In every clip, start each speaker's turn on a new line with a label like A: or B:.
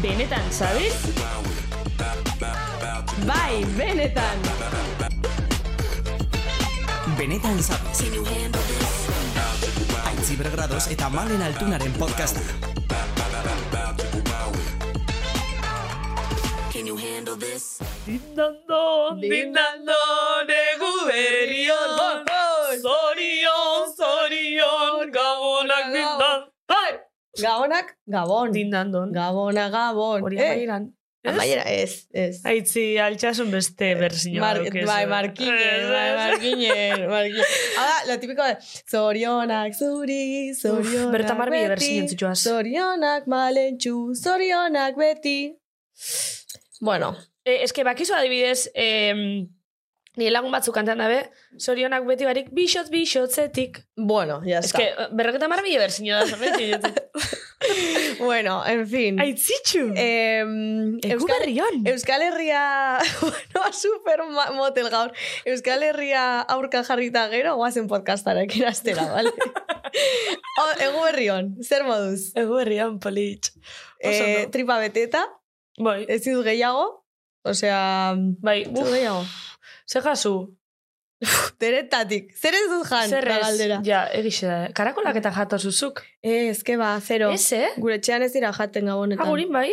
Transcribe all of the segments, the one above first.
A: Benetan, sabes? Bai, benetan!
B: Benetan zabez. Aitzi bergradoz eta malen altunaren podcasta.
C: Dindandon, dindandon, egu berrion, zorion, zorion, gabonak dindan, bai!
D: Gabonak, Gabon.
C: Dindandon,
D: Gabona, Gabon.
C: hori
D: Eh,
C: amaieran. ez?
D: amaiera, ez, ez.
C: Aitzi, altxasun beste Eh, berzio.
D: Eh, Mar, bai, markinen, bai, markinen, markinen. Hau da, lo típico de zorionak zuri, zorionak beti.
C: Berta marbi berzio zituaz.
D: Zorionak malentxu, zorionak beti. Bueno,
C: Eh, eske, bakizu adibidez, eh, ni lagun batzuk kantan dabe, zorionak beti barik, bixot, bixotzetik. eh,
D: bueno, ya está.
C: Eske, berroketa marbi berzio da, zorretik.
D: Bueno, en fin.
C: Aitzitxu!
D: Eh, Em,
C: Egu
D: Euskal-
C: berrion!
D: Euskal Herria, bueno, super ma- motel gaur. Euskal Herria aurka jarrita gero, guazen podcastarekin astera, bale? O- Egu berri hon, zer moduz?
C: Egu berrion, politx. Oso
D: Eh,
C: ondo.
D: tripa beteta,
C: Bai,
D: ez dut gehiago, osea,
C: bai,
D: ez dut
C: uf,
D: gehiago.
C: ze jasu.
D: Teretatik, zer ez dut jan,
C: Zer
D: da
C: ez,
D: ba, galdera.
C: ja, egixe da. eh. Karakolak eta jato zuzuk.
D: Ez, que ba, zero.
C: Ez, eh?
D: Gure etxean ez dira jaten gabonetan.
C: Agurin bai?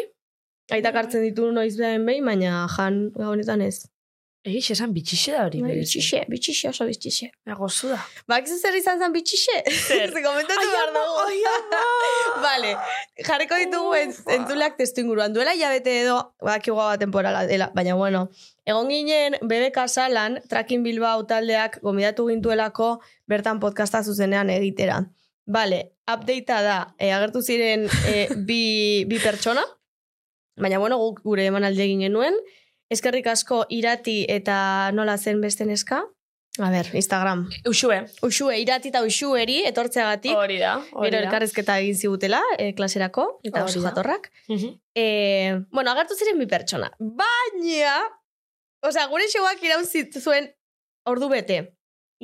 D: Aitak hartzen ditu noiz behin behin, baina jan gabonetan ez.
C: Egixe esan bitxixe da hori.
D: Bai,
C: berezi.
D: Bitxixe, bitxixe, oso bitxixe.
C: Ja, gozu da.
D: Bakizu zer izan zen bitxixe?
C: Zer?
D: Ze komentatu behar dugu. Vale, jarriko ditugu en-
C: Ufa.
D: entzuleak testu inguruan. Duela hilabete edo, ba, badakigu hau temporala dela, baina bueno. Egon ginen, bebe kasalan, trakin Bilbao taldeak gomidatu gintuelako bertan podcasta zuzenean egitera. Vale, updatea da, e, agertu ziren e, bi, bi pertsona, baina bueno, guk gure emanaldi egin genuen. Eskerrik asko irati eta nola zen beste neska? A ber, Instagram. eh?
C: Uxue.
D: Uxue, irati eta uxueri etortzeagatik.
C: Hori da, hori
D: Gero
C: da.
D: elkarrezketa egin zigutela, eh, klaserako, eta
C: Hori
D: oso
C: da.
D: jatorrak.
C: Mhm.
D: Eh, bueno, agertu ziren bi pertsona. Baina, osea, gure xegoak iraun zuen ordu bete.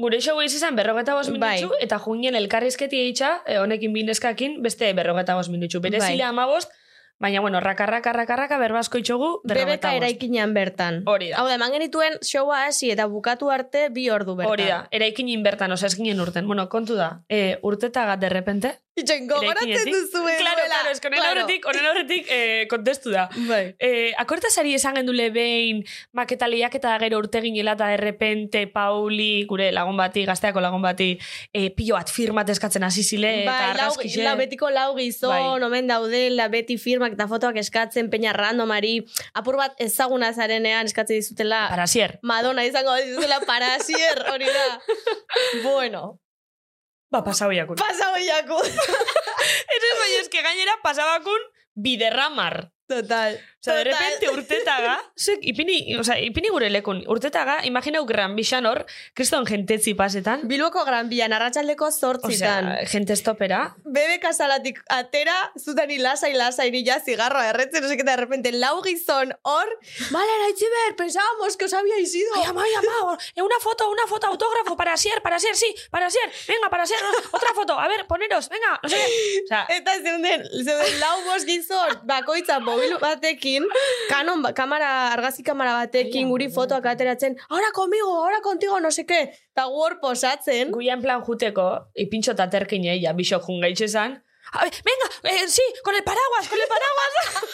C: Gure show izan berrogeta bost
D: Bai.
C: minutxu, eta jungien elkarrizketi egitxa, eh, honekin bineskakin, beste berrogeta bost minutxu. Bere
D: Bai.
C: zile amabost, baina, bueno, raka, raka, raka, raka, berbasko itxogu, berrogeta
D: Bebeka
C: bost.
D: eraikinean bertan.
C: Hori da.
D: Hau da, eman genituen showa hasi eta bukatu arte bi ordu bertan.
C: Hori da, eraikinin bertan, osa ez ginen urten. Bueno, kontu da, e, urtetagat derrepente.
D: Itxen, gogoratzen
C: Eraikinetik.
D: duzuen.
C: Claro,
D: duela.
C: claro, eskonen
D: Claro.
C: aurretik, honen aurretik eh, kontestu da.
D: Bai.
C: Eh, akortasari esan gendule behin, maketaliak eta gero urte ginela eta errepente, Pauli, gure lagun bati, gazteako lagun bati, eh, pilo bat firmat eskatzen hasi zile, eta
D: Bai, lau,
C: argazkixe.
D: lau, betiko lau gizon,
C: Bai.
D: omen daudela, beti firmak eta fotoak eskatzen, peña randomari, apur bat ezaguna zarenean eskatzen dizutela
C: Para sier.
D: Madonna izango dizutela parasier, hori da. bueno,
C: Ba, pasabiakun.
D: pasa hoiako.
C: Ere, baina eske gainera pasabakun biderramar.
D: Total.
C: Osa, de
D: total.
C: repente urtetaga, zuek, ipini, osa, ipini gure lekun, urtetaga, imaginau gran bixan hor, kriston jentetzi pasetan,
D: Bilboko Gran Bian, arratsaldeko zortzitan.
C: osea, jente estopera,
D: Bebe kasalatik atera, zutan lasai lasai nila zigarroa erretzen, no seketa, de repente lau gizon hor, Vale, Naitziber, pensábamos que os habíais ido.
C: Ay, ama, ay, ama, eh, una foto, una foto, autógrafo, para Asier, para Asier, sí, para Asier, venga, para Asier, no, otra foto, a ver, poneros, venga, no sé qué. O sea,
D: Eta zeuden, zeuden lau bost gizon bakoitza mobil batekin, kanon, ba- kamara, argazi kamara batekin, guri fotoak ateratzen, ahora conmigo, ahora contigo, no seke, eta gu hor posatzen.
C: guian plan juteko, ipintxo eta terkinei, ja, bisok jungaitxe esan, a ver, venga, eh, sí, con el paraguas, con el paraguas.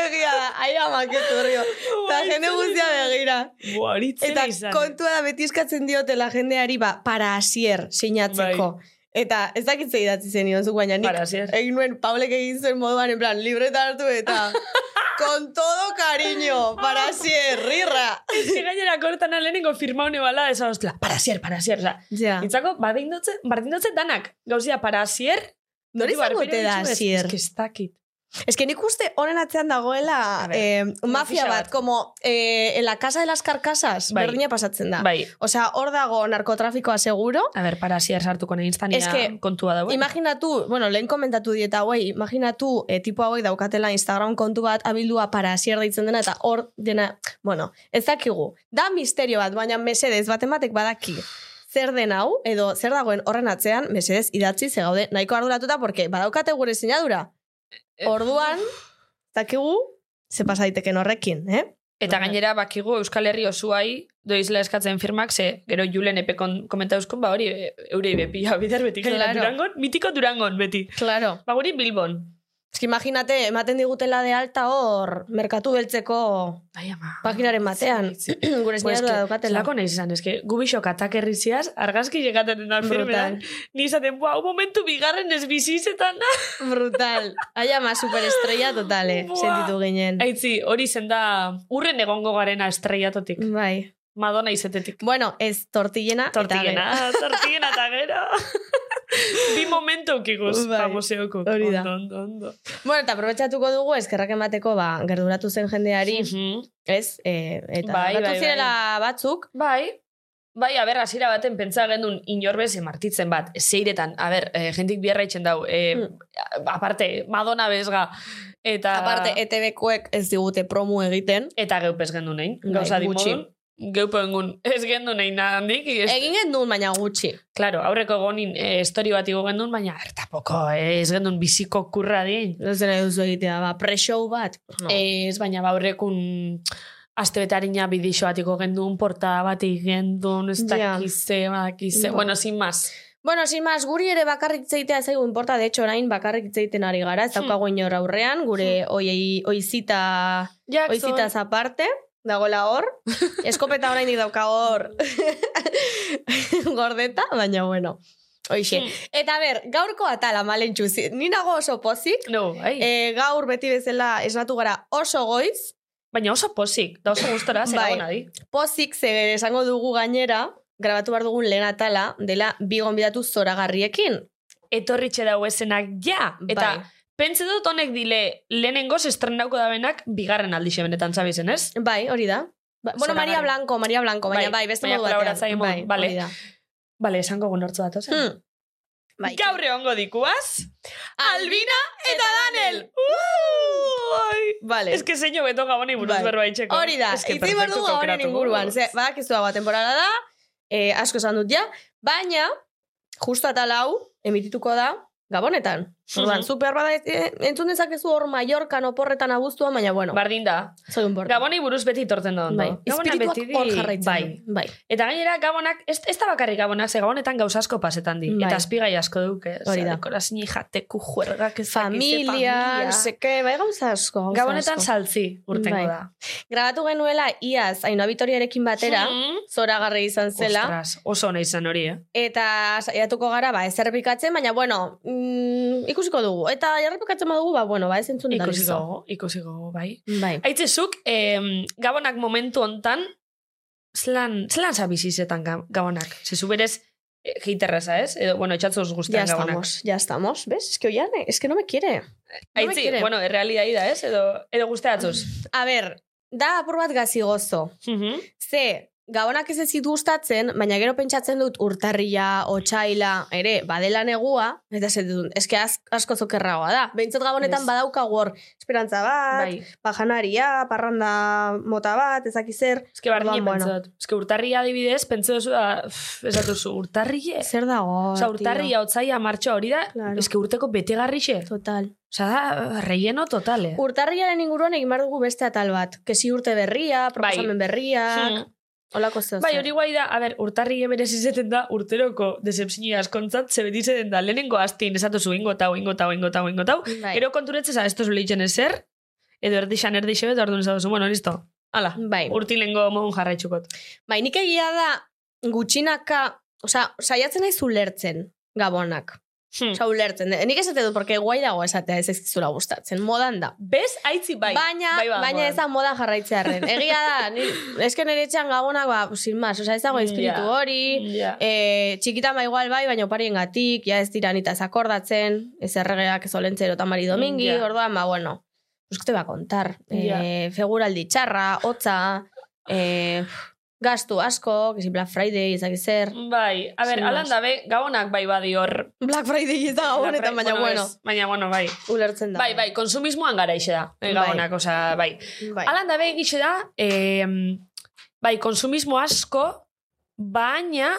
D: Egia da, aia maketu horrio. Eta jende guztia begira.
C: Buaritzen
D: Eta kontua da beti eskatzen diotela jendeari, ba, para asier sinatzeko. Eta ez dakit ze idatzi zenion zuk, baina nik
C: Bai. Para Asier.
D: egin nuen Paulek egin zen moduan, en plan, libreta hartu eta con todo cariño, para asier, rirra.
C: Eske gainera kortan lehenengo firma hone bala, esa hostla, para Asier, para Asier, oza.
D: Ja.
C: Itzako, bardindotze, bardindotze danak, gauzia, para Asier.
D: Nor izango
C: Barpera
D: te da
C: ditzu, ez-
D: Asier?
C: Ez que ez dakit.
D: Ez que nik uste honen atzean
C: A
D: dagoela
C: ver,
D: eh,
C: mafia
D: mafia bat,
C: bat.
D: como eh, en la casa de las carcasas,
C: Bai.
D: berdina pasatzen da.
C: Bai,
D: Osea, hor dago narkotrafikoa seguro,
C: a ver, para Asier sartuko nahi instania
D: Es que,
C: kontua da. bueno.
D: Imaginatu, bueno, lehen komentatu dieta hauei, imaginatu eh, tipo hauek daukatela Instagram kontu bat abildua para asier deitzen dena eta hor dena, bueno, ez dakigu. Da misterio bat, baina mesedez bat ematek badaki. zer den hau, edo zer dagoen horren atzean, mesedez idatzi ze gaude nahiko arduratuta, porque badaukate gure sinadura.
C: Eh,
D: Orduan, dakigu, ze pasaiteken horrekin, eh?
C: Eta gainera, bakigu Euskal Herri osuai doizla eskatzen firmak, ze gero Julen epe kon, komentauzkon, ba hori, e, eurei bepila bidar beti. Claro.
D: Claro.
C: Durangon, mitiko Durangon beti.
D: Claro.
C: Ba guri Bilbon.
D: Ez que imagínate, ematen digutela de alta hor, merkatu beltzeko
C: Ai, ama.
D: paginaren batean. gure
C: Pues
D: sinadura
C: que,
D: daukatela.
C: zelako nahi izan, eske, gubixok atakerriziaz, argazki llegaten da firmean,
D: Brutal.
C: ni izaten, buau, momentu bigarren ez bizizetan da.
D: Brutal. Ai ama, superestrella total, eh?
C: Buah.
D: Sentitu ginen.
C: Aitzi, hori zen da, urren egongo garena estrellatotik,
D: Bai.
C: Madonna izetetik.
D: Bueno, ez tortillena. eta
C: Tortillena, tortillena eta gero. Bi momentu ukiguz,
D: Bai,
C: bai, museoko.
D: hori da.
C: Ondo, ondo, ondo.
D: gero. Bueno, eta aprobetsatuko dugu eskerrak emateko ba, gerduratu zen jendeari,
C: Mhm.
D: ez? Eh, eta
C: Bai,
D: gerturatu
C: bai,
D: zirela batzuk,
C: Bai, bai, aber, hasiera baten pentsa gendun inorbez emartitzen bat, zeiretan, aber, eh, jendik biarra itxen dau, eh,
D: Mm.
C: aparte, Madonna bezga, eta...
D: aparte ETB-koek ez digute promu egiten.
C: Eta geupez gendu nein,
D: Bai,
C: gauza
D: gutxi. Eh.
C: dimodun. Geupo engun, ez gendu nein nahandik. Ez...
D: Egin gendun, baina gutxi.
C: Claro, aurreko gonin e, story bat igo gendun, baina ertapoko, eh, ez gendun biziko kurra dien.
D: Ez dena duzu egitea, ba, pre-show bat. Pues no.
C: Ez, baina baurrekun aste betarina bidixo bat igo gendun, portada bat gendun, ez
D: Ja.
C: dakize, badakize.
D: Ba.
C: Bueno, sin más.
D: Bueno, sin más, guri ere bakarrik zeitea zaigu inporta, de hecho, orain bakarrik zeiten ari gara, ez daukago inor aurrean, gure oiei, oizita,
C: Jackson.
D: oizitaz aparte, dagoela hor, eskopeta oraindik dauka hor gordeta, baina bueno, oixe. Eta ber, gaurko atala malen txuzi, ni nago oso pozik,
C: No, bai. ai.
D: e, gaur beti bezala esnatu gara oso goiz,
C: Baina oso pozik, da oso gustora, zer
D: Bai.
C: bai. di.
D: pozik ze esango dugu gainera, grabatu behar dugun lehen atala, dela bi gonbidatu zoragarriekin.
C: Etorritxe dau esenak ja, eta
D: Bai.
C: pentsa dut honek dile lehenengoz estrenauko da benak bigarren aldixe benetan zabizen, ez?
D: Bai, hori da. Ba, bueno,
C: Zoragarri.
D: Maria Blanco, Maria Blanco, baina
C: Bai,
D: bai, beste
C: baina
D: modu batean.
C: kolaboratzaile modu,
D: Bai,
C: vale.
D: hori da.
C: Bale, esango gonortzu datozen.
D: Hmm. Bai.
C: Gaur egongo dikuaz, Albina eta Danel! Uh! Ai!
D: Vale.
C: Ez que zeino beto gabonei buruz
D: Bai.
C: berba itxeko.
D: Hori da,
C: Ez que
D: hitz behar
C: perfektu
D: dugu horren
C: aukeratu.
D: inguruan. Ze, badakizu dago temporada da, eh, asko esan dut ja, baina, justo atal hau, emitituko da, Gabonetan. Orduan,
C: Mhm.
D: zu behar bada, eh, entzun dezakezu hor Mallorcan oporretan abuztuan, baina bueno,
C: Bardin da.
D: zoi unporta.
C: Gabonei buruz beti torten da ondo.
D: bai.
C: Gabona
D: Espirituak
C: beti di-
D: hor jarraitzen.
C: Bai.
D: du. bai.
C: Eta gainera, gabonak, ez, ez da bakarrik gabonak, ze gabonetan gauz asko pasetan di.
D: Bai.
C: Eta azpigai asko duke.
D: Hori da.
C: Dekorazin jateku juergak ez dakize,
D: Familia, seke, bai gauza asko. gauza
C: Gabonetan
D: asko.
C: saltzi urtengo
D: Bai.
C: da.
D: Grabatu genuela, iaz, ainoa bitoriarekin batera,
C: Mhm.
D: zoragarri izan zela.
C: Ostras, oso ona izan hori, eh?
D: Eta saiatuko gara, ba, ez errepikatzen, baina, bueno, mm, ikusiko dugu. Eta errepikatzen badugu, ba, bueno, ba, ez entzun eta
C: Ikusiko,
D: listo.
C: gogo, ikusiko, gogo, bai.
D: Bai.
C: Aitzezuk, eh, gabonak momentu hontan, zelan, zelan zabizizetan ga- gabonak? Zezu berez, eh, heiterraza, ez? Edo, bueno, etxatzuz
D: Ya
C: guztian gabonak.
D: estamos, ya estamos, ¿ves? Es que Oian, es que no me quiere. No me
C: Aitzi,
D: quiere.
C: bueno, errealidadi da, ez? Edo, edo guztiatzuz.
D: A ver, da apur bat gazigozo.
C: Mhm.
D: Ze, gabonak ez ezit gustatzen, baina gero pentsatzen dut urtarrila, otxaila, ere, badela negua, eta zer dut, eske az, asko zokerragoa da. Behintzat gabonetan
C: Ez.
D: badauka gor, esperantza bat,
C: Bai.
D: bajanaria, parranda mota bat, ezaki zer.
C: Ez que bardine
D: Orduan, bueno.
C: pentsa dut. Ez que urtarri adibidez, pentsa duzu da, pff, ez datuzu, urtarri
D: Zer dago?
C: Osa, urtarri hotzaia martxo hori da,
D: Claro.
C: ez que urteko betegarrixe.
D: Total.
C: Osa, da, relleno total, eh?
D: Urtarriaren inguruan egin behar dugu beste atal bat. Kesi urte berria, proposamen berriak,
C: Hmm.
D: olako zeo.
C: Bai, hori guai da, a ber, urtarri eberez izeten da urteroko decepzioa askontzat, ze beti izeten da, lehenengo astin esatu zu ingo tau, ingo tau, ingo tau, ingo tau.
D: Bai.
C: Gero konturetzeza, esto zu lehitzen ezer, edo erdixan erdixe bet, orduan esatu zu, bueno, listo. Hala,
D: Bai.
C: urtilengo modun jarraitxukot.
D: Bai, nik egia da gutxinaka, osea, saiatzen naiz ulertzen gabonak.
C: Hm.
D: Osea, ulertzen. Eh, Nik esate dut, porque guai dago esatea ez ezkizula gustatzen. Modan da.
C: Bez, aitzi bai.
D: baina,
C: bai, bada
D: baina
C: modan.
D: ez da modan jarraitzearen. Egia da, ni, eske nire etxean gabonak, ba, sin más, osea, ez dago
C: Ja.
D: espiritu hori,
C: Ja.
D: E, txikitan ba igual bai, baina oparien gatik, ja ez dira nita ez akordatzen, ez erregeak ez olentzero eta mari domingi,
C: Mm, Ja.
D: orduan, ba, bueno, pues, ¿qué te va a contar?
C: Ja.
D: E, feguraldi txarra, hotza, e, gastu asko, que si Black Friday, ezak zer.
C: Bai, a ber,
D: Sin
C: alan
D: más.
C: dabe, gabonak bai badi hor.
D: Black Friday ez da honetan, baina, bueno,
C: ez, Baina, bueno, bai.
D: ulertzen da.
C: Bai, bai, konsumismoan gara ixe da, eh,
D: Bai.
C: gabonak, osea, bai.
D: bai.
C: Alan da behi da, em, bai, konsumismo asko, baina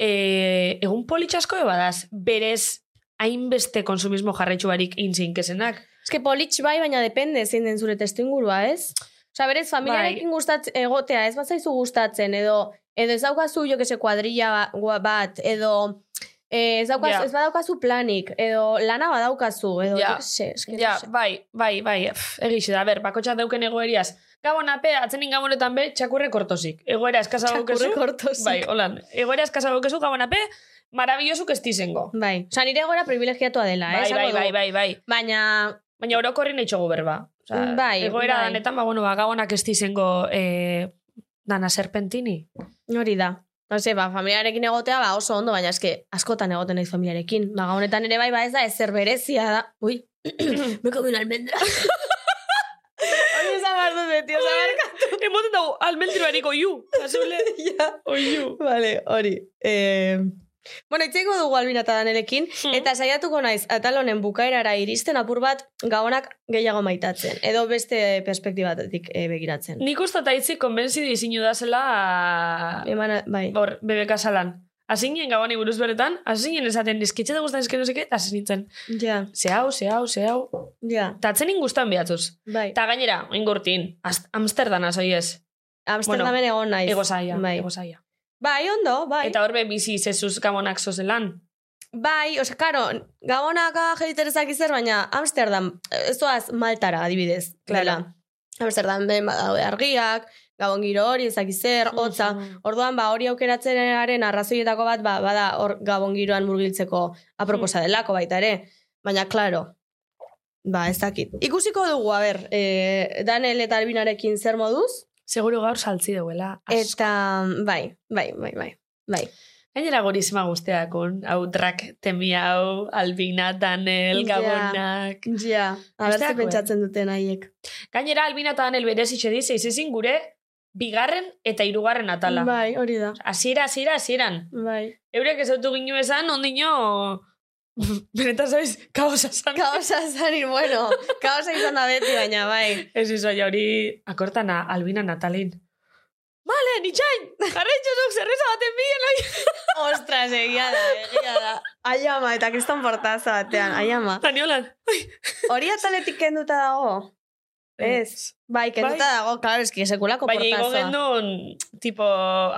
C: e, egun politxasko ebadaz, berez hainbeste konsumismo jarraitxu barik inzinkesenak.
D: Eske politx bai, baina depende zein den zure testu ingurua, ez? Osa, berez, familiarekin
C: Bai.
D: gustatzen, egotea, ez bazaizu gustatzen, edo, edo ez daukazu, jo que se, kuadrilla ba- gua- bat, edo eh, ez, daukaz,
C: Ja.
D: ez badaukazu planik, edo lana badaukazu, edo,
C: Ja.
D: jo que se, eske, no
C: Ja,
D: se.
C: bai, bai, bai, pff, egixe da, ber, bakotxak dauken egoeriaz. Gabon ape, atzenin gabonetan be, txakurre kortosik. Egoera eskasa daukezu.
D: Txakurre kortosik.
C: Bai, holan. Egoera eskasa daukezu, gabon ape, marabillosu kestizengo.
D: Bai. Osa, nire egoera privilegiatua dela, eh?
C: Bai,
D: esango
C: bai,
D: dugu.
C: bai, bai, bai.
D: Baina,
C: Baina orokorri nahi txogu berba. Osea,
D: Bai,
C: egoera
D: bai.
C: danetan, ba, bueno, ba, gabonak ez dizengo eh, dana serpentini.
D: hori da. Ose, ba, familiarekin egotea, ba, oso ondo, baina eske askotan egoten naiz familiarekin. Ba, honetan ere bai, ba, ez da, ezer berezia da. Ui, me comí una almendra. Hori esan behar dut beti, osa, barkatu.
C: Emoten dago, almendruariko iu. Azule,
D: Ja.
C: oiu.
D: Vale, hori. Eh... Bueno, itzengo dugu albin eta danerekin, eta saiatuko naiz atal honen bukaerara iristen apur bat gabonak gehiago maitatzen, edo beste perspektibatetik eh, begiratzen.
C: Nik usta taitzi konbenzi dizinu da zela
D: Eman, bai.
C: hor, bebeka salan. Azinen gaboni buruz beretan, azinen esaten dizkitxe da guztan eskerozeke, eta azin nintzen.
D: Ja,
C: Ze hau, ze hau, ze hau.
D: ja,
C: Eta atzenin guztan behatuz.
D: bai.
C: Eta gainera, ingurtin, Amsterdana zoiez.
D: Amsterdamen egon naiz.
C: Egozaia,
D: Bai,
C: egozaia.
D: bai ondo, bai.
C: Eta horbe bizi zezuz gabonak zozelan.
D: Bai, osea, karo, gabonaka jeriterezak izer, baina Amsterdam, eh, ez doaz Maltara adibidez.
C: Claro.
D: Dela. Amsterdam ben badaude argiak, gabon giro hori ezak izer, hotza.
C: Mhm.
D: Orduan, ba, hori aukeratzenaren arrazoietako bat, ba, bada, hor gabon giroan murgiltzeko aproposa
C: Hmm.
D: delako baita ere. Baina, klaro, ba, ez dakit. Ikusiko dugu, a ber, e, Daniel eta Albinarekin zer moduz,
C: Seguro gaur saltzi duela.
D: eta, bai, bai, bai, bai, bai.
C: Gainera gorizima guzteakon, hau drak temia hau, albina, danel,
D: Ja.
C: gabonak.
D: Ja, a ber, ze
C: Besteako, eh?
D: pentsatzen duten haiek.
C: Gainera albina eta danel berez itxedi, zeizezin gure bigarren eta hirugarren atala.
D: Bai, hori da.
C: Hasiera, hasiera, hasieran.
D: Bai.
C: Eurek ez dut ginu esan, ondino... Benetan, sabes, kaosa zan.
D: Kaosa zanin, bueno, kaosa izan da beti, baina bai.
C: Ez izo, ja hori akortana, albina natalin. Bale, nitxain! Jarretxo zuk zerreza baten bilen, oi!
D: Ostras, egia da, egia da. Ai ama, eta kriston portaza batean, ai ama.
C: Taniolan.
D: Hori ataletik kenduta dago? Ez. Bai, kenduta
C: Bai.
D: dago, claro, eski sekulako
C: Baina Bai, igo
D: portaza.
C: gendun, tipo,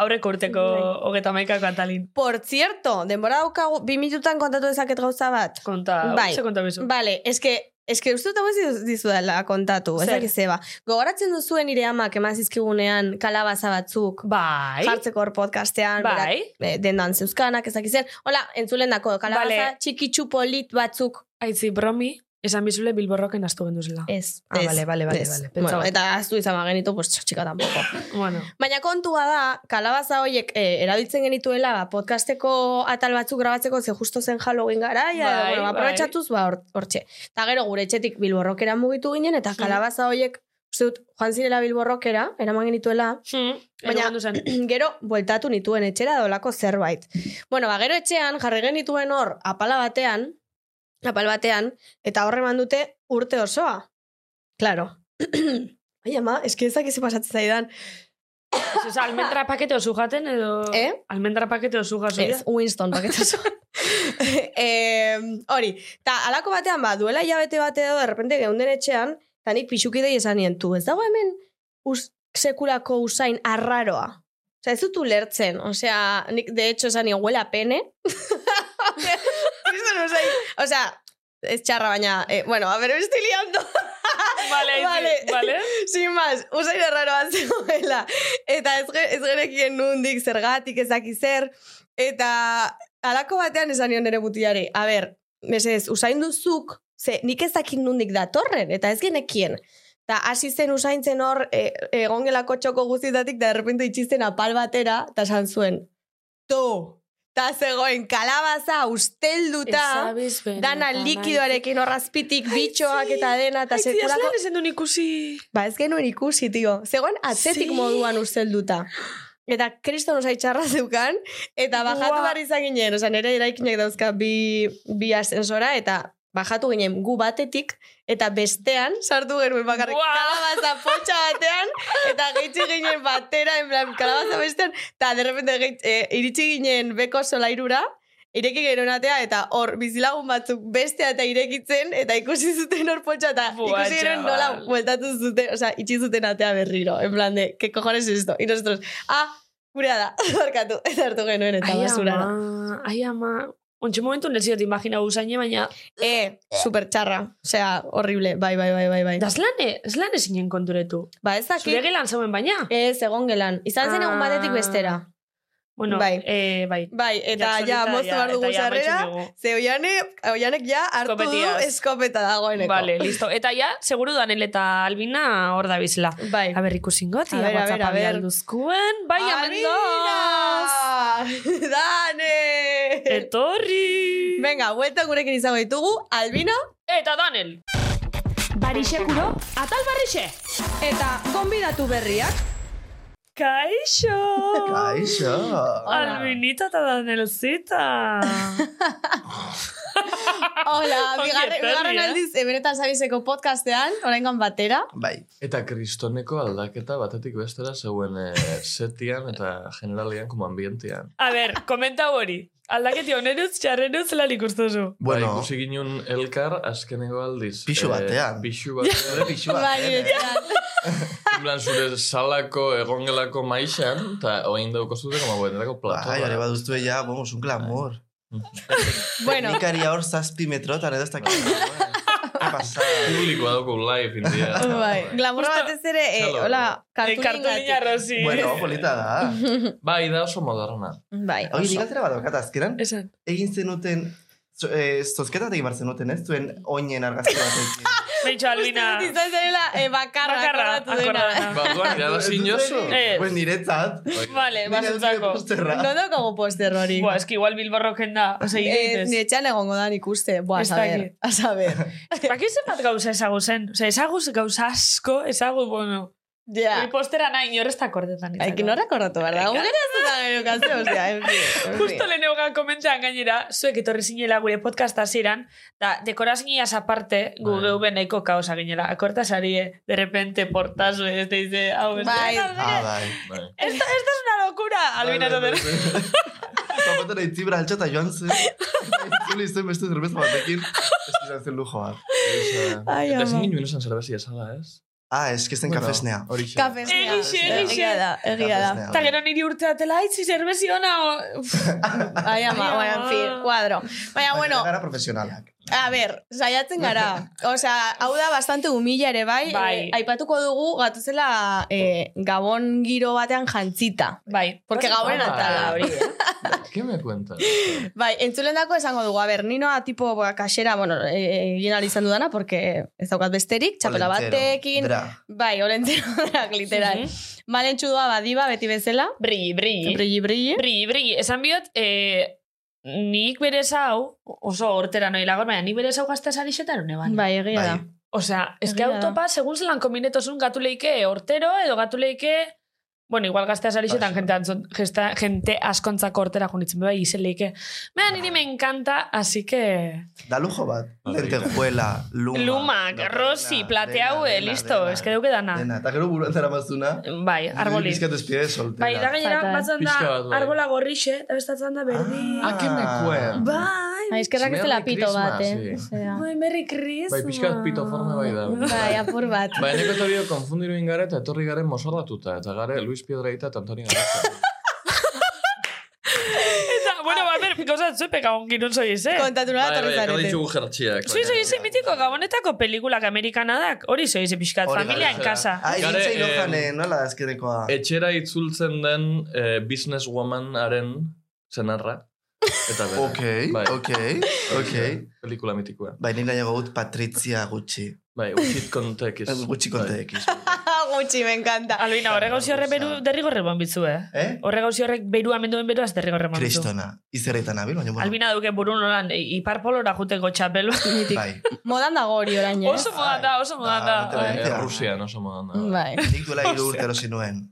C: aurreko urteko
D: Bai.
C: hogeta maikako atalin.
D: Por cierto, denbora daukagu, bi minutan kontatu dezaket gauza bat.
C: Konta,
D: Bai.
C: bai. ze konta bezu.
D: Bale, eske, eske uste dut hau ez dizu- dizudala kontatu,
C: Zer?
D: ezak zeba. Gogoratzen duzuen nire amak eman zizkigunean kalabaza batzuk,
C: Bai.
D: jartzeko hor podcastean,
C: Bai.
D: berak, e, dendan zeuzkanak, ezak zer. Hola, entzulen dako, kalabaza
C: Bale.
D: txikitsu polit batzuk.
C: Aitzi, bromi, esan bizule bilborroken astu genduzela.
D: Ez,
C: Ah,
D: ez,
C: bale, bale, bale,
D: ez.
C: bale,
D: Bueno,
C: pentsaba.
D: eta aztu izan bagenitu, pues txika tampoco.
C: Bueno.
D: Baina kontua da, kalabaza horiek eh, erabiltzen genituela, ba, podcasteko atal batzuk grabatzeko, ze justo zen Halloween garaia, edo,
C: Bai,
D: bueno, ba,
C: bai.
D: aprobetxatuz, ba, hor- hortxe. Eta gero, gure etxetik bilborrokera mugitu ginen, eta kalabaza horiek, uste dut, joan zirela bilborrokera, eraman genituela,
C: Hmm,
D: Baina-
C: Baina, zen.
D: gero bueltatu nituen etxera dolako zerbait. Bueno, ba, gero etxean jarri genituen hor apala batean, apal batean, eta horre dute urte osoa. Claro. Ai, ama, eski ezak ezi pasatzen zaidan.
C: Ez, ez, almendra pakete osu jaten edo...
D: Eh?
C: Almendra pakete osu jaten.
D: Ez, Winston paketazo. eh, hori, eta alako batean, ba, duela hilabete bate edo, errepente geunden etxean, eta nik pixukidei esan nien, tu, ez dago hemen us, sekulako usain arraroa. Osea, ez dut ulertzen. Osea, nik, de hecho, esan nien, huela pene. Kriston usain. Osea, ez txarra baina, eh, bueno, a ver, me estoy liando.
C: Vale, aitzi,
D: Vale.
C: vale.
D: Sin más, usain arraroa zegoela. Eta ez, ge- ez gerekien nundik, zergatik, ezaki zer. Eta alako batean esan nion nere mutilari. A ber, mesedez, usain duzuk, ze nik ezakin nundik datorren, eta ez genekien. Eta hasi zen usaintzen hor, e, egongelako txoko guztietatik, da errepente itxizten apal batera, eta esan zuen, tu, eta zegoen kalabaza ustelduta, dana likidoarekin horrazpitik, bitxoak eta dena, eta
C: Aitzi, ez
D: sekulako
C: lan ezen duen ikusi...
D: Ba, ez genuen ikusi, tio. Zegoen atzetik
C: Sí.
D: moduan ustelduta. Eta kriston osai txarra zeukan, eta bajatu
C: Buah.
D: barri izan ginen. Osa, nire eraikinak dauzka bi, bi ascensora, eta bajatu ginen gu batetik, eta bestean sartu genuen bakarrik
C: Buah!
D: kalabaza poltsa batean, eta gehitzi ginen batera, en plan, kalabaza bestean, eta derrepende gehitzi, eh, iritsi ginen beko solairura, ireki genuen atea, eta hor bizilagun batzuk bestea eta irekitzen, eta ikusi zuten hor poltsa, eta
C: Buah,
D: ikusi genuen nola
C: chaval.
D: bueltatu zuten, o sea, itxi zuten atea berriro, en plan de, ¿qué cojones es esto? Y nosotros, ah, gurea da, barkatu, eta hartu genuen, eta
C: Ai
D: basura da.
C: ama, ai ama. Ontxe momentu neziot imagina usaine, baina...
D: Eh, super txarra. Osea, horrible. Bai, bai, bai, bai, bai.
C: Da zlane, zlane zinen konturetu.
D: Ba, ez
C: Zure
D: dakit. Eh,
C: gelan zauen baina.
D: Ez, egon gelan. Izan zen egun
C: Ah.
D: batetik bestera.
C: bueno,
D: bai.
C: eh, bai.
D: Bai, eta ja,
C: solita,
D: moztu
C: ja,
D: behar dugu
C: eta ja amaitzen
D: sarrera.
C: dugu.
D: Ze oianek, oianek ja hartu
C: Eskopetiaz.
D: du eskopeta dagoeneko.
C: Vale, listo. Eta ja, seguru Daniel eta Albina hor da bizela.
D: Bai.
C: A ber, ikusingo,
D: A
C: tia,
D: ber, a ber,
C: WhatsApp
D: a ber.
C: alduzkuen. Bai, amendoz!
D: Albina! Dane!
C: Etorri!
D: Venga, buelta gurekin izango ditugu, Albino
C: Eta Daniel!
A: Barixe kuro, atal barrixe.
D: eta konbidatu berriak.
C: Kaixo!
E: Kaixo!
C: Albinita eta Danielzita!
D: Hola,
C: Ongi
D: bigarren,
C: etorri,
D: bigarren
C: eh?
D: aldiz, eh, benetan zabizeko podcastean, oraingoan batera.
E: Bai.
F: Eta kristoneko aldaketa batetik bestera zeuen eh, setian eta generalian como ambientean.
C: a ber, komenta hori. Aldaketi oneruz, txarrenuz, lan ikustuzu.
F: Bueno,
E: Bueno,
F: Ba, ikusi ginen elkar azkeneko aldiz.
E: Pixu
F: eh,
E: batean.
F: pixu
E: zure
F: batean.
E: pixua.
D: Bai,
E: eh?
D: niretzat.
F: En plan, zure salako egongelako maixan, eta oain dauko zute koma buenerako
E: Bai, hori
F: platoa.
E: baduztu ja, vamos, un glamour.
D: Bueno.
E: Teknikari hor zazpi metrotan edo ez dakit. Ke pasada.
F: Publikoa dauko live india.
D: Bai, glamurra
C: Justo-
D: batez ere, eh,
F: Txalo.
D: hola,
C: Eh, Kartulina
D: kartulingatik.
C: rosi.
E: Bueno, polita da.
F: Bai, da oso moderna.
D: Bai,
E: Hoi, nik altera bat daukat azkenan.
C: Esan.
E: Egin zenuten, zo- eh, zozketat egin bar zenuten, ez? Zuen oinen argazki batekin.
C: Beitxo, Albina.
D: Izan zarela, eh, bakarra,
C: Bakarra,
D: akordatu dena.
C: akordana.
F: Baduan, irabazi inozu.
D: eh,
C: Ez.
E: Pues niretzat.
C: Vale,
E: Nire zure
C: bazutzako.
E: posterra.
D: No daukagu poster hori.
C: Buah, eski igual bilborroken da. Ose,
D: Eh,
C: ideites.
D: nire txan Eh, egongo da nik uste. Buah, a
C: Ez
D: saber,
C: dakit.
D: a saber.
C: Baki zenbat Ba, gauza ezagu zen. Ose, ezagu gauza asko, ezagu, bueno.
D: Ja.
C: Hori postera nahi, inor ez da kordetan.
D: Hay que no recordatu, ¿verdad?
C: Venga.
D: Gure ez dut gero kaze, ostia, en fin. en fin.
C: Justo leheneuga komentan gainera, zuek etorri zinela gure podcasta ziran, da, dekoraziniaz aparte, gu
F: Bai.
C: geube nahiko kaosa ginela. Akorta sarie, de repente, portazu ez deize, hau, ez
D: Bai.
E: Ah,
C: da,
E: bai.
F: Bai.
C: Esta, esta es una locura, Albina esaten.
E: Zapatera itzibra altxata joan zen. Itzuli zen beste zerbeza batekin. Ez izan zen lujo ah. bat.
D: Ai,
F: Eta
D: ama.
F: ezin ginen esan zerbezi esala, ez?
E: Ah, ez que zen kafesnea.
F: Hori xe.
D: Kafesnea.
C: Egixe, egixe.
D: Egia da, egia da.
E: Kafesnea.
C: Eta gero niri urte atela, itzi zerbezi ona, o... Uf,
D: Ai, ama, bueno, en fin, kuadro.
C: Ah,
D: Baina, bueno,
E: Gara profesionalak.
D: A ber, saiatzen gara. Osea, hau da bastante humilla ere bai.
C: Bai.
D: Eh, aipatuko dugu gatuzela eh, Gabon giro batean jantzita.
C: Bai.
D: Porque gabonen
F: Ah,
D: atala hori. eh.
F: ¿Qué me cuentas?
D: Bai, entzulendako esango dugu. A ber, ninoa tipo ba, kasera, bueno, eh, egin ahal izan dudana, porque ez daukat besterik, txapela
E: Olentzero,
D: batekin.
E: Dra.
D: Bai, olentzero drak, literal. Malentxu doa badiba, beti bezala.
C: Brilli, brilli.
D: Brilli, brilli.
C: Brilli, brilli. Esan biot, eh, nik berez hau, oso hortera noi lagor, baina nik berez hau gazteaz arixetan une ban.
D: Bai, egia
E: Bai.
D: da.
C: Osea, eske
D: Egia da.
C: autopa, segun zelan kombinetozun gatu leike hortero, edo gatu leike... Bueno, igual gazteaz arixetan
F: Bai.
C: jente, antzon- gesta- jente askontzako hortera junitzen, bai, izen leike. Baina
E: Bai.
C: niri me encanta, así que...
E: Da lujo bat.
F: Bai.
E: Lentejuela, luma.
C: Lumak,
E: dena,
C: rosi,
E: dena,
C: plate haue,
E: dena,
C: eh, listo,
E: dena.
C: eske duke dana.
E: Dena, eta gero buruan zara mazuna.
C: Bai, arboli.
E: Bizkat espide de soltera.
C: Bai, da gainera,
D: Fatal.
C: batzan da,
F: Pixka bat, bai.
C: arbola gorrixe, eta bestatzen da berdi.
F: Ah, que me cuentas?
C: Bai,
D: Ba, eskerrak ez dela
F: Merry
D: pito bat, eh.
F: Christmas,
D: Osea.
C: bai, Merry Christmas.
F: Bai, pixka bat pitoforme bai da.
D: Bai, apur bat.
F: Ba, eneko eta hori konfundiru ingara eta etorri garen mozorratuta. Eta gare Luis Piedraita eta Antoni Garazta.
C: Eta, bueno, ba, ber, gauza zuepe gabon ginun soiz, eh?
D: Kontatu nola
F: bai,
D: torri
F: gara
D: zarete.
F: ditugu jertxiak.
C: Zui soiz mitiko gabonetako pelikulak amerikanadak, hori soiz pixkat,
E: Hori
C: familia en
F: gara.
C: casa.
E: Ah, egin
F: Gare,
E: zein
F: eh,
E: lojane, nola azkenekoa.
F: Etxera itzultzen den eh, businesswomanaren zenarra. Eta bera.
E: Ok, ok, ok.
F: Pelikula mitikoa.
E: Bai, nire nahiago gut Patricia gutxi.
F: Bai, utzit kontek bai. ez.
E: Gutxi kontek.
D: Gutxi, me encanta.
C: Albina, horre gauzi horre beru, derrigorre bon bitzu, eh?
E: Eh?
C: Horre gauzi horrek beru amenduen beruaz derrigorre bon bitzu.
E: Kristona. Izerretan abil, baina bueno.
C: Albina duke eh, burun holan, iparpolora juteko txapel.
E: Bai.
D: Modan dago hori orain, eh?
C: oso modan da, oso modan
E: Ah,
C: da.
E: bete-
F: Eh, Rusia, no somo dana.
D: Bai.
E: Nik duela hiru urte erosi nuen.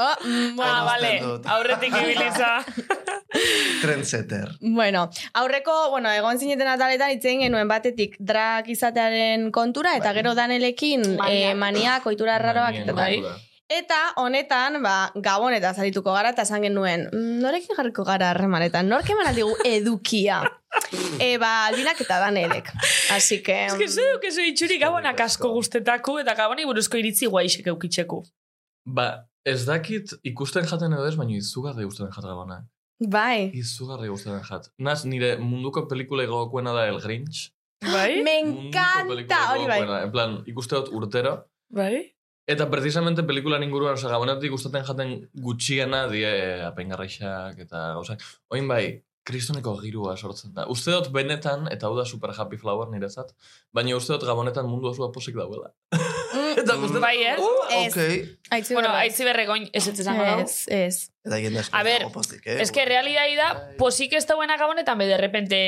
D: Oh, mm,
C: Ah,
E: Hori
C: vale,
E: uste dut.
C: aurretik ibilitza.
E: Trendsetter.
D: Bueno, aurreko, bueno, egon zineten ataletan itzen genuen batetik drag izatearen kontura, eta gero danelekin
C: Maniak.
D: eh, maniak, oitura erraroak,
F: Manien
D: eta tal.
F: modura.
D: Eta honetan, ba, gabon eta zarituko gara, eta esan genuen, "Mm, norekin jarriko gara harremanetan, nork eman digu edukia. e, ba, albinak eta danelek. Así que... mm,
C: Ez que ez duk ez itxuri gabonak asko guztetako eta gabonei buruzko iritzi guaixek eukitzeku.
F: Ba, ez dakit ikusten jaten edo ez, baina izugarri gustatzen jat gabana.
D: Bai.
F: Izugarri gustatzen jat. Naz, nire munduko pelikula gogokoena da El Grinch.
C: Bai?
D: Me
F: Munduko
D: encanta!
F: pelikula
D: Hori bai.
F: gogokoena. En plan, ikuste dut urtero.
C: Bai?
F: Eta precisamente pelikulan inguruan, osea, gabonetik gustatzen jaten gutxiena die eh, apengarreixak eta gauzak. Oin bai, kristoneko girua sortzen da. Uste dut benetan, eta hau da super happy flower niretzat, baina uste dut gabonetan mundu osua posik dauela.
D: Mm,
F: eta uste dut,
C: Bai, eh? Bai.
D: Ez.
E: Ok.
D: Aitzi
C: Bueno,
D: berra.
C: aitzi berregoin ez ez esango dau.
D: Ez, ez.
E: Eta jende asko.
C: A ver,
E: dago pozik, eh?
C: Ez que realidai da, posik ez dauen gabonetan be, de repente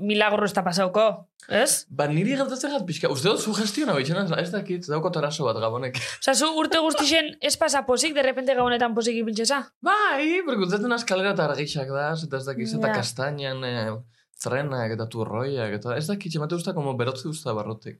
C: milagro ez da pasauko. Ez?
F: Ba, niri gertatzen jat pixka. Uste dut sugestiona bitxena, ez dakit, dauko taraso bat gabonek.
C: Osa, zu urte guztixen ez pasa posik, de repente gabonetan posik ipintxeza?
F: Bai, berkutzaten askalera eta argixak da, eta ez dakit, eta
D: Ja.
F: kastainan, eh, trenak eta turroiak, eta ez dakit, emate usta, como berotzi usta barrotik.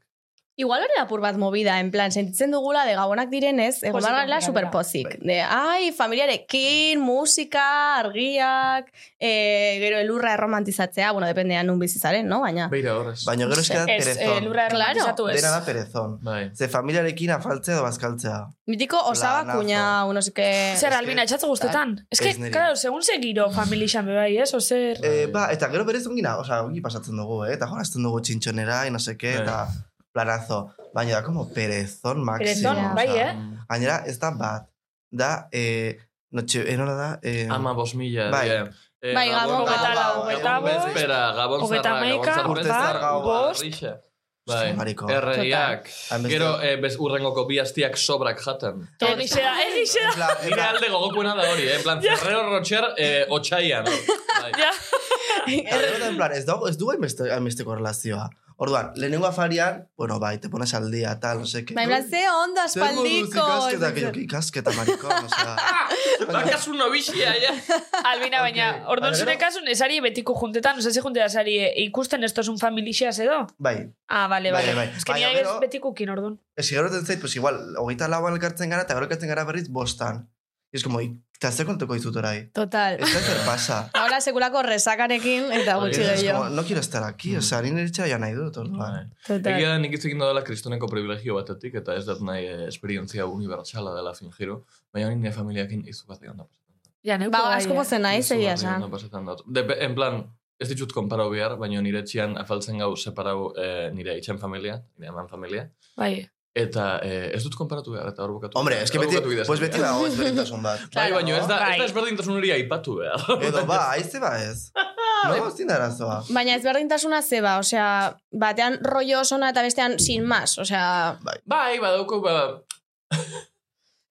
D: Igual hori apur bat movida, en plan, sentitzen dugula de gabonak direnez, egon
C: Pozik
D: barrela
C: gainera.
D: superpozik. De, ai, familiarekin, musika, argiak, eh, gero elurra erromantizatzea, bueno, dependean nun bizizaren, no? Baina,
F: Beira horrez.
E: Baina gero eske da
C: Ez, eh,
E: perezon.
C: lurra
D: Claro.
C: errotizatu ez.
E: Dena da perezon.
F: Bai.
E: Ze familiarekin afaltzea edo bazkaltzea.
D: mitiko osaba
E: Planazo.
D: kuña, uno que...
C: Zer,
E: que-
C: albina, etxatze guztetan. Ez que,
E: Ez niri.
C: claro, segun ze giro familixan be bai, ez? Ozer...
E: Eh, ba, eta gero berez ongina, osea, ongi pasatzen dugu, eh? Eta jolasten dugu txintxonera, y no sé qué,
F: Bai.
E: eta planazo. Baina da, como perezon máximo.
C: Perezon,
E: osea.
C: bai, eh?
E: Gainera, ez da bat. Da, eh, notxe, eh, nola da? Eh,
F: Ama bos mila.
E: Bai.
F: die. Eh,
D: Bai, Gabon,
F: Gabon,
C: Hogeita lau,
E: Gabon,
C: hogeita
E: Gabon,
C: bost.
F: Bezpera, Gabon
C: Hogeita
F: zarra, Gabon
C: hamaika,
F: zarra,
E: urte
F: bezpera,
E: zarra,
C: bost.
F: arrixa. Bai,
E: Mariko.
F: erreiak.
E: Hainbeste-
F: Gero, eh, bez, urrengoko bi astiak sobrak jaten.
C: Egixe da, egixe da.
E: en plan- en
F: Nire
E: plan,
F: alde gogokoena da hori, eh? En plan, Ferrero Rocher, eh, otxaian. Bai.
C: Ja.
E: eta gero da, en plan, ez dago, ez du hainbeste, hainbesteko relazioa. Orduan, lehenengo afarian, bueno, bai, te pones al día, tal, no sé qué.
D: Bai, blan, ze ondo
E: Zer moduz
D: aspaldiko.
E: Ikasketa, que yo, ikasketa, maricón, osea.
F: Bakazu nobixia, ja.
C: Albina, baina,
E: Ok.
C: orduan
E: Baina
C: zure
E: gero-
C: kasun, esari betiko juntetan, osea, ze juntera esari e, ikusten ez tozun familixeaz edo?
E: Bai,
C: Ah, bale,
E: Bai,
C: bale.
E: bai.
C: Ez que
E: Baina
C: nire
E: gero-
C: ez betikukin, orduan.
E: Ez igaroten zait, pues igual, hogeita lauan elkartzen gara, eta gero elkartzen gara berriz bostan. I es como, eta ze kontuko izut orai.
D: Total.
E: Ez da zer pasa.
D: Ahora sekulako resakarekin eta
F: Hori
D: gutxi
F: da,
E: Es
D: gehiago.
E: como, no quiero estar aquí,
F: Mm.
E: osea, nire etxea joan nahi dut, orduan.
F: Bai.
D: Total.
F: Egia da nik iztekin dela kristoneko privilegio batetik, eta ez dut nahi eh, esperientzia unibertsala dela fingiru, baina hori nire familiakin izugarri ondo pasatzen da.
C: Ja, neuko
D: Ba, asko pozen naiz, egia
F: Izugarri
D: esan.
F: ondo pasatzen dut. Depe- en plan, ez ditut konparau behar, baina nire txian afaltzen gau separau eh, nire itxen familia, nire eman familia,
C: Bai.
F: eta eh, ez dut konparatu behar, eta hor bukatu.
E: Hombre, es que
F: hor
E: beti,
F: bukatu bidez.
E: pues beti dago ezberdintasun bat.
F: Bai, baina ez da, ez
C: Bai.
F: da ezberdintasun hori aipatu behar.
E: Edo, ba, aize ba ez. No, ez dinda arazoa.
D: Baina ezberdintasuna zeba, osea, batean rollo osona eta bestean sin más, osea...
F: Bai, badauko, ba,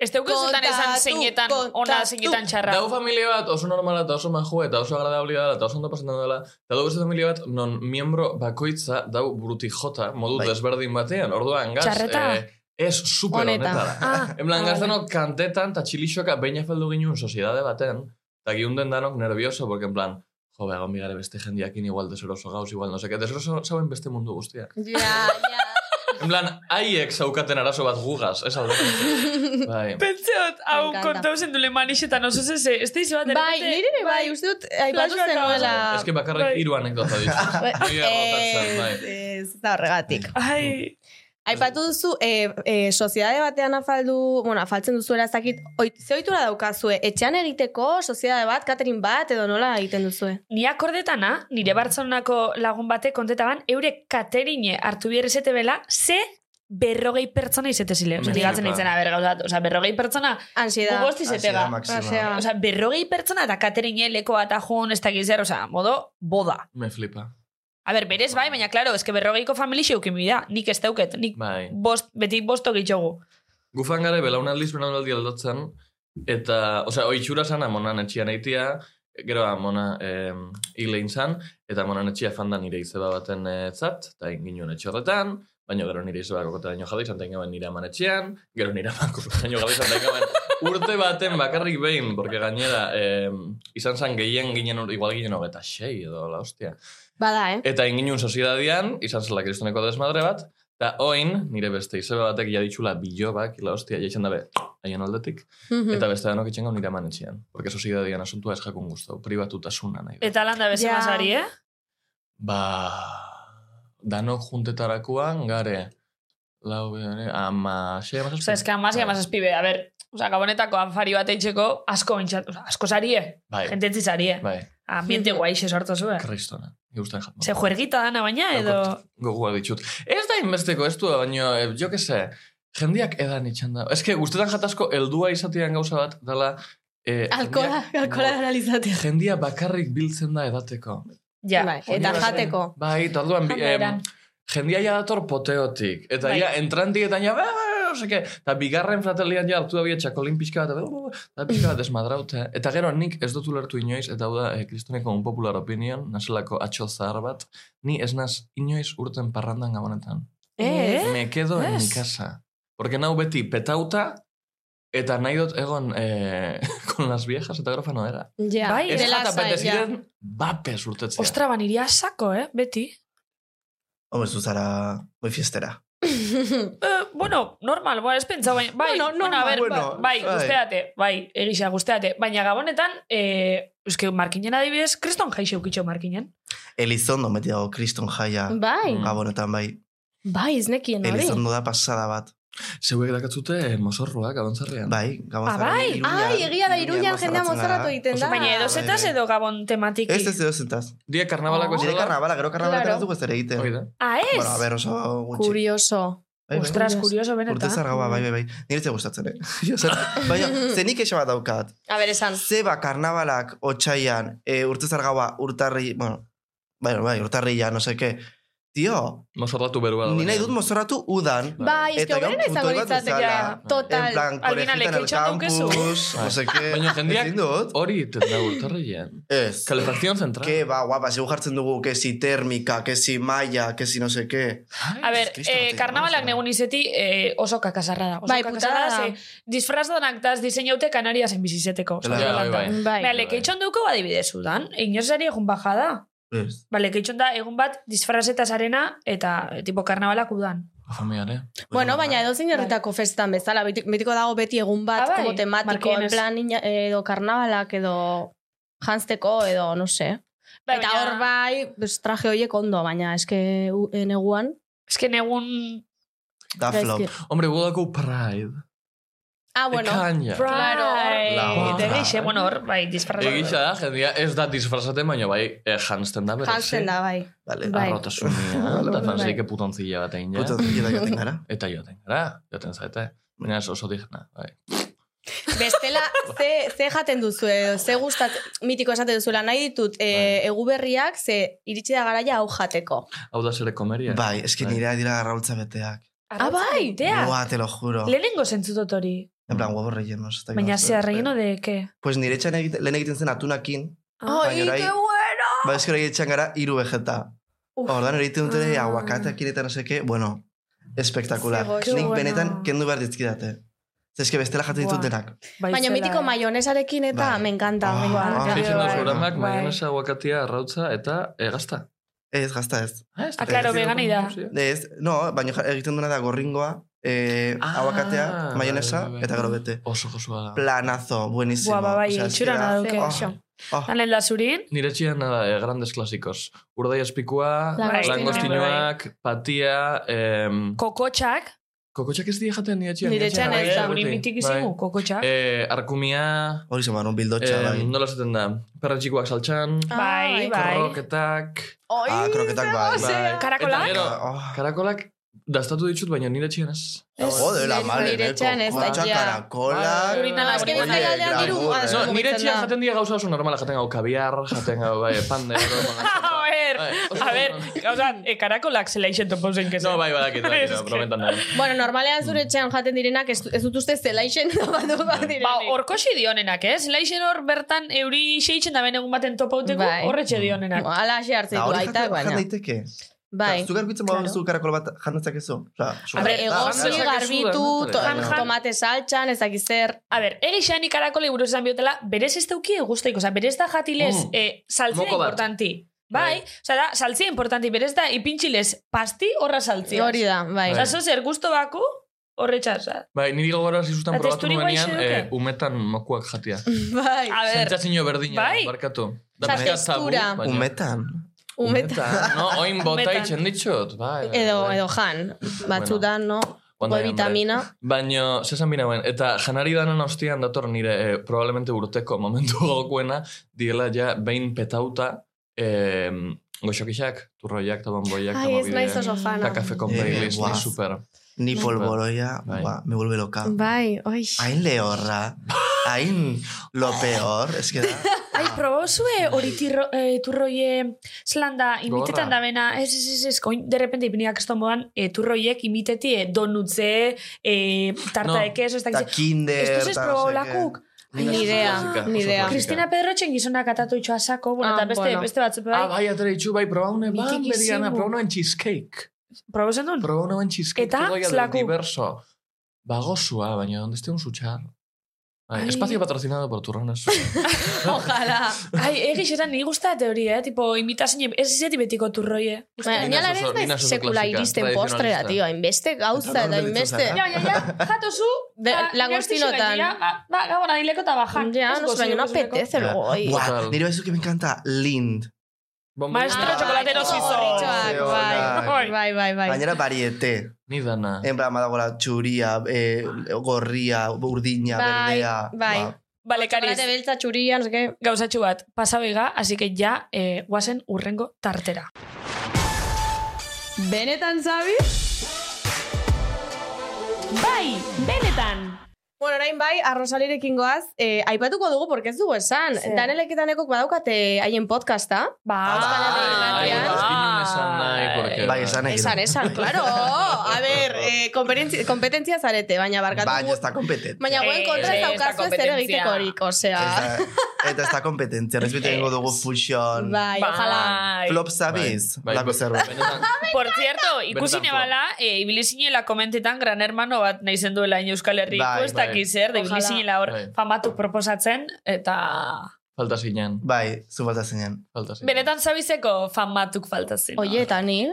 C: Ez teuko zutan esan
D: Kontatu,
C: zeinetan ona,
D: kontatu.
C: zeinetan txarra.
F: dau familia bat oso normala eta oso majua eta oso agradablia dela eta oso ondo pasatzen dela eta dau beste familia bat non miembro bakoitza dau buruti jota modu
E: Bai.
F: desberdin batean, orduan gaz... eh,
C: Txarreta?
F: ez super
D: Honeta.
F: honetara.
C: Ah,
F: En plan,
C: ah,
F: gaztenok kantetan eta txilixoka behin afaldu ginen soziedade baten, eta giunden danok nervioso, porque en plan, jo, ba, egon bigare beste jendiakin igual deseroso gauz, igual, no seke, deseroso zauen beste mundu guztiak.
D: Ja, ja.
F: En plan, haiek zaukaten arazo bat gugaz, ez alde. bai.
C: Pentseot, hau
D: encanta.
C: kontau zen dule manixetan, oso zeze, ez da izo bat, de
D: Bai,
C: repente-
D: nire ere bai, uste dut, aipatu
C: Flashback
D: zenuela.
F: Es que bakarrik
C: bai.
F: hiru anekdota ditut.
D: Ba-
F: Nire errotatzen, bai.
D: Ez, ez, ez da horregatik.
C: Ai,
D: Aipatu duzu, e, e, soziedade batean afaldu, bueno, afaltzen duzuela ez dakit, oit, ze ohitura daukazue, etxean egiteko, soziedade bat, katerin bat, edo nola egiten duzue?
C: Ni akordetana, nire Bartzonako lagun batek kontetaban, eure katerine hartu bierrezete bela, ze berrogei pertsona izete zile. Osa,
F: Me
C: digatzen
F: flipa.
C: eitzena, bergauzat. Osa, berrogei pertsona,
D: Ansiedad.
C: gugosti zetega.
E: Ansiedad máxima.
D: Osea,
C: Osa, ba. berrogei pertsona eta katerine, lekoa eta jun, ez dakiz zer, osa, modo, boda.
F: Me flipa.
C: A ber, berez bai, baina, klaro, eske berrogeiko familixe eukin bida. Nik ez dauket, nik
F: Bai.
C: bost, beti bostok itxogu.
F: Gufan gare, belaunaldiz, belaunaldi aldatzen, eta, osea, oitxura zan, amonan etxian eitia, gero amona em, hilein zan, eta amonan etxia fanda nire izeba baten eh, zat, eta inginuen etxorretan, baina gero nire izeba kokotera nio jade izan, eta ingaben nire aman etxean, gero nire aman kokotera nio jade izan, eta ingaben Urte baten bakarrik behin, porque gainera, eh, izan zen gehien ginen, igual ginen hogeta sei edo, la hostia.
D: Bada, eh?
F: Eta inginun soziedadian, izan zela kristoneko desmadre bat, eta oin, nire beste izeba batek jaditxula bilobak, la hostia, jaitxen dabe, haien aldetik,
D: Mhm.
F: eta beste danok etxengo nire eman etxean. Porque soziedadian asuntua ez jakun guztau, privatutasuna nahi. dut.
C: Eta landa bezala
D: Ja.
C: sari, eh?
F: Ba, danok juntetarakoan, gare, lau, bere, ama, xe, ama,
C: Osa, eska,
F: Bai.
C: amaz, amaz espibea. A ber, osa, gabonetako afari bat eitzeko asko bintxat, osa, asko sarie.
F: Bai,
C: Jententzi sarie.
F: bai,
C: Ambiente guaixe sortu zuen.
F: kristona, guztan jaten.
C: Se juergita dana baina, Ah, edo...
F: Gogua ditut. Ez da inbesteko, ez du, baina, eh, jo que se, jendiak edan itxan da. Ez que, guztetan jatasko, eldua izatean gauza bat, dela... Eh,
D: Alkola,
F: jendia-
D: alkola analizatea.
F: Jendia bakarrik biltzen da edateko.
C: Ja.
D: Bai, eta
F: Jendia-
D: jateko.
F: Bai, eta orduan... bi-
C: Jandaeran.
F: em, jendia ja dator poteotik. Eta
C: Bai.
F: ja, entrantietan ja... "Ba, ba, ba", no sé qué. Eta bigarren fratelian ja hartu da bie txakolin pixka bat, eta "Ba, ba, ba", eta pixka bat desmadraute. Eta gero nik ez dut ulertu inoiz, eta hau da, eh, kristoneko unpopular opinion, nazelako atxo zahar bat, ni ez naz inoiz urten parrandan gabonetan.
D: Eh?
F: Me quedo en mi
C: Ez.
F: casa. Porque nau beti petauta, eta nahi dut egon eh, con las viejas, eta grofan no era.
D: Ja.
C: Bai,
F: Ez
C: Dela
F: jata
D: zain, ja.
F: peteziren bapes urtetzea.
C: Ostra, baniria sako, eh? Beti.
E: Hombre, zu zara muy fiestera.
C: Eh, bueno, normal, ba, ez pentsa, baina... Bai,
E: Bueno,
C: bueno, a
E: normal,
C: ber,
E: bueno,
C: ba- bai,
E: bai.
C: guzteate, bai, egisa, guzteate. Baina gabonetan, eh, euske, markinen adibidez, kriston jaixe ukitxo markinen.
E: Elizondo meti dago kriston jaia.
D: Bai,
F: Mm.
E: Gabonetan bai.
D: bai, iznekien hori.
E: Elizondo da pasada bat.
F: Zeuek dakatzute eh, mozorroak, abontzarrean.
E: Bai, gabon
C: Ah, bai.
D: Ai, egia da, Iruñan jendea mozorratu egiten da.
C: Baina edo zetaz edo gabon tematiki.
E: Bai, Ez ez edo zetaz.
F: Dia
C: Oh.
F: karnabalako ez
E: Nire
F: dela.
E: karnabala, gero karnabala
D: Claro.
E: claro. dugu ez ere egiten.
F: Hoi da.
C: Ah, ez?
E: Bueno, a ver, oso gutxi.
D: Kurioso.
E: Bai, bai.
C: Ostras, kurioso
E: Urte
C: benetan.
E: zargaua, bai, bai, bai. Nire ze gustatzen, eh? Jo, zer- Baina, ze nik eixo bat daukat.
D: A ber, esan.
E: Zeba karnabalak otxaian, e, urte zargaua, urtarri, bueno, bai, bai, urtarri ja, no seke. Tio,
F: Mozorratu berua. da,
E: ni nahi
F: baina.
E: dut mozorratu udan.
D: Bai, ez que
E: Eta
D: oberen
E: jo,
D: izango
E: putoi bat
D: litzatekea.
E: bezala. En
D: Total.
E: plan,
C: Albina,
E: conejita en el
C: lekeitzen daukezu.
E: campus,
F: Bai.
E: no seke.
F: Baina jendeak-
E: Ezin dut.
F: Hori iten da urtarrean.
E: Ez.
F: Calefacción central.
E: Que ba, guapa, zeu jartzen dugu, que si térmica, que si maya, que si no sé qué.
C: A ber,
E: Kristo,
C: eh,
E: te-
C: karnabalak
E: vamos a-
C: negun izeti eh, oso kakasarra da. Oso
D: Bai,
C: kakasarra
D: putada
C: da.
D: da.
C: ze Disfrazdonak taz diseinaute kanariasen bizizeteko.
E: Claro,
F: Ja, bai, bai.
D: Bai.
C: Bale, keitzon duko badibidezu dan. Inosari egun baja da.
E: Ez.
C: Bale, keitzon da egun bat disfrazetaz arena eta eh, tipo karnabalak udan.
F: Familiar, eh?
D: Bueno, baina edo zein herritako festan bezala, beti- betiko dago beti egun
C: ba- bai.
D: bat,
C: Ah, bai.
D: como tematiko, en
C: Markienes.
D: plan ina- edo karnabalak, edo jantzteko, edo, no sé.
C: Bai,
D: Eta
C: baina-
D: hor bai, pues, traje horiek ondo, baina eske u- neguan.
C: Eske negun...
E: Da
C: Ba,
E: flop.
D: gaizki.
F: Hombre, godako Pride.
D: Ah, bueno.
F: Ekaina.
D: Claro.
C: Claro.
F: Laua.
C: Egixe, bueno, hor, bai, disfrazatu.
F: Egisa da, jendia ez da disfrazaten, baina bai, eh, jantzen da berezi.
D: Jantzen da, bai.
E: Vale.
C: ba-
D: Bai.
F: Arrotasunia,
E: Bai.
F: eta fanzeike putontzila bat egin,
E: Puto,
F: ja.
E: zikera joaten gara.
F: Eta joaten gara, joaten zaite. Baina ez oso digna, bai.
D: Bestela, ze, ze jaten duzu, edo, ze gustat, mitiko esaten duzuela, nahi ditut
E: Bai.
D: e, egu berriak, ze iritsi da garaia hau jateko.
F: Hau da zere komeria.
E: Bai, eski
F: Bai.
E: nire dira garraultza beteak.
C: Arrotza
D: Ah, bai.
C: baitea.
E: Buah, te lo juro.
C: Lehenengo zentzutot hori.
E: En plan, huevos rellenos. eta
C: Baina
E: gauza.
C: ze arreino de ke?
E: Pues nire etxan egiten, lehen egiten zen atunakin,
C: Ah.
E: Ai, Baina orain- que
D: bueno!
E: ba eskero egiten gara hiru vegeta.
D: Uf.
E: Ordan hori egiten dute
C: Ah.
E: aguakateakin eta no seke, bueno, espektakular.
D: Ze goxo.
E: Nik
C: Bueno.
E: benetan kendu behar dizkidate. Zeske bestela jaten ditut
C: Buah.
E: denak.
C: Bai,
D: Baina
C: zela,
D: mitiko
C: eh.
D: maionesarekin eta
E: Bai.
D: me encanta, me
E: Ah,
D: encanta.
E: ah,
F: Zeitzen
C: Bai.
F: da zoramak,
C: Bai.
F: maionesa, aguakatia, arrautza eta eh, egazta.
E: Ez, gazta ez.
F: Ah, ez da-
C: Ah, claro,
F: ez dira
C: vegani da.
F: komeria.
E: Ez, no, baina ja- egiten duena da gorringoa, eh,
F: Ah,
E: aguakatea,
F: bai,
E: maionesa
F: bai, bai.
E: eta gero bete.
F: Oso josua da.
E: Planazo, buenísimo.
C: Buah, ba, bai,
E: Osea, eski
C: itxura
E: da-
C: naduke.
E: Oh,
C: Xo.
E: oh.
C: Tanen da zurin,
F: Nire txian nada, eh, grandes klasikos. Urdai azpikua,
D: Langostinoak.
F: langostinoak, patia, em,
C: kokotxak,
F: kokotxak ez dira jaten nire txian.
D: Nire etxean
F: bai,
D: ez da.
F: beti,
C: guri mitik izimu,
F: bai.
C: kokotxak.
F: Eh, Arkumia,
E: Hori zen barun bildotxa,
F: eh,
E: bai.
F: nola zaten da, perra txikuak saltxan,
C: Bai,
D: Ai,
C: bai.
F: kroketak,
D: Oi,
E: Ah, kroketak bai.
D: Zer?
F: bai.
C: Karakolak?
F: Eta gero,
E: Oh.
F: Karakolak dastatu ditut, baina nire txian ez.
E: Jode, la
D: Nire-
E: madre,
D: nire
E: neko.
D: etxean ez da,
E: Kotxa,
D: ja.
E: karakolak.
F: Bai, bai, bai.
D: Azken
E: Oye,
D: bezala aldean
E: grabur,
D: diru,
E: eh.
C: ah,
D: ados
F: No,
D: dugu
F: nire
D: biltzen
F: txian
D: da.
F: jaten dira gauza oso normala, jaten gau kaviar, jaten gau bai, pandero.
C: A ver,
F: Bai.
C: a ver, gauzan, eh, karakolak zela ixen topo zen
F: No, bai, badakit,
C: Ez
F: badakit,
C: que-
F: prometan da.
D: Bueno, normalean zure etxean jaten direnak, ez, ez dut uste zela isen batu bat direnik.
C: Ba, orkosi dionenak, ez? eh? Zela ixen hor bertan euri xeitzen da ben egun baten topauteko,
D: Bai.
F: Mm.
C: horretxe dionenak.
D: Ala xe hartzen
E: Da,
D: du
E: Ba, hori
D: aitak,
E: jaten
D: baina.
E: daiteke.
D: Bai.
E: Zuk garbitzen
D: Claro.
E: baduzu karakol bat jantzak ezu.
D: Hombre,
F: Hombre,
D: egozi,
F: da,
D: garbitu,
F: da,
D: to,
F: da,
C: da.
D: tomate saltxan, ez dakit zer.
C: A ber, egixan ikarako liburu esan biotela, berez ez dauki egusteik, oza, berez da jatilez
F: Mm.
C: eh, saltzea
F: Moko bat.
C: importanti. Bai, oza, da, saltzea importanti, berez da, ipintxilez, pasti horra saltzea.
D: Hori da, bai.
C: Oza, zo zer, gusto baku, horre txasa.
F: Bai, niri gogora zizustan
C: Eta
F: probatu
C: testuri guai
F: nuenean
C: xedoke.
F: eh, umetan mokuak jatia.
D: Bai.
C: A ber,
F: Sentsazio berdina,
C: Bai.
F: barkatu.
D: Osea,
F: pixka bat tabu,
D: textura.
F: baina-
E: Umetan.
D: Umeta.
F: No, oin bota
C: Umetan.
F: itxen ditxot. Bai, bai,
D: Edo,
F: bai.
D: edo jan. Batzutan, no? Goi
F: Ondo jan, bai.
D: vitamina.
F: Baina, zesan bina guen, eta janari danan ostian dator nire eh, probablemente urteko momentu gokuena, diela ja behin petauta eh, goxokixak, turroiak, eta bomboiak,
D: Ai, ez naiz oso fana.
F: Eta kafe
E: Eh,
F: konpeilis,
E: guau.
F: ni super.
E: Ni polvoroia,
F: Bai.
E: ba, me vuelve loca.
D: Bai, oi.
E: Hain lehorra, hain lo peor, es que da.
C: ai, probauzue hori tirro, eh, turroie zelanda imitetan da
F: Gogorra.
C: bena, ez, ez, ez, ez, koin, derrepente ipiniak ez modan, eh, turroiek imiteti eh, donutze, eh, tarta
F: No,
C: de queso, ez
E: Ta
C: dakit.
E: kinder,
C: Ez duz ez
E: ta no sé qué.
C: probaulakuk.
D: Ni
F: oso
D: idea,
F: klasika,
D: ni
F: oso
D: idea.
F: klasika.
C: Cristina Pedrochen gizonak atatu itxoa sako, bueno,
D: Ah,
C: eta beste,
D: bueno.
C: beste batzu,
F: Ah,
C: bai,
F: bai, atera itxu, bai, proba une ban,
C: Mikikisimu.
F: beriana, proba une cheesecake.
C: probazen duen?
F: Proba une cheesecake,
C: Eta
F: todo ya del
C: zelaku.
F: diverso. Bagosua, baina, donde este un suchar. Bai,
C: Ai.
F: espacio patrocinado por turrones.
D: Ojalá.
C: Ai, egiz eran, ni guztat hori, eh? Tipo, imitazen, ez izeti betiko eh? turroie.
D: Baina,
F: Ni
D: Niala
F: oso-
D: ere
F: ni
D: Bai, ez naiz
F: oso
D: sekula
F: klasika,
D: iristen postrera,
F: tradizionalista.
D: tio. Hainbeste gauza
E: Eta
D: eta
E: nola
D: hainbeste.
E: deritzozara?
C: Ja, ja, ja, jatozu,
D: De- lagostinotan.
C: Ba, gabona, dileko eta bajan.
D: Ja,
C: Ez
D: no sé,
C: gozo,
D: baina no
C: ez gozeko.
D: apetece luego. bai. oi.
E: Buah,
F: Total.
E: nire baizu que me encanta Lind.
C: Maestro
D: Ah,
C: txokolatero
D: bai,
C: zizo.
D: gorritxoak,
E: Ze
D: Bai,
E: onak.
D: bai, bai, bai.
E: Gainera variete.
F: Ni dana.
E: En plan, badagoela txuria, eh, gorria, urdina,
D: Bai,
E: berdea.
D: bai.
E: Ba,
C: Bale, kariz,
D: Karate beltza txuria, no sé qué.
C: gauzatxu bat, pasabega, así que ja, eh, guazen urrengo tartera.
D: Benetan zabi?
A: Bai, benetan.
D: Bueno, orain bai, arrosalirekin goaz, eh, aipatuko dugu, porque ez dugu esan.
C: Zer?
D: Daneleketanek badaukat haien podcasta. Ah, bai,
C: Ba,
E: Euskal Herria
F: Ai,
E: irratian.
F: ez ginen esan nahi, porque...
E: Bai, esan egin.
D: Esan, esan, claro. A ver, eh, kompetentzia, kompetentzia zarete, baina barkatu.
E: Baina ez da kompetente.
D: Baina guen kontra
C: Eh,
D: ez
C: ez da
D: daukazu ez ere
C: kompetentzia.
D: egiteko horik, osea.
E: Ez da- Eta ez da kompetentzia, respete egingo dugu fusion.
D: Bai, ojalá.
E: Flop zabiz,
F: Bai, bai,
E: lako zerbait.
F: benetan-
C: Por cierto, ikusi
F: Benetan,
C: nebala, e, ibili zinela komentetan gran hermano bat nahi duela in Euskal Herriko,
E: Bai,
C: ez dakit zer, da ibili
D: Ojalá.
C: zinela hor
F: Bai.
C: famatu proposatzen, eta
F: Falta zinen,
E: Bai, zu falta zinen.
F: falta zinen.
C: benetan zabizeko famatuk falta zen.
D: Oie, eta ni?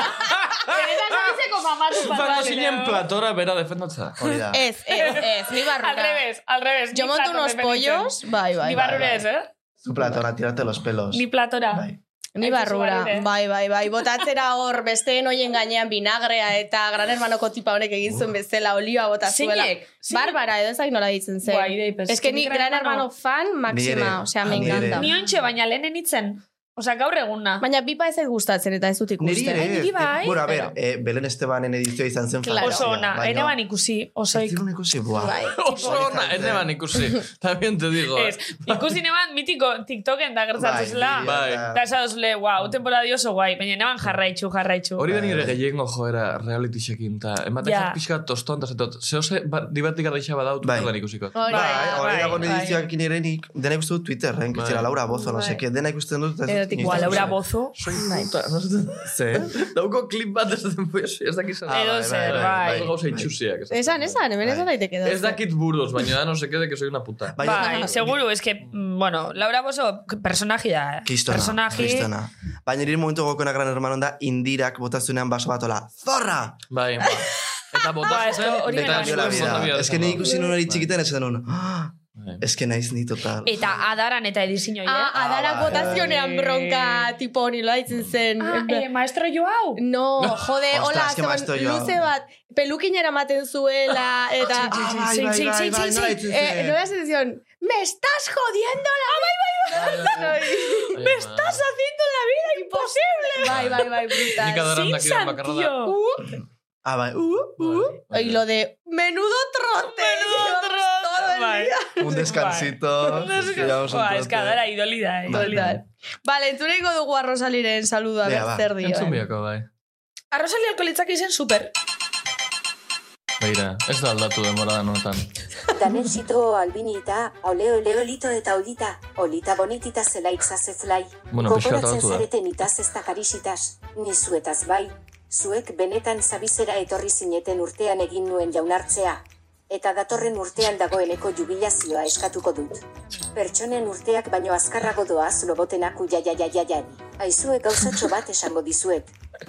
C: benetan zabizeko famatuk
F: Falta
C: falta
F: zinen platora bera defendatza.
E: Hori da.
D: Ez, ez, ez, ni
C: Al
D: barrura.
C: revés, al revés.
D: Yo
C: ni
D: monto
C: plato
D: unos
C: defenditzen.
D: pollos, bai,
C: Ni
D: bai, bai.
C: barrura ez, eh?
E: Zu platona, tirarte los pelos.
C: Ni platora.
E: Bai.
D: Ni
C: Hain
D: barrura,
C: zuzuaren, eh?
D: bai, bai, bai. Botatzera hor, besteen hoien gainean binagrea eta gran hermanoko tipa honek egin zuen bezala olioa bota zuela.
C: Zinek, zinek.
D: Bárbara, edo ezak nola ditzen zen.
C: Guai, dei, pues,
D: es que ni gran hermano fan máxima,
E: ere,
D: o sea, me
E: ni ere.
D: encanta.
C: Ni ontxe, baina lehenen itzen. Osa, gaur eguna.
D: Baina bipa ez zait gustatzen eta ez dut
E: Niri
D: ikusten.
E: ere.
C: niri bai.
E: eh, Bueno, a ver, eh, Belen Estebanen edizioa izan zen
D: Claro.
C: Oso
E: fantasia,
C: ona,
E: baina-
C: ene ban ikusi, osoik.
E: Ez zigun ikusi, buah.
D: Bai.
F: Oso ona, ene ban ikusi. También te digo, eh.
C: Ez, ikusi neban mitiko TikToken da gertzatu
E: Bai,
C: zela.
E: niri
F: Bai.
E: eta-
C: Eta esan duzule, wow, temporada oso guai, baina neban jarraitxu, jarraitxu.
F: Hori da nire gehiengo joera reality chekin, eta emate
C: Ja.
F: yeah. pixka toston, eta zetot, ba- zehose divertik arreixa badau,
E: Bai.
F: tutudan ikusiko.
D: Hori da,
E: Bai, hori
C: bai,
E: dago
C: bai.
E: edizioakin erenik, dena ikusten dut Twitterren, Cristina Laura Bozo, no
D: Bai.
E: seke, dena ikusten dut. eta ez dut
D: Erotik
E: inoiz
C: Ua, Laura
E: ikusten.
C: Bozo.
F: Soy puta, no sé.
E: Ze?
F: Dauko klip bat ez den pues, ez dakit
E: Ah,
F: zan.
C: Edo
E: bai,
C: zer,
E: bai,
C: bai.
E: bai.
F: Gauza itxusiak. esaten.
D: Esan, esan, hemen esan
E: Bai.
D: daiteke.
F: Ez dakit buruz, baina da no se quede que soy una puta.
E: Bai.
C: Bai, seguru, es que, mm, bueno, Laura Bozo personaji da. eh?
E: Kristona,
C: Personaji-
E: kristona. Baina nire momentu gokoena gran hermanon da, indirak botazunean baso batola, zorra!
F: Bai, ba.
C: Ba,
F: Eta bota
C: esto hori
E: Me
C: Eta
E: cambió la
C: zuen
E: vida. Ez que nire ikusi nuen hori
F: Bai.
E: txikitan esan nuen, "Ah,
F: Bai.
E: ez que naiz ni total.
C: Eta adaran eta edizin hori,
D: Ah,
C: eh?
D: adara
E: Ah, bai.
D: botazionean bronka, tipo honi lo daitzen zen.
C: Ah, eh, maestro Joao.
D: No, jode,
E: Ostras,
D: hola,
E: que
D: zeban,
E: mastoio.
D: luze bat, pelukin eramaten zuela, eta...
E: Ah, bai,
C: Sí,
E: bai,
C: sí,
E: bai,
C: sí,
E: bai,
C: sí,
E: nola
C: sí.
E: ditzen
D: Eh,
E: zen?
D: no la sensación, me estás jodiendo la bai,
F: Me estás
D: haciendo la vida imposible. Bai, bai, bai, brutal.
F: Nik adoran dakidan bakarra da.
E: Ah, bai, uh,
F: Bai.
D: Y lo de menudo trote. Menudo trote.
C: Bai.
E: un
C: Uh,
E: descansito. llevamos un
C: Ba, es que
E: trote.
C: adara idolida, eh?
E: Bai.
C: idolida.
D: Vale, entzuneko dugu arrosaliren saluda,
E: Venga,
D: ber
E: va.
D: zer dio.
F: Entzun
D: eh.
F: biako, bai.
C: Ah, Arrosali alko litzak izen super.
F: Beira, ez da aldatu denbora honetan.
G: Danen zitro albini eta ole ole olito eta olita, olita bonitita zela itzazetzlai.
F: Bueno, pixka bat
G: Kokoratzen
F: aldatu da.
G: zareten itaz ez da karisitas, ni zuetaz bai. Zuek benetan zabizera etorri zineten urtean egin nuen jaunartzea. Eta datorren urtean dagoeneko jubilazioa eskatuko dut. Pertsonen urteak baino azkarrago doaz lobotenak uia ja ja ja ja. Aizue gauzatxo bat esango dizuet.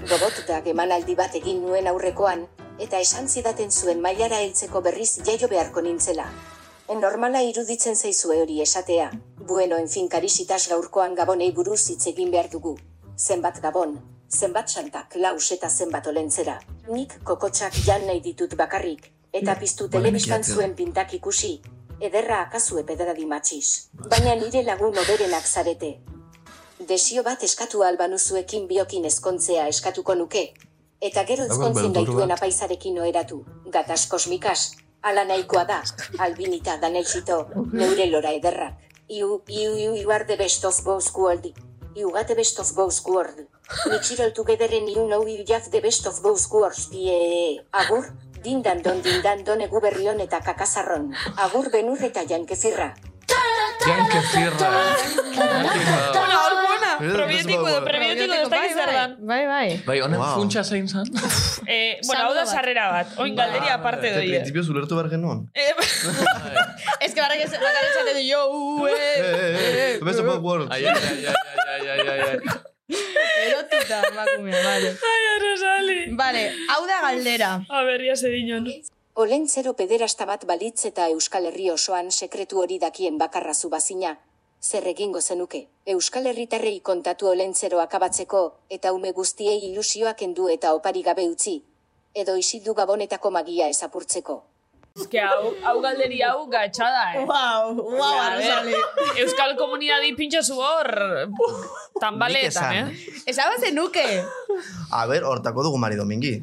G: Gogotutak emanaldi bat egin nuen aurrekoan, eta esan zidaten zuen mailara heltzeko berriz jaio beharko nintzela. Normala iruditzen zaizue hori esatea. Bueno, en fin, karisitas gaurkoan gabonei buruz hitz egin behar dugu. Zenbat gabon, zenbat santak, laus eta zenbat olentzera. Nik kokotxak jan nahi ditut bakarrik, eta piztu telebistan
E: Polemika,
G: zuen pintak ikusi. Ederra akazu epedra dimatxiz, baina nire lagun oberenak zarete. Desio bat eskatu albanuzuekin biokin ezkontzea eskatuko nuke. Eta gero
F: Dago
G: ezkontzen
F: beldurra.
G: gaituen apaizarekin oheratu, gatas kosmikas, ala nahikoa da, albinita danelxito, neure lora ederrak. Iu, iu, iu, iu are the best of both world. You got the best of both world. We chirol together and you know you have the best of both worlds. Die, agur, dindandon, dindandon egu berrion eta kakazarron. Agur benur eta jankefirra.
F: Janke zirra. Janke zirra.
C: Bueno, hor buena.
E: Ez, ez
C: Probietiko
E: dago,
C: edo
E: eh.
C: prebietiko edo ez dakit zer dan.
D: Bai, bai.
F: Bai, honen
E: Wow.
F: funtsa zein zan?
C: Eh, bueno, hau da sarrera bat. Oin galderia aparte
E: Eta
C: doia.
E: principio zulertu behar genuen.
C: Eh,
D: Ez que barrak ez bakarrik esaten du, yo, uh, ue,
E: Eh, eh, eh, best of both worlds.
F: Ai, ai, ai, ai, ai, ai, ai.
D: erotuta, emakumea, bale.
C: Rosali.
D: Bale, hau da galdera.
C: Eh, A ber, ia se dinon.
G: Olentzero pederasta bat balitz eta Euskal Herri osoan sekretu hori dakien bakarra zu bazina. Zer egingo zenuke, Euskal Herritarrei kontatu olentzero akabatzeko, eta ume guztiei ilusioak endu eta opari gabe utzi. Edo isildu gabonetako magia ezapurtzeko.
C: Eske hau, hau galderia hau gatxada, eh.
D: Wow, wow,
C: A ber, Euskal komunidadi pintxo zu hor
E: Nik
C: tambaleetan,
E: esan.
C: eh?
D: Esaba zenuke.
E: A ber, hortako dugu Mari Domingi.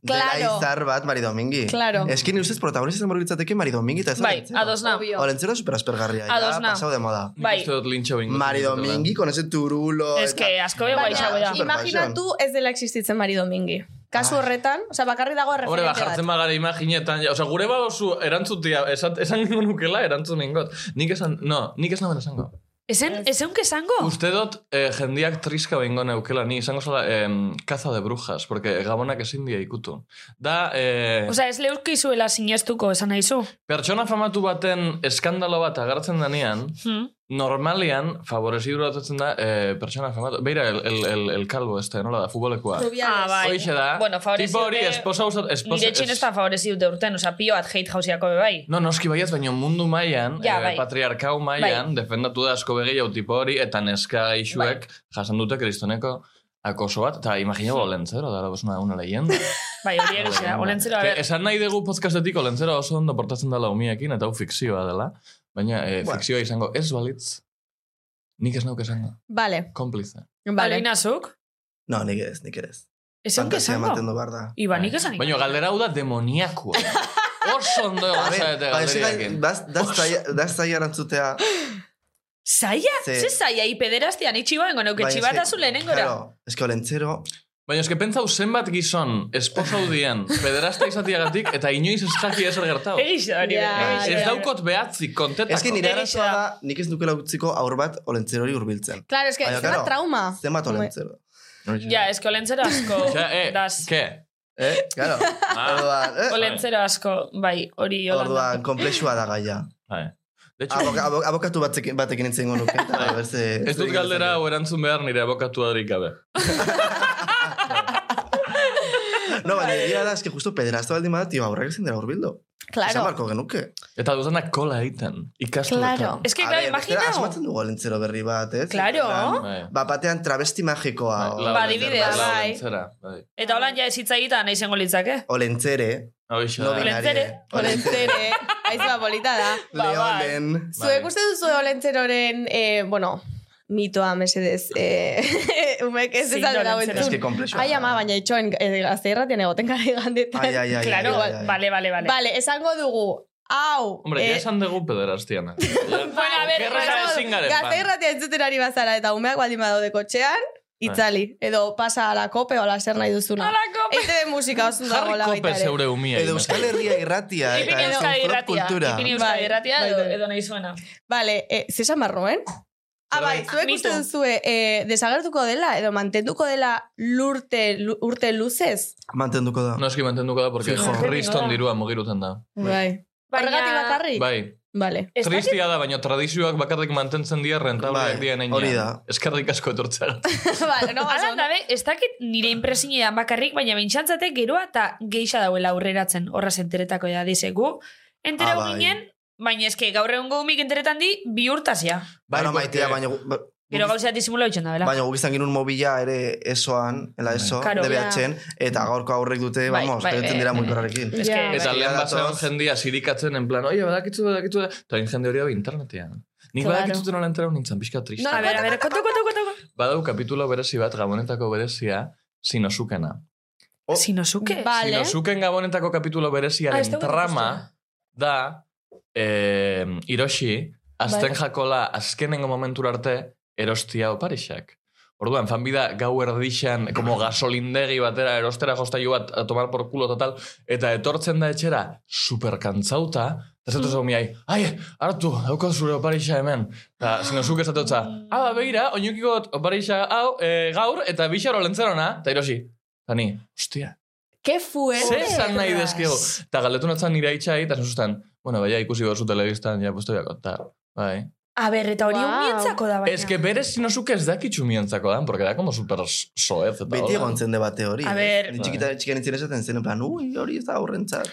D: Claro.
E: Dela izar bat Mari Domingi.
D: Claro.
E: Eskin ustez protagonista izango litzateke Mari Domingi eta ez
C: Bai, adosna.
D: Obvio.
E: Olentzero super aspergarria.
C: Adosna.
E: Ja, pasau de moda.
F: Nik
C: Bai.
F: uste dut lintxo bingo.
E: Mari Domingi, con ese turulo.
C: Ez
E: eta-
C: que asko bego
E: Baina-
C: aixago da.
E: Superpasión.
D: imaginatu ez dela existitzen Mari Domingi.
E: Bai.
D: Kasu horretan, osea, bakarri dago
F: Hombre, ba,
D: referente
F: jartzen
D: bat.
F: bagara imaginetan, ja, oza, gure ba oso erantzutia, esan, esan ningo nukela, erantzun ningot. Nik esan, no, nik ez naben esango.
C: Oh. Ezen, ezeunk esango?
F: Uste dut, eh, jendiak triska behingo neukela, ni izango zela em, kaza de brujas, porque gabonak ezin die ikutu. Da, eh,
C: Osa, ez leuki zuela sinestuko, esan nahi zu.
F: pertsona famatu baten eskandalo bat agartzen danean,
C: Hmm?
F: normalian favorezidura dutatzen da eh, pertsona famatu. Beira, el, el, el, el calvo este, nola da,
E: ba-
F: futbolekoa.
C: Ah, bai.
F: Hoxe da,
C: Bueno, favorezio
F: tipo hori,
C: de-
F: esposa usat... Esposa,
C: Nire txin ez
F: es-
C: da favorezi dute urten, osa, pio bat hate jauziako be bai.
F: No, noski baiaz, baina mundu mailan,
C: Ja,
F: eh,
C: bai.
F: patriarkau mailan, defendatu da asko begi tipo hori, eta neska isuek
C: Bai.
F: jasan dute kristoneko akoso bat, eta imagina bo, lentzero, dara, pues, una, una leyenda.
C: Bai, hori egitea, olentzero, a
F: Ah, Que
C: ber.
F: Esan nahi dugu podcastetik olentzero oso ondo portatzen dela umiekin, eta hau fikzioa dela, baina eh,
E: Bueno.
F: fikzioa izango ez balitz, nik ez nauke esango,
D: Vale,
F: konplize.
D: vale.
C: Balbina zuk?
E: No, nik ez, nik ez.
C: Ezeunk
E: Fantasia ematen
C: esango?
E: du behar da.
C: Iba, nik esan
F: Bai. Baina galdera hau da demoniakua. Oso ondo
E: A
F: egon
E: ber,
F: zaete
E: ba, ezin
F: galderiakin.
E: da- daz- daz zaila- daz zaila erantzutea.
C: Zaia?
E: Ze-
C: Ze zaia, ipederaztian itxiba bengo neuke,
E: Baina
C: txibata
E: eske-
C: zu lehenengora.
E: Bai, Claro, es que olentzero...
F: Baina eske pentsau zenbat gizon esposa dien pederasta izatiagatik eta inoiz ez jaki ezer gertau.
C: Egiz da, hori. bai.
D: Ja,
C: egiz da.
F: Ez daukot behatzi kontetako.
E: Es que nire
C: Egia
E: arazoa
C: da.
E: da, nik ez nukela utziko aur bat olentzerori hurbiltzen.
D: Claro, es que
E: Baina,
D: es una
E: claro,
D: trauma.
E: Zenbat olentzero.
C: Ja, eske olentzero asko.
F: Ja, eh,
C: das.
F: ke?
E: Eh, claro.
F: Ah,
E: Orduan, eh?
C: Olentzero asko, bai, hori holanda.
E: Orduan, komplexua da gaia.
F: bai. De hecho,
E: Aboka, abo- abokatu batekin, batekin entzengo nuke. eta berze,
F: ez dut galdera hau erantzun behar nire abokatuarik gabe.
E: No, baina egia da, eske justu pederazta baldin bada, tio, aurrak ezin dela urbildu. Esan
D: Claro.
E: barko genuke.
F: Eta duzanak kola egiten, ikastuetan.
D: Claro.
C: Ez que,
E: A
C: claro,
E: ber,
C: imagina.
E: bestela Asmatzen dugu olentzero berri bat, ez?
C: Claro.
E: En plan,
F: Bai.
E: Ba, batean travesti magikoa. o-
F: Lau
C: Ba,
F: lentzera,
C: adibidea,
F: lau
D: bai.
F: lentzera, bai.
C: Eta holan ja ezitza egitea nahi zengo litzake.
E: Olentzere.
F: Hoxe
E: No
F: da.
E: binarie.
C: Olentzere.
D: Olentzere. Aizua bolita da.
C: Ba, bai.
E: Leonen.
D: Zuek uste duzu olentzeroren, eh, bueno, mitoa mesedez, eh, umek ez
C: Zein
D: ez aldera
C: olentzero?
E: Eske
D: entzun.
E: komplexua.
D: Ai, ama, baina itxoen eh, gazte irratian egoten gara igandetan.
E: Bai. Ai, ai, ai.
C: Claro, ba-
E: ai, ai, ai.
C: vale, vale, vale.
E: Bai,
D: Vale, esango dugu, hau... eh,
F: Hombre, ja esan dugu pederastiana.
C: Bueno, a ver,
F: Gerra
C: esango
F: ezin garen,
D: Gazte irratia entzuten ari bazara eta umeak baldin badaude kotxean,
F: Bai.
D: itzali. Edo pasa alako, peo ala zer nahi duzuna.
C: Alako, pe-
D: Eite de musika osun dago la
F: Jarriko
D: baita
F: pez
D: ere.
F: eure umia.
E: Edo Euskal Herria irratia eta
C: Ipini Euskadi
E: Euskal
C: irratia.
E: kultura.
C: Ipini Euskadi
D: Bai,
C: irratia
D: bai,
C: edo,
D: bai.
C: edo nahi zuena.
D: Vale, eh, zesan barruen? Ah, bai, zuek
C: Mitu.
D: uste duzue eh, desagertuko dela edo mantenduko dela lurte, lu- urte luzez?
E: Mantenduko da.
F: No eski mantenduko da, porque
E: Fijo.
F: kriston dirua mugiruten da.
D: Bai.
C: Baina-
D: Horregatik bakarri?
F: Bai,
D: Vale.
C: Ez dakit-
F: tristia da, baina tradizioak bakarrik mantentzen dira rentableak
E: Bai,
F: dira neina.
E: hori da. Bai.
F: Eskarrik asko etortzea.
D: vale, no,
C: Alan dabe, ez dakit nire impresinean bakarrik, baina bentsantzate geroa eta geixa dauela aurreratzen horraz enteretako da dizegu. Entera
E: Ah, bai.
C: ginen, baina eske gaur egun gomik enteretan di bi urtazia.
E: Bai, bueno,
F: porque-
E: maitea, baina... gu- ba-
C: Gero gauzea disimula bitxon da, bela.
F: Bai.
E: Baina guk izan genuen mobila ere esoan, ela eso,
C: Karo,
E: de behatzen, eta gaurko aurrek dute,
C: Bai,
E: vamos,
C: bai,
E: gertzen
C: bai,
E: dira
C: bai.
E: muikurarekin.
C: Es que-
F: Eta
E: Bai.
F: lehen
E: Datoz.
F: basean jendia zirikatzen, en plan, oie, badakitzu, badakitzu, badakitzu", eta hain jende hori hau internetean. Nik
C: Claro.
F: badakitzuten nola entera nintzen, pixka triste.
C: A ber, a ber, kontu, kontu, kontu. kontu.
F: Badau kapitulo berezi bat, Gabonetako berezia, Sinosukena.
E: Oh.
C: Sinosuke.
D: Vale.
F: Sinosuken Gabonetako kapitulo
C: Ah, ez
F: bereziaren
C: dugu
F: trama da eh, Hiroshi azten
C: Bai.
F: jakola azkenengo momentura arte erostia oparixak. Orduan, fanbida gau erdixan, como gasolindegi batera, erostera jostailu bat, a tomar por culo total, eta etortzen da etxera, superkantzauta, eta
C: Hmm.
F: zatu zau miai, ai, hartu, dauko zure oparixa hemen. Eta sinosuk esatotza, ah, ba, begira, oinukiko dut oparixa hau, eh, gaur, eta bixaro lentzerona, eta Hiroshi. Eta ni, ostia,
D: Ke fuerte.
F: Zer esan nahi dezkigu? Eta galdetu notzan nire itxai, eta sustan, bueno, baina ikusi gozu telebistan, ja, postoiak, eta, bai.
C: A ber, eta hori
D: Wow.
C: umientzako da, bai. baina.
F: Ez que bere sinozuk ez dakitxu miantzako dan, porque da como super soez, eta
E: Beti egon zen debate hori.
C: eh. A
E: eh?
C: ber.
E: Ni txikita txikian itzen esaten zen, en plan, ui, hori ez da aurrentzat.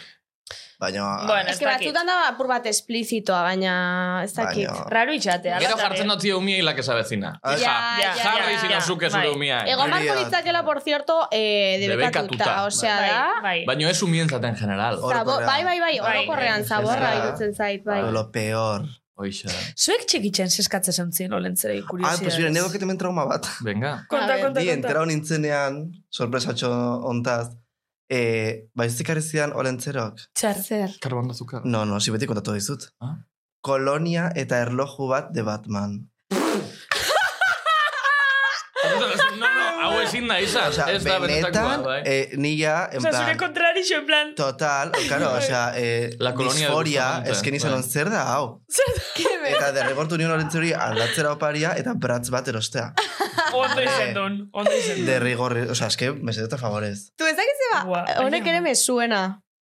E: Baina...
C: Bueno,
D: Es que batzutan da apur bat esplizitoa, baina ez dakit.
E: Baina-
C: Raro itxatea.
F: Gero jartzen dut umia hilak ezabezina.
E: Ah,
F: Ja,
D: ja, ja,
F: jarri
C: ja,
F: sinozuk ez
C: bai.
F: zure umia.
D: Ego marko
E: Teoria-
D: ditzakela, por cierto, eh, debekatuta.
F: Debekatuta.
D: Osea,
C: Bai,
D: da...
C: bai.
F: Baina ez umientzaten general.
E: Hor-
D: Zabo,
E: Orokorrean.
D: bai, bai, bai,
C: Bai.
D: orokorrean zaborra
E: Ja.
D: irutzen zait, bai.
E: Lo peor.
F: Oixa.
C: Zuek txikitzen zeskatzen zentzien olentzerei
E: Ah, pues mira,
C: kuriosidades.
E: nego que temen trauma bat.
F: Venga.
C: Konta,
D: A ber,
C: konta,
E: Ni
C: konta.
E: entera nintzenean, sorpresatxo ontaz, eh, baizik ari zidan olentzerok.
C: Txar.
D: Zer.
F: Karbon azúcar.
E: No, no, si beti kontatu dizut.
F: Ah.
E: Kolonia eta erloju bat de Batman.
F: No, no, hau ezin da izan.
E: Osea,
F: Ez da benetakoa,
E: benetan,
F: bai.
E: eh, ni ja, en
C: Osa, zure
E: plan,
C: kontrarixo, en plan...
E: total, claro, o sea, eh,
F: La colonia de
E: disforia,
F: Bustamante,
E: esken izan
F: bai.
E: on zer da, hau. Eta derregortu nion olentzeri aldatzera oparia eta bratz bat erostea. Eh.
C: Ondo izen duen, ondo izen duen.
E: Derrigor, o sea, eske, mesedeta favorez.
D: Tu ez dakit
C: Ua,
D: zeba, honek
C: baina-
D: ere me suena.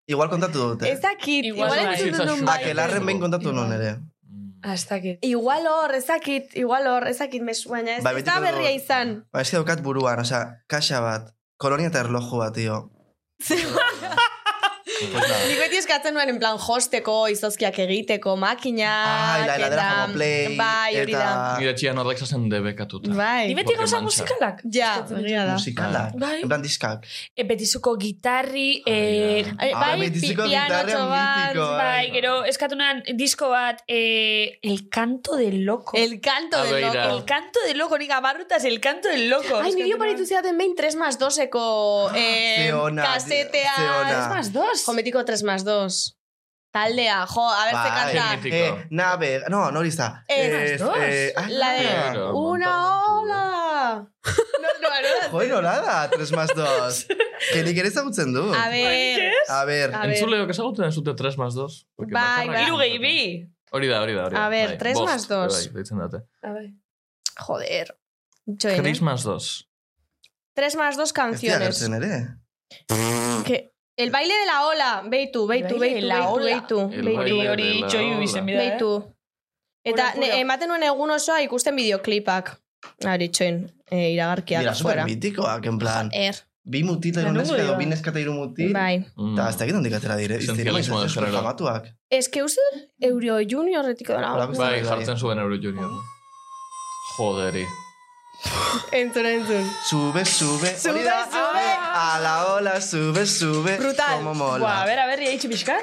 E: Igual kontatu dute.
D: Ez dakit,
C: Igual
D: igual
C: bai.
D: entzutun duen
F: Bai.
E: Akelarren behin kontatu non ere.
F: Mm.
C: Ah, ez dakit.
D: Igual hor, ez dakit, igual hor, ez dakit me suena. Ez,
E: Bai,
D: ez da
E: betiko
D: berria
E: dugu.
D: izan.
E: Ba, eske daukat buruan, osea, kaxa bat, kolonia eta erloju bat, tio. pues nada.
D: Nik beti eskatzen nuen, en plan, josteko, izozkiak egiteko, makinak...
E: Ai, la heladera
D: eta-
E: Famoplay,
D: Bai, hori da.
E: eta-
F: Nire txian horrek zazen debekatuta.
C: Ni
D: Bai.
C: beti
F: Porque
C: gauza
F: mantxa.
C: musikalak.
D: Ja, egia da.
E: Musikala.
C: Bai.
E: En plan diskak.
C: E, betizuko gitarri, e,
F: Ai,
D: Ai,
E: Ah,
D: Bai,
E: betiziko
D: pi-
E: gitarra
D: pianotxo bat,
E: mitiko, bai.
C: bai, gero eskatunan disko bat, e, El Canto del Loco.
D: El canto
F: Ah,
D: del
F: begira.
D: loco.
C: El Canto del Loco, nik amarrutaz El Canto del Loco.
D: Ai, nire
C: Eskatu
D: oparitu zidaten behin 3 más 2eko eh,
E: ze ona,
D: kasetea.
E: ze ona.
D: Ez mas-
C: Más dos.
D: Jo, metiko 3 más 2. Taldea, jo, a ver, ze
F: mitiko.
D: kanta.
E: Eh, nave, no, no hori está.
D: Ez,
E: Ez,
C: dos.
E: eh, ah,
D: La de
F: Claro,
D: una
F: montón,
D: ola. No, no, no,
E: Joder, nolada, 3 más 2. que nik ere ezagutzen du.
D: no. A ver.
C: eh,
E: A ver,
D: A ver.
F: Entzuleok ezagutzen ez dute 3 más 2?
D: Bai, bai.
C: Iru gehi bi.
F: Hori da, hori da, hori da.
D: A ver, tres
F: Bost,
D: más dos.
F: Bai, deitzen date.
D: Joder. Joen, eh?
F: Tres más dos.
D: 3 más 2
E: ez dira
D: canciones.
E: gertzen ere.
D: Que- El baile de la ola. Beitu, beitu,
C: El baile de
D: beitu,
C: la
D: beitu,
C: ola.
D: beitu.
F: El
D: Beitu.
F: baile.
C: Hori, hori, itxoiu izen bida, eh?
D: Beitu. Eta
C: Puro,
D: ne,
C: puro.
D: ematen nuen egun osoa ikusten bideoklipak. Hori, txoin, eh, iragarkiak
E: Dira, super
D: afuera.
E: mitikoak, ah, en plan.
D: Er,
E: Bi mutila
C: Ba,
E: egon
C: nongo
E: neska edo
C: dira?
E: bi neska eta hiru mutil.
D: bai.
F: Mm.
E: Eta ez dakit nondik atera dire.
F: Esencialismo de género.
E: Famatuak.
D: Ez que uste dut Euro Juniorretiko dela.
E: Holako
F: Bai,
E: zerbait da.
F: jartzen zuen Euro Junior. Joderi.
D: Entzun, entzun.
E: Sube, sube.
D: Sube,
E: hori da.
D: sube.
E: A la ola, sube, sube.
D: Brutal.
E: Como
C: Ba, a
E: mola.
C: ber, a ber, iaitxe pixka.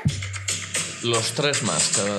F: Los tres más, cada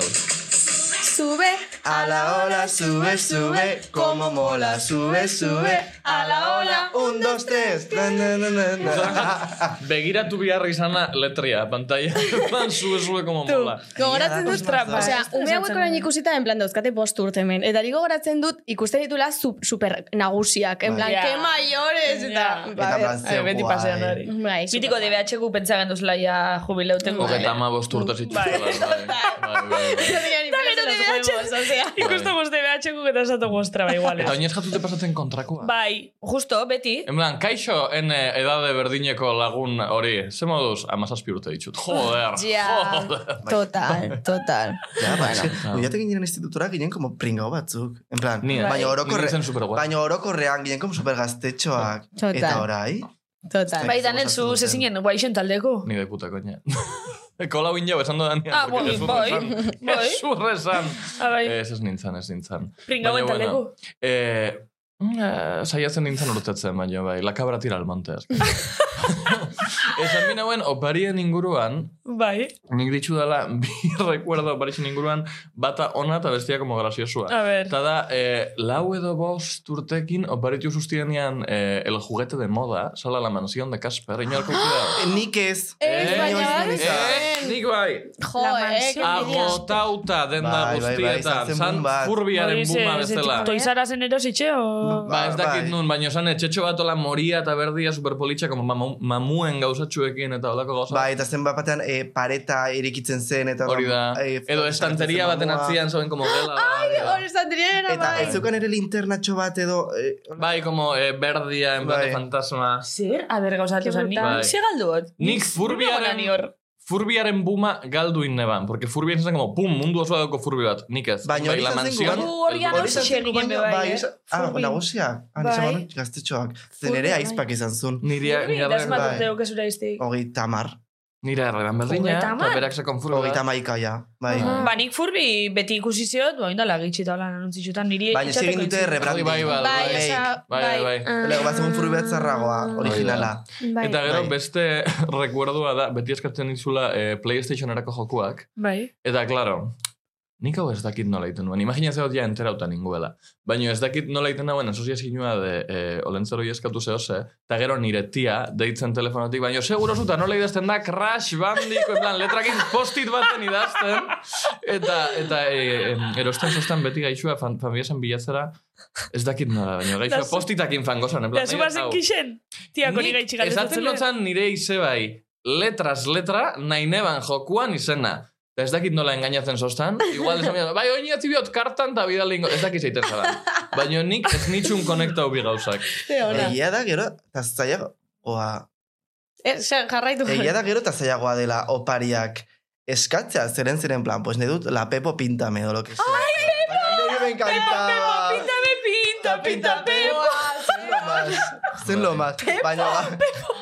D: Sube,
E: A la ola sube, sube, como mola, sube, sube. A la ola, un, dos, tres. Na, na, na, na, na.
F: Begiratu biharra izana letria, pantalla. Man, sube, sube, como
D: Tu,
F: mola.
D: gogoratzen
E: Ia,
D: dut
E: da,
D: trapa.
E: kosmaz da.
D: Osea, ume hauek orain ikusita, en plan, dauzkate bost urte hemen. Eta nik gogoratzen dut, ikusten ditula su- super nagusiak. En
E: Bai.
D: plan,
C: Ja.
D: que mayores, eta...
C: Ja.
D: Ba,
E: Eta
D: ber.
E: plan, ze
C: Eh, beti
E: guai.
C: pasean hori.
D: Bai,
C: Mitiko de BHQ pentsa genduzela ja jubileuten.
F: Hogeita ama bost urte zituzela. bai. Bai, bai, bai.
D: Eta gero de behatxe.
C: Ikustu guzti BHQ eta esatu guztra, ba, igual.
F: Eta oinez jatute pasatzen kontrakoa.
C: Bai, justo, beti.
F: En plan, kaixo, en eh, edade berdineko lagun hori, ze moduz, amazazpi urte ditut. Joder,
D: Ja,
F: joder.
D: total, total.
E: Ja, ba, eske,
F: Bueno.
E: oiatek ginen institutura ginen como pringao batzuk. En plan,
F: Ni ez.
E: baina orokorre,
F: Ni nintzen superguai.
E: baina orokorrean ginen como supergaztetxoak.
D: Total.
E: Eta orai,
D: Total.
C: Bai, Daniel, zu zezinen, guaixen taldeko.
F: Ni de puta, coña. Kola bine hau esan dodan
C: Ah, bai, bai, bai.
F: Ez urrezan.
C: Ah, bai.
F: Ez ez nintzen, ez nintzen.
C: Pringauen
F: Eh, Baina, bueno,
C: taldeko.
F: Eh, eh, saiatzen nintzen urtetzen, baina bai, la cabra tira al monte. aski. Esan bina hauen, oparien inguruan,
C: Bai,
F: nik ditxu dela, bi recuerdo oparien inguruan, bata ona eta bestia como graciosua.
C: a ver.
F: Eta da, eh, lau edo bost urtekin oparitu sustienian eh, el juguete de moda, sala la mansión de Casper,
C: Ah.
F: inorko kidea.
E: Nik ez.
D: Ez,
E: baina bai.
F: Eh, nik bai.
D: Jo,
C: La
D: eh, que
C: mansión.
D: envidia.
F: Agotauta denda
E: Bai, bai, bai, izan
F: guztietan,
E: zen
F: zan
E: boom bat.
F: furbiaren
C: Hori ze-
F: buma
C: ze
F: bezala.
C: Toizara zen erositxe, o...
F: Ba, ez
E: Ba,
F: dakit
E: bai.
F: nun, baina zan etxetxo bat ola moria eta berdia superpolitxa, como mamu- mamuen gauzatxuekin eta olako gauza.
E: Bai, eta zen bat batean eh, pareta erikitzen zen. Eta
F: Hori da.
E: eh,
F: Edo estanteria baten
E: mamua.
F: atzian zauen como bai, gela. Ai,
D: Hor estan direna,
E: Eta
D: bai.
E: ez zeukan ere linternatxo bat edo... Eh,
F: Bai, como eh, berdia, en plan de
E: Bai.
F: fantasma.
C: Zer, a ber, gauzatu
D: Ke
C: zen, nik
D: brutal.
F: Bai.
C: ze galduot.
F: Nik furbiaren-
C: Ni hor.
F: Furbiaren buma galdu inneban, porque furbi izan zen como, pum, mundu osoa dauko furbi bat, nik ez. Bai,
E: Baina hori
F: la
E: izan zen
F: mansión,
E: gugan-
C: Gu horrian
F: el-
C: hori izan zen-
E: zen
C: Xerrien be
E: gubaino-
C: bai,
E: bai,
C: eh?
E: izan- ah,
C: Furbi.
E: nagusiak.
C: Bai.
E: Ah, nire zamanak gaztetxoak. Zen
C: Furbi,
E: ere
C: bai.
E: aizpak izan zuen.
F: Nire,
C: Hori,
F: nire,
C: das
F: arre-
E: bai.
C: matuteo, kesura iztik.
E: Hogei tamar.
F: nire arreban berdina,
C: Hogeita
F: eta
C: hamar.
F: berak sekon furbi bat.
E: Hogeita maika, ja. Bai.
F: Aha.
C: Ba, nik furbi beti ikusi ziot, ba, indala gitxita hola anuntzizutan, niri
E: Baina ez egin
C: itxateko
E: dute
C: itzi.
E: rebranding.
F: Bai,
D: Bai,
F: bai, bai.
D: osea,
F: Bai,
D: bai.
F: bai.
D: Ah,
E: Lego bat zegoen furbi bat zarragoa, originala.
D: bai.
F: Eta gero
E: Bai.
F: beste rekuerdua da, beti eskatzen ditzula eh, PlayStationerako jokuak.
C: Bai.
F: Eta, claro, nik hau ez dakit nola egiten nuen. Imagina zeot ja enterauta ninguela. Baina ez dakit nola egiten nauen asoziazinua de eh, olentzeroi eskatu zehose, eta gero nire tia deitzen telefonotik, baina seguro zuta nola idazten da Crash Bandico, en plan, letrakin postit baten idazten, eta, eta eh, em, erosten zostan beti gaixua fan, familiasen bilatzera, ez dakit nola, baina gaixua
C: Da zu-
F: postitakin fangozan,
C: Da,
F: en plan,
C: zu
F: "Nahi dut
C: bazen
F: hau."
C: kixen. Tiako
F: Nik
C: nire itxigarri
F: Esaten notzan nire izebai, letras letra, nahi neban jokuan izena. Eta ez dakit nola engainatzen zostan. Igual esan bidan, bai, oin biot kartan eta bidalingo. Ez dakit zeiten zara. Baina nik ez nitxun konekta hobi gauzak.
D: Ze ona.
E: Egia da gero, eta zailagoa...
D: Eh, ze- jarraitu.
E: Egia da gero, eta zailagoa dela opariak eskatzea, zeren ziren plan, pues nahi dut, la Pepo pintame, o lo que sea. Ai, Pepo! Baina niri me encantaba.
C: Pintame, pinta, pinta, pepo.
E: Zen lo más. Zen lo más. Baina... Pepo!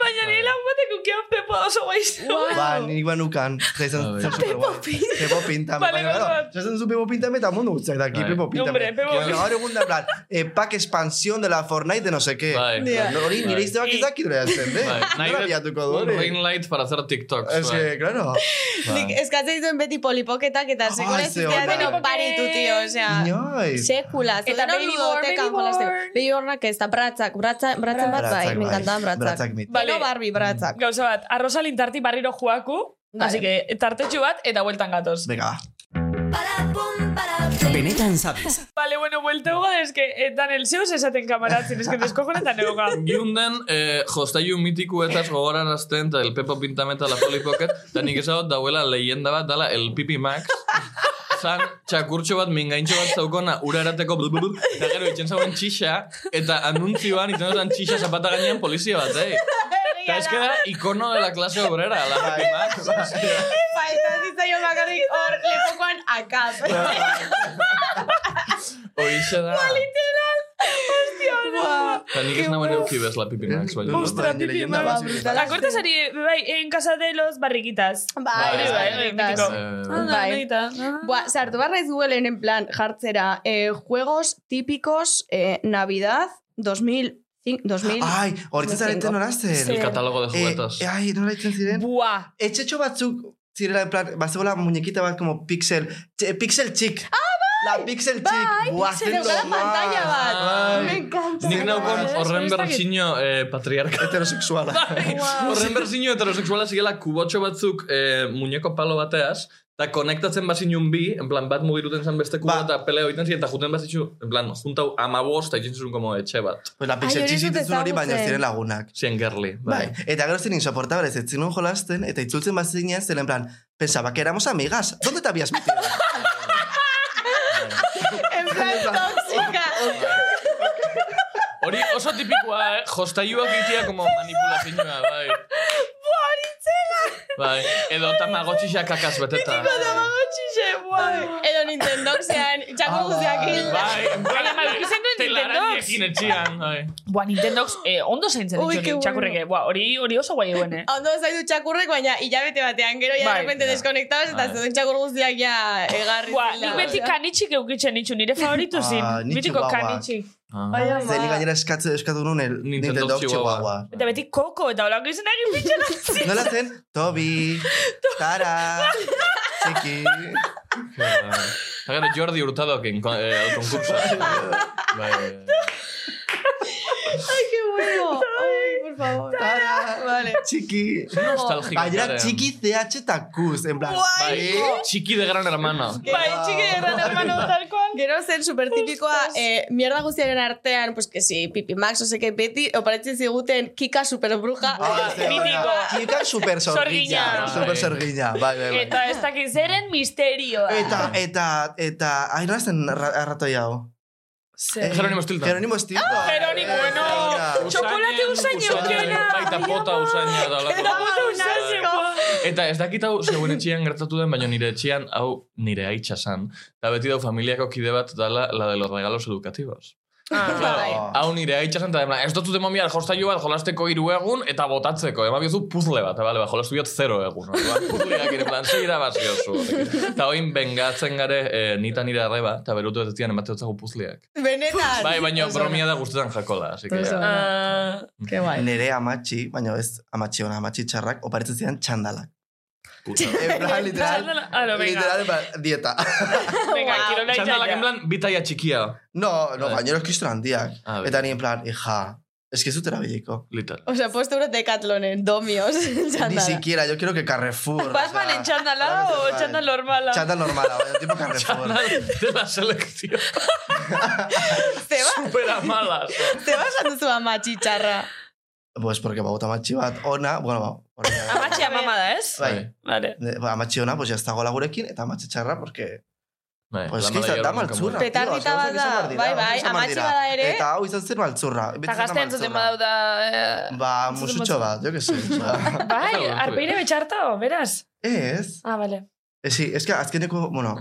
C: Baina nire lagun batek ukian pepo oso guaizu.
E: Ba, nik banukan. Eta izan
F: Bai.
E: zen superguai. Pepo pintame.
C: Vale,
E: Baina, claro,
C: vale.
E: jasen zu Pepo pintame eta mundu guztiak daki.
F: Bai.
E: Pepo pintame.
C: Hombre, Pepo
E: Baina
C: Pintame.
E: Gaur egun da, en plan, eh, pack expansión de la Fortnite de no sé qué.
F: Bai.
E: Eta Hori nire izte bak ez dakit hori azten, de?
F: Bai, nahi
E: Nola
F: dut
E: bilatuko du
F: un
E: hori?
F: ring light para hacer TikToks. bai.
E: Es que, claro.
D: Nik
C: eh,
D: eskatzen dituen beti polipoketak eta sekula
E: Ai,
D: ez
E: Bai. ze
D: dira
E: ona.
D: denik paritu, tio,
C: ah,
D: osea.
E: Inoiz.
D: Sekula,
C: Eta
D: zeuden hor
C: baby born,
D: ludotekan
C: baby
D: jolasteko.
C: born.
D: Baby bornak ez da, bratzak, bratzak, bratzen bat bai, me encantaban bratzak.
E: Bratzak mit.
C: Vale.
D: Gero Barbie bratzak.
C: Gauza bat, arroza lintarti barriro joaku,
D: Vale.
C: así que tartetxu bat eta bueltan gatoz.
E: Venga, va.
B: Benetan sabes.
C: Vale, bueno, buelta huga, es que eh, dan el zeus esaten kamaratzen, es que deskojonetan egoka.
F: Giunden, eh, jostailu mitikuetaz gogorarazten, eta el Pepo Pintameta la Polly Pocket, eta nik esagot dauela leyenda bat, dala el Pipi Max, zan txakurtxo bat mingaintxo bat zaukona ura erateko blububub, eta gero itxen zauen txixa, eta anuntzioan itzen zauen txixa zapata gainean polizia bat, eh? Eta ez queda icono de la clase obrera, la Pipi Max.
C: Bai,
D: Falta zitzaion bakarrik hor lepokoan akaz.
F: Oixe da.
D: Ba,
F: Eta nik ez nagoen eukibez la Pipi Max, bai. baina.
E: Ostra,
C: Pipi
E: leyenda
D: Max.
E: más.
C: La corte sería, bai, en casa de los barriquitas.
D: Bai,
F: Bai,
D: bai,
C: bai,
D: bai.
C: mitiko.
F: Eh,
C: Anda,
D: Bai.
C: neita.
D: Buah, sartu behar naiz Googleen en plan jartzera eh, juegos típicos eh, Navidad 2005, 2000.
E: Ai, hori zareten
D: Cinco.
E: nola zen.
F: El catálogo de
E: Eh,
F: juguetes.
E: eh, Ai, nola itzen ziren?
C: Buah.
E: Etxetxo batzuk zirela, en plan, bazegola muñekita bat, como pixel, tx, pixel chic. Ah, bai! La pixel chic.
D: Bai,
E: Buah,
D: pixel
E: zendo
D: daukala
E: mal.
D: pantalla bat.
F: Bai.
D: Me encanta.
F: Nik naukon
C: Bai,
F: horren
C: ez dakit.
F: bertxinio eh, patriarka.
E: Heterosexuala.
D: Bai.
F: Horren bertxinio heterosexuala zirela kubotxo batzuk eh, muñeko palo bateaz, eta konektatzen bazinun bi, en plan bat mugiruten zen beste kubo
E: Ba.
F: eta pelea egiten ziren, eta juten bazitxu, en plan, juntau amabost, eta egin zuen como etxe bat.
E: Pues la pixel
D: Ai, hori
E: chic
D: ez dut
E: zituzun hori, baina
D: ezagutzen.
E: ziren lagunak.
F: Zien gerli.
E: Bai. Eta gero zen insoportables, ez zinun jolasten, eta itzultzen bat zinen, zen en plan, pensaba que éramos amigas, ¿dónde te habías metido? Bai.
D: En plan tóxica.
F: Hori oso tipikoa, eh? Jostaiuak itia como manipulazioa, bai. Bai, edo tamagotxixak kakaz beteta.
D: Tamagotxixe, buai. Edo Nintendo zean, txako guztiak hilda.
F: Bai, en plan,
C: Baina, baina, ikusten duen
F: telaraniekin etxean, bai.
C: Buah, Nintendox eh, ondo zaintzen
D: Ui,
C: ditu
D: qué
C: txakurreke. Buah, hori, hori oso guai eguen, eh?
D: Ondo ez du txakurrek, baina hilabete batean, gero ja
C: Bai,
D: de repente
F: ja.
D: deskonektabas, eta
F: Bai.
D: zeuden txakur guztiak ja egarri
C: Buah,
D: zela.
C: nik beti kanitxik eukitzen nitxu, nire favoritu zin.
E: Ah, nitxu
C: Mitiko
E: guauak.
C: kanitxik.
F: Ah.
E: Zeni gainera eskatze eskatu nun el
F: Nintendo
E: Nintendo
F: Chihuahua.
E: Chihuahua.
C: Eta beti koko eta holako izan egin bitxela.
E: Nola zen? Tobi, Tara, Txiki.
F: Eta gero Eh, Jordi Hurtadokin kon- eh, konkursa. Bai,
D: Ay, qué bueno. Ay, por favor.
E: Tara,
D: Vale.
E: Txiki.
F: nostalgika.
E: Gainera txiki CH eta Kuz, en plan.
F: Bai, txiki de gran hermano.
C: Bai, txiki de gran hermano tal cual.
D: Gero zen supertipikoa, eh, mierda guztiaren artean, pues que si, Pipi Max, oseke beti, oparitzen ziguten Kika superbruja.
E: Ah, ze ona.
C: Mitiko.
E: Kika super sorgina.
C: Sorgina.
E: Super sorgina, bai, bai, bai.
C: Eta ez dakit zeren misterioa.
E: Eta, eta, eta, hain zen ra- arratoi hau. Eh,
F: Jerónimo Stilton.
E: Jerónimo Stilton.
C: Ah, Jerónimo,
E: Eh,
C: bueno.
E: venga.
C: Txokolate usain eukiena.
F: Baita pota usaina da
C: Eta bota usain, buah.
F: Eta ez dakit hau zeuen etxean gertatu den, baina nire etxean hau nire aitsa san. Eta beti dau familiako kide bat dala la de los regalos educativos.
E: bai.
F: Hau nire aitsa san, eta demna, ez dut demon bihar jostailu bat jolasteko hiru egun eta botatzeko. Ema biozu puzle bat, eta bale, ba, jolastu biot zero egun. orduan Puzleak ere plan, zeira baziozu. Eta oin bengatzen gare eh, nita nire arreba, eta berutu ez zian emateotzago puzleak.
D: Benetan.
F: Bai, baina bromia da guztetan jako da. Así que,
D: Oso.
C: Ah,
D: Qué guay.
E: Nere amatxi, baina ez amatxi ona, amatxi txarrak, oparitzen zidan txandalak.
F: puta.
E: En plan, literal,
C: Txandala- Aro, venga.
E: literal, en plan, dieta.
C: Venga, kirola
F: Txandalak en
C: itxaila.
F: plan, bitaia txikia.
E: No, no,
F: Bai.
E: gainero eskiztun handiak.
F: Ah,
E: Eta ni en plan, hija, es que zutera biliko.
F: Literal.
D: O sea, puesto unos decatlones, domios,
E: Ni
D: txandala.
E: siquiera, yo quiero que Carrefour.
C: Batman en txandala o txandal Oh, normala?
E: Chándal normal, baina tipo Carrefour.
F: Bai, de la selección.
D: Te va,
F: Supera malas.
D: te vas a tu ama chicharra.
E: Pues porque bauta amatxi bat ona, bueno, ba, hori da.
C: Amatxea mamada, ez?
E: Bai,
C: Vale.
E: Ne- ba, amatxi ona, pues ya está gola gurekin, eta amatxi txarra, porque...
F: Bai,
E: Pues
F: la
E: que
F: mala
E: izan da
F: hierba nunca
E: maltzurra.
F: muere.
E: tío,
D: Petardita
E: gauzak
D: bat da, bai, bai,
E: izan behar dira, gauzak izan behar
D: amatxi
E: dira.
D: bada ere.
E: Eta hau izan zen maltzurra. beti
C: Eta
E: izan da
C: gazte entzuten
E: maltzurra.
C: badau da... eh,
E: Ba, musutxo bat, jo que sé. osea.
C: Bai,
F: Bai,
C: arpeire betxartao, beraz.
E: Ez.
C: Ah, vale.
E: Esi, eske azkeneko, bueno,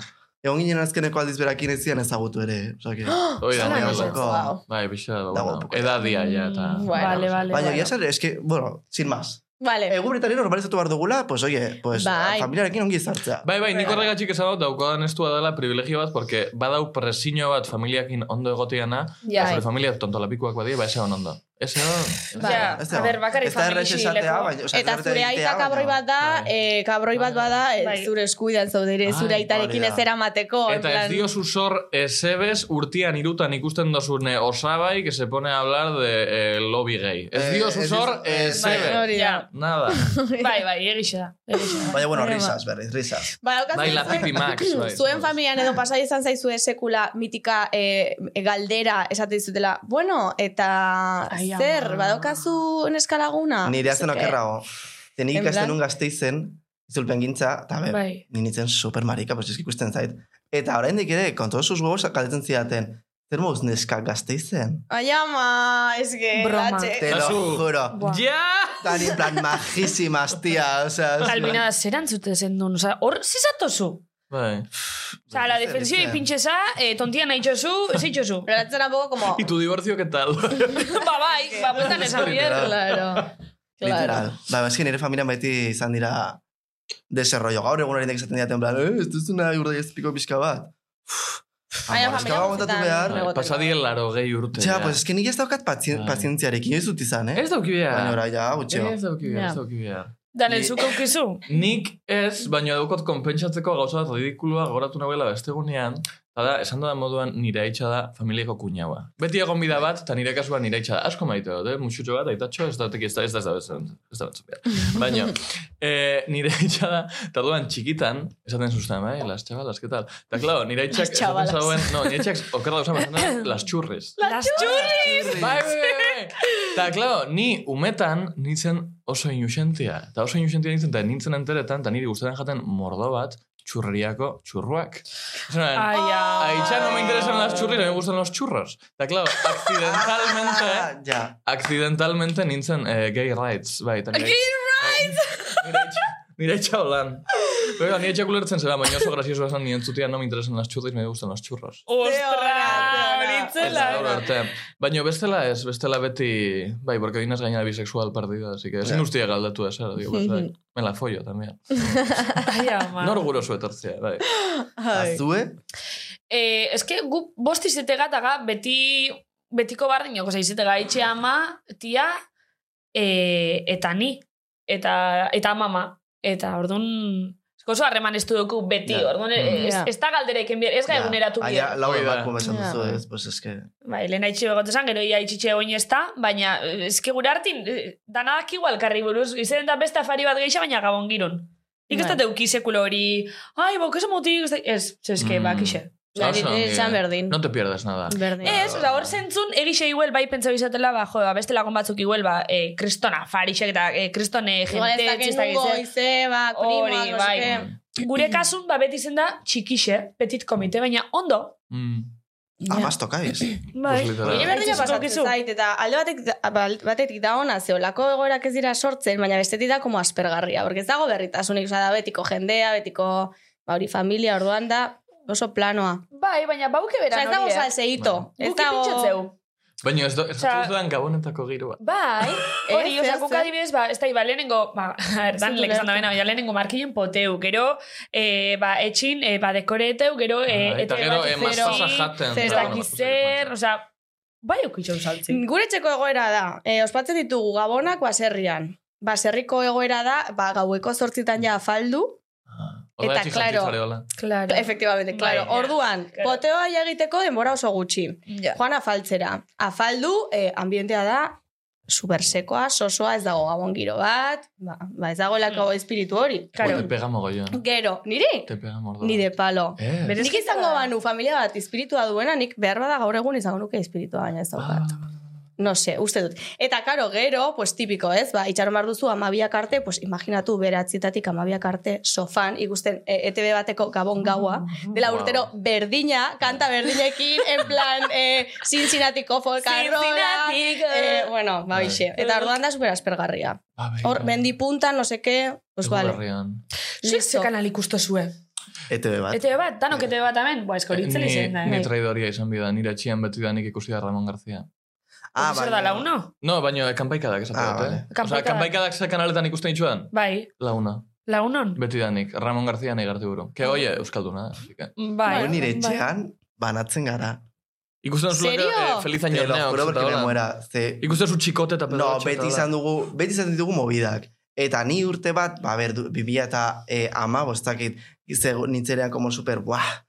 E: egon ginen azkeneko aldiz berakin ez zian ezagutu ere. Osea, que...
F: Hoi da,
E: Zala
F: mala.
E: gauza.
D: Wow.
F: Bai, pixa,
E: Dago,
F: bueno,
E: poco.
F: edadia ja, eta...
C: Mm,
F: Bai,
C: vale,
F: gauza.
C: vale.
E: Baina,
C: bueno.
E: egia esan, eske, bueno, sin más.
D: Vale.
E: Egu Britania normalizatu behar dugula, pues, oie, pues,
D: Eh. Bai. Ba,
E: familiarekin ongi izartzea.
F: Bai, bai, nik horregatxik esan dut, daukodan estua dela privilegio bat, porque badau presiño bat familiakin ondo egoteana,
D: Ja.
F: eta zure familia tontolapikuak badia, ba, esan ondo. Esan ondo.
D: Bai.
C: Ja,
E: Ez dago.
C: a ber, bakarrik
E: Ez da errez
C: familia
E: esatea,
C: hileko.
E: baina- osea,
D: Eta
E: ez da
D: zure
E: errez egitea,
D: aita kabroi
E: baina-
D: bat da,
F: Bai.
D: eh, kabroi bat bada, eh,
C: Bai.
D: zure eskuidan zaudere, zure
F: Ai,
E: hori
D: aitarekin
E: da.
D: ez eramateko. en
F: Eta ez
D: plan-
F: diozu zor ezebes urtian irutan ikusten dozune osabai que se pone a hablar de eh, lobby gay. Ez
E: Eh,
F: diozu
E: ez
F: zor
E: diozu- eh,
C: Bai,
F: ezebes.
D: Hori da.
F: Nada.
C: Bai, bai, egixe da. egixe da.
E: Baina, bueno,
D: Problema.
E: risas, berriz, risas.
D: Ba, daukazu
F: Bai, la
D: zuen-
F: Pipi Max, bai.
D: Zuen familian edo pasai izan zaizu sekula mitika eh, galdera esate dizutela. Bueno, eta
C: Ai, ama.
D: zer, badaukazu neskalaguna?
E: Nire azten okerrago. Zenik
D: Ah, En
E: ikasten
D: plan-
E: nun gazteizen, izulpen gintza, eta be,
C: Bai.
E: ni nintzen super marika, pues eski ikusten zait. Eta oraindik ere, con todos sus huevos galdetzen zidaten, zer moz neska gazteizen?
D: Ai, ama, es que...
C: Broma.
D: latxe.
E: Te lo
F: Kasu.
E: juro.
C: Buah.
F: Ja!
E: Tan en plan majísimas, tía. O sea, es-
C: Albina da, zer antzute zen duen, oza, hor zizatozu.
F: Bai.
C: Oza, la
E: Zer,
C: defensioi
E: zer.
C: pintxeza, eh, tontia nahi jozu, zei jozu.
D: Pero latzen un poco como...
F: ¿Y tu divorcio qué tal?
C: ba, bai, ba, bueltan esan bier.
D: Claro.
E: Literal. Ba, eski nire familian beti izan dira desarrollo. Gaur egun oraindik esaten diaten, en plan, eh, ez duzuna urda ezpiko pixka bat.
D: Baina
E: Amor, eska
D: familia
E: aguantatu
D: guztietan
E: behar.
D: egoten da.
F: Pasadien laro gehi urte.
E: Ja, pues eski nik ez daukat pazi-
F: Bai.
E: pazientziarekin, ez dut izan, eh?
F: Ez dauki behar.
E: Baina ora, ja, gutxio.
F: Ez dauki behar,
C: Ja.
F: ez dauki behar.
C: Daniel, zuk aukizu?
F: Nik ez, baina daukot konpentsatzeko gauza bat ridikulua goratu nagoela beste gunean, eta da, esan da moduan nire aitxa da familiako kuñaua. Beti egon bida bat, eta nire kasuan nire aitxa da. Asko maite dut, eh? Muxutxo bat, aitatxo, ez da, ez da, ez da, ez da, ez da, ez da, ez da, Baina, eh, nire aitxa da, eta duan txikitan, esaten zuzten, bai, las chavalas, ¿qué tal? Eta, claro, nire
A: Las
F: aitxak, esaten
A: chavalas.
F: zauen, no, nire aitxak, okerra dauzan, esaten zuen, las churres.
C: Las churris!
F: Bai, bai, bai, bai. Eta, klaro, ni umetan nintzen oso inusentia. Eta oso inusentia nintzen, eta nintzen enteretan, eta niri gustatzen jaten mordo bat, txurreriako txurruak. Zena, Aitxa, no me interesan las churris, no me gustan los churros. Eta, klaro, accidentalmente,
E: Ah, ja.
F: accidentalmente nintzen eh, gay rights. Bai, eta nire-
C: Gay
F: Nire aitxa- Nire etxa holan. Pero nire etxa kulertzen zera, baina oso gracioso esan nien zutia, no me interesan las churris, me gustan los churros.
C: Ostra!
F: Ez da,
D: bai.
F: gaur
C: Horitzela!
F: arte. Baina bestela ez, bestela beti... Bai, porque dinaz gaina bisexual partida, así que ezin ustia galdatu ezer, digo, mm me la follo, también.
C: eh. Ai,
D: Ba.
C: ama.
F: Nor gure oso etortzea, bai.
E: Azue?
C: Eh, eske gu bost izetega eta ga beti betiko bardin, oza, izetega itxe ama, tia, eh, eta ni, eta, eta mama, eta orduan... eske Oso harreman estu dugu beti,
E: Ja.
C: orduan eh, ez,
D: Ja.
C: ez da galdera ekin behar, ez ga
E: Ja.
C: eguneratu
E: Ah,
C: behar.
E: ja, lau
F: Hoi da.
E: bat komesan
D: Ja.
E: duzu ez, pues eske...
C: Bai, lehen haitxe begot esan, gero ia itxitxe oin ez da, baina eh, eske gure hartin, eh, danadak igual karri buruz, izen da beste afari bat gehiago, baina gabon giron. Nik ez
D: Bai.
C: da teuki sekulo hori, ai, bok, ez emotik, ez, da-" ez, ze eske,
F: Mm.
C: ba, kixe.
F: Oso
D: Nire-
F: ongi,
D: nire Bai, esan
F: eh?
D: berdin.
F: No te pierdas nada.
D: Berdin.
C: Ez, oza, hor zentzun, egixe iguel, bai pentsau izatela, ba, jo, ba, beste lagun batzuk iguel, ba, eh, kristona, farixek eta eh, kriston eh,
D: Igual ez
C: jente,
D: dakit
C: txistak
D: nungo,
C: izan.
D: izeba, prima,
C: Hori,
D: no
C: bai.
D: sé
C: Gure kasun, ba, beti zen da, txikixe, petit komite, baina ondo,
F: Mm.
E: Amaz ah, tokaiz. E
C: bai,
F: Pues literal.
C: nire
D: Berdina
C: berdina
D: pasatzen
C: pasatzen zait.
D: zait, eta alde batek, bal- batetik da ona, ze olako egoerak ez dira sortzen, baina bestetik da como aspergarria, porque ez dago berritasunik, oza, da betiko jendea, betiko, ba, hori familia, orduan da, oso planoa.
C: Bai, baina bauke
D: Oza,
C: bera,
D: ez dago salseito. Ez
C: Guki
D: dago...
C: pintxatzeu.
F: Baina ez, do, ez
C: Osea-
F: dut dudan gabonetako giroa.
C: Bai, hori,
D: Ez,
C: oza,
D: ez,
C: guk
D: ez.
C: adibidez, ba, ez da, iba, lehenengo, ba, erdan
D: dut
C: lek esan da
D: ulertu.
C: bena, baina lehenengo markinen poteu, gero, eh, ba, etxin, eh, ba, dekoreteu, gero, eh,
F: Ah, eta
C: ete
F: gero
C: bat
F: emaz
C: zero,
F: pasa jaten.
D: zer
C: ez
F: eta
C: dakiz
F: bueno,
C: zer, oza, bai, okitxon saltzi.
D: Mm, Gure txeko egoera da, e, ospatzen ditugu gabonak baserrian. Baserriko egoera da, ba, gaueko zortzitan ja afaldu,
F: Ah,
D: Eta,
F: horregatik
D: claro.
F: jartzen zareola.
C: Claro.
D: efektibamente, claro.
C: Bai, ja.
D: Orduan,
C: Claro.
D: poteoa ja egiteko denbora oso gutxi.
C: Ja.
D: Joan afaltzera. Afaldu, eh, ambientea da, supersekoa, sosoa, ez dago gabon giro bat, ba, ba ez dagoelako espiritu hori.
C: Mm. Claro. Ah.
F: Oi, Te pega mogollon.
D: Gero, niri?
F: Te pega mordo.
D: Ni de palo.
F: Eh.
C: Bere-
D: Nik izango banu familia bat espiritua duena, nik behar bada gaur egun izango nuke espiritua baina ez
C: Ah.
F: ah,
D: daukat. No se, uste dut. Eta karo, gero, pues tipiko, ez? Ba, itxaron behar duzu amabiak arte, pues imaginatu beratzitatik amabiak arte sofan, ikusten e, ETV bateko
C: Ah,
D: gabon gaua, dela
F: Wow.
D: urtero berdina, kanta berdinekin, en plan, e, Cincinnatiko folkarrola.
C: Cincinnatiko.
D: E, bueno, ba,
C: Eh.
D: bixe. Eta orduan da super aspergarria.
F: ah,
D: Hor, mendipunta, no seke, pues vale.
C: Zuek ze kanal ikustozue.
E: ETV bat.
C: Ete bat, danok ete bat hemen, Ba, boa, esko horitzen izan da.
F: Eh,
C: eh?
D: eh.
F: Ni, ni traidoria izan bida, nire txian beti da nik ikusi da Ramon García.
E: Ah,
C: Zer da, launo?
F: No, baina eh, kanpaikadak esaten
E: Ah,
F: dut,
E: vale.
F: eh? Osea,
C: Kanpaikadak.
F: kanpaikadak ze kanaletan ikusten itxudan?
C: Bai,
F: Launa,
C: launon?
F: beti danik, Ramon García nahi gartu buru. Ke, oie, Euskalduna. da, así que.
C: Bai.
E: Bueno, nire
C: bai.
E: etxean banatzen gara.
F: Ikusten zuen
D: Serio?
F: eh, feliz año
E: Te lo
F: neo.
E: juro porque me muera. Ze,
F: Ikusten zuen txikote eta pedo.
E: no, beti izan dugu, beti izan ditugu mobidak. Eta ni urte bat, ba, ber, du- bibia eta eh, ama, bostakit, ze nintzenean como super, buah,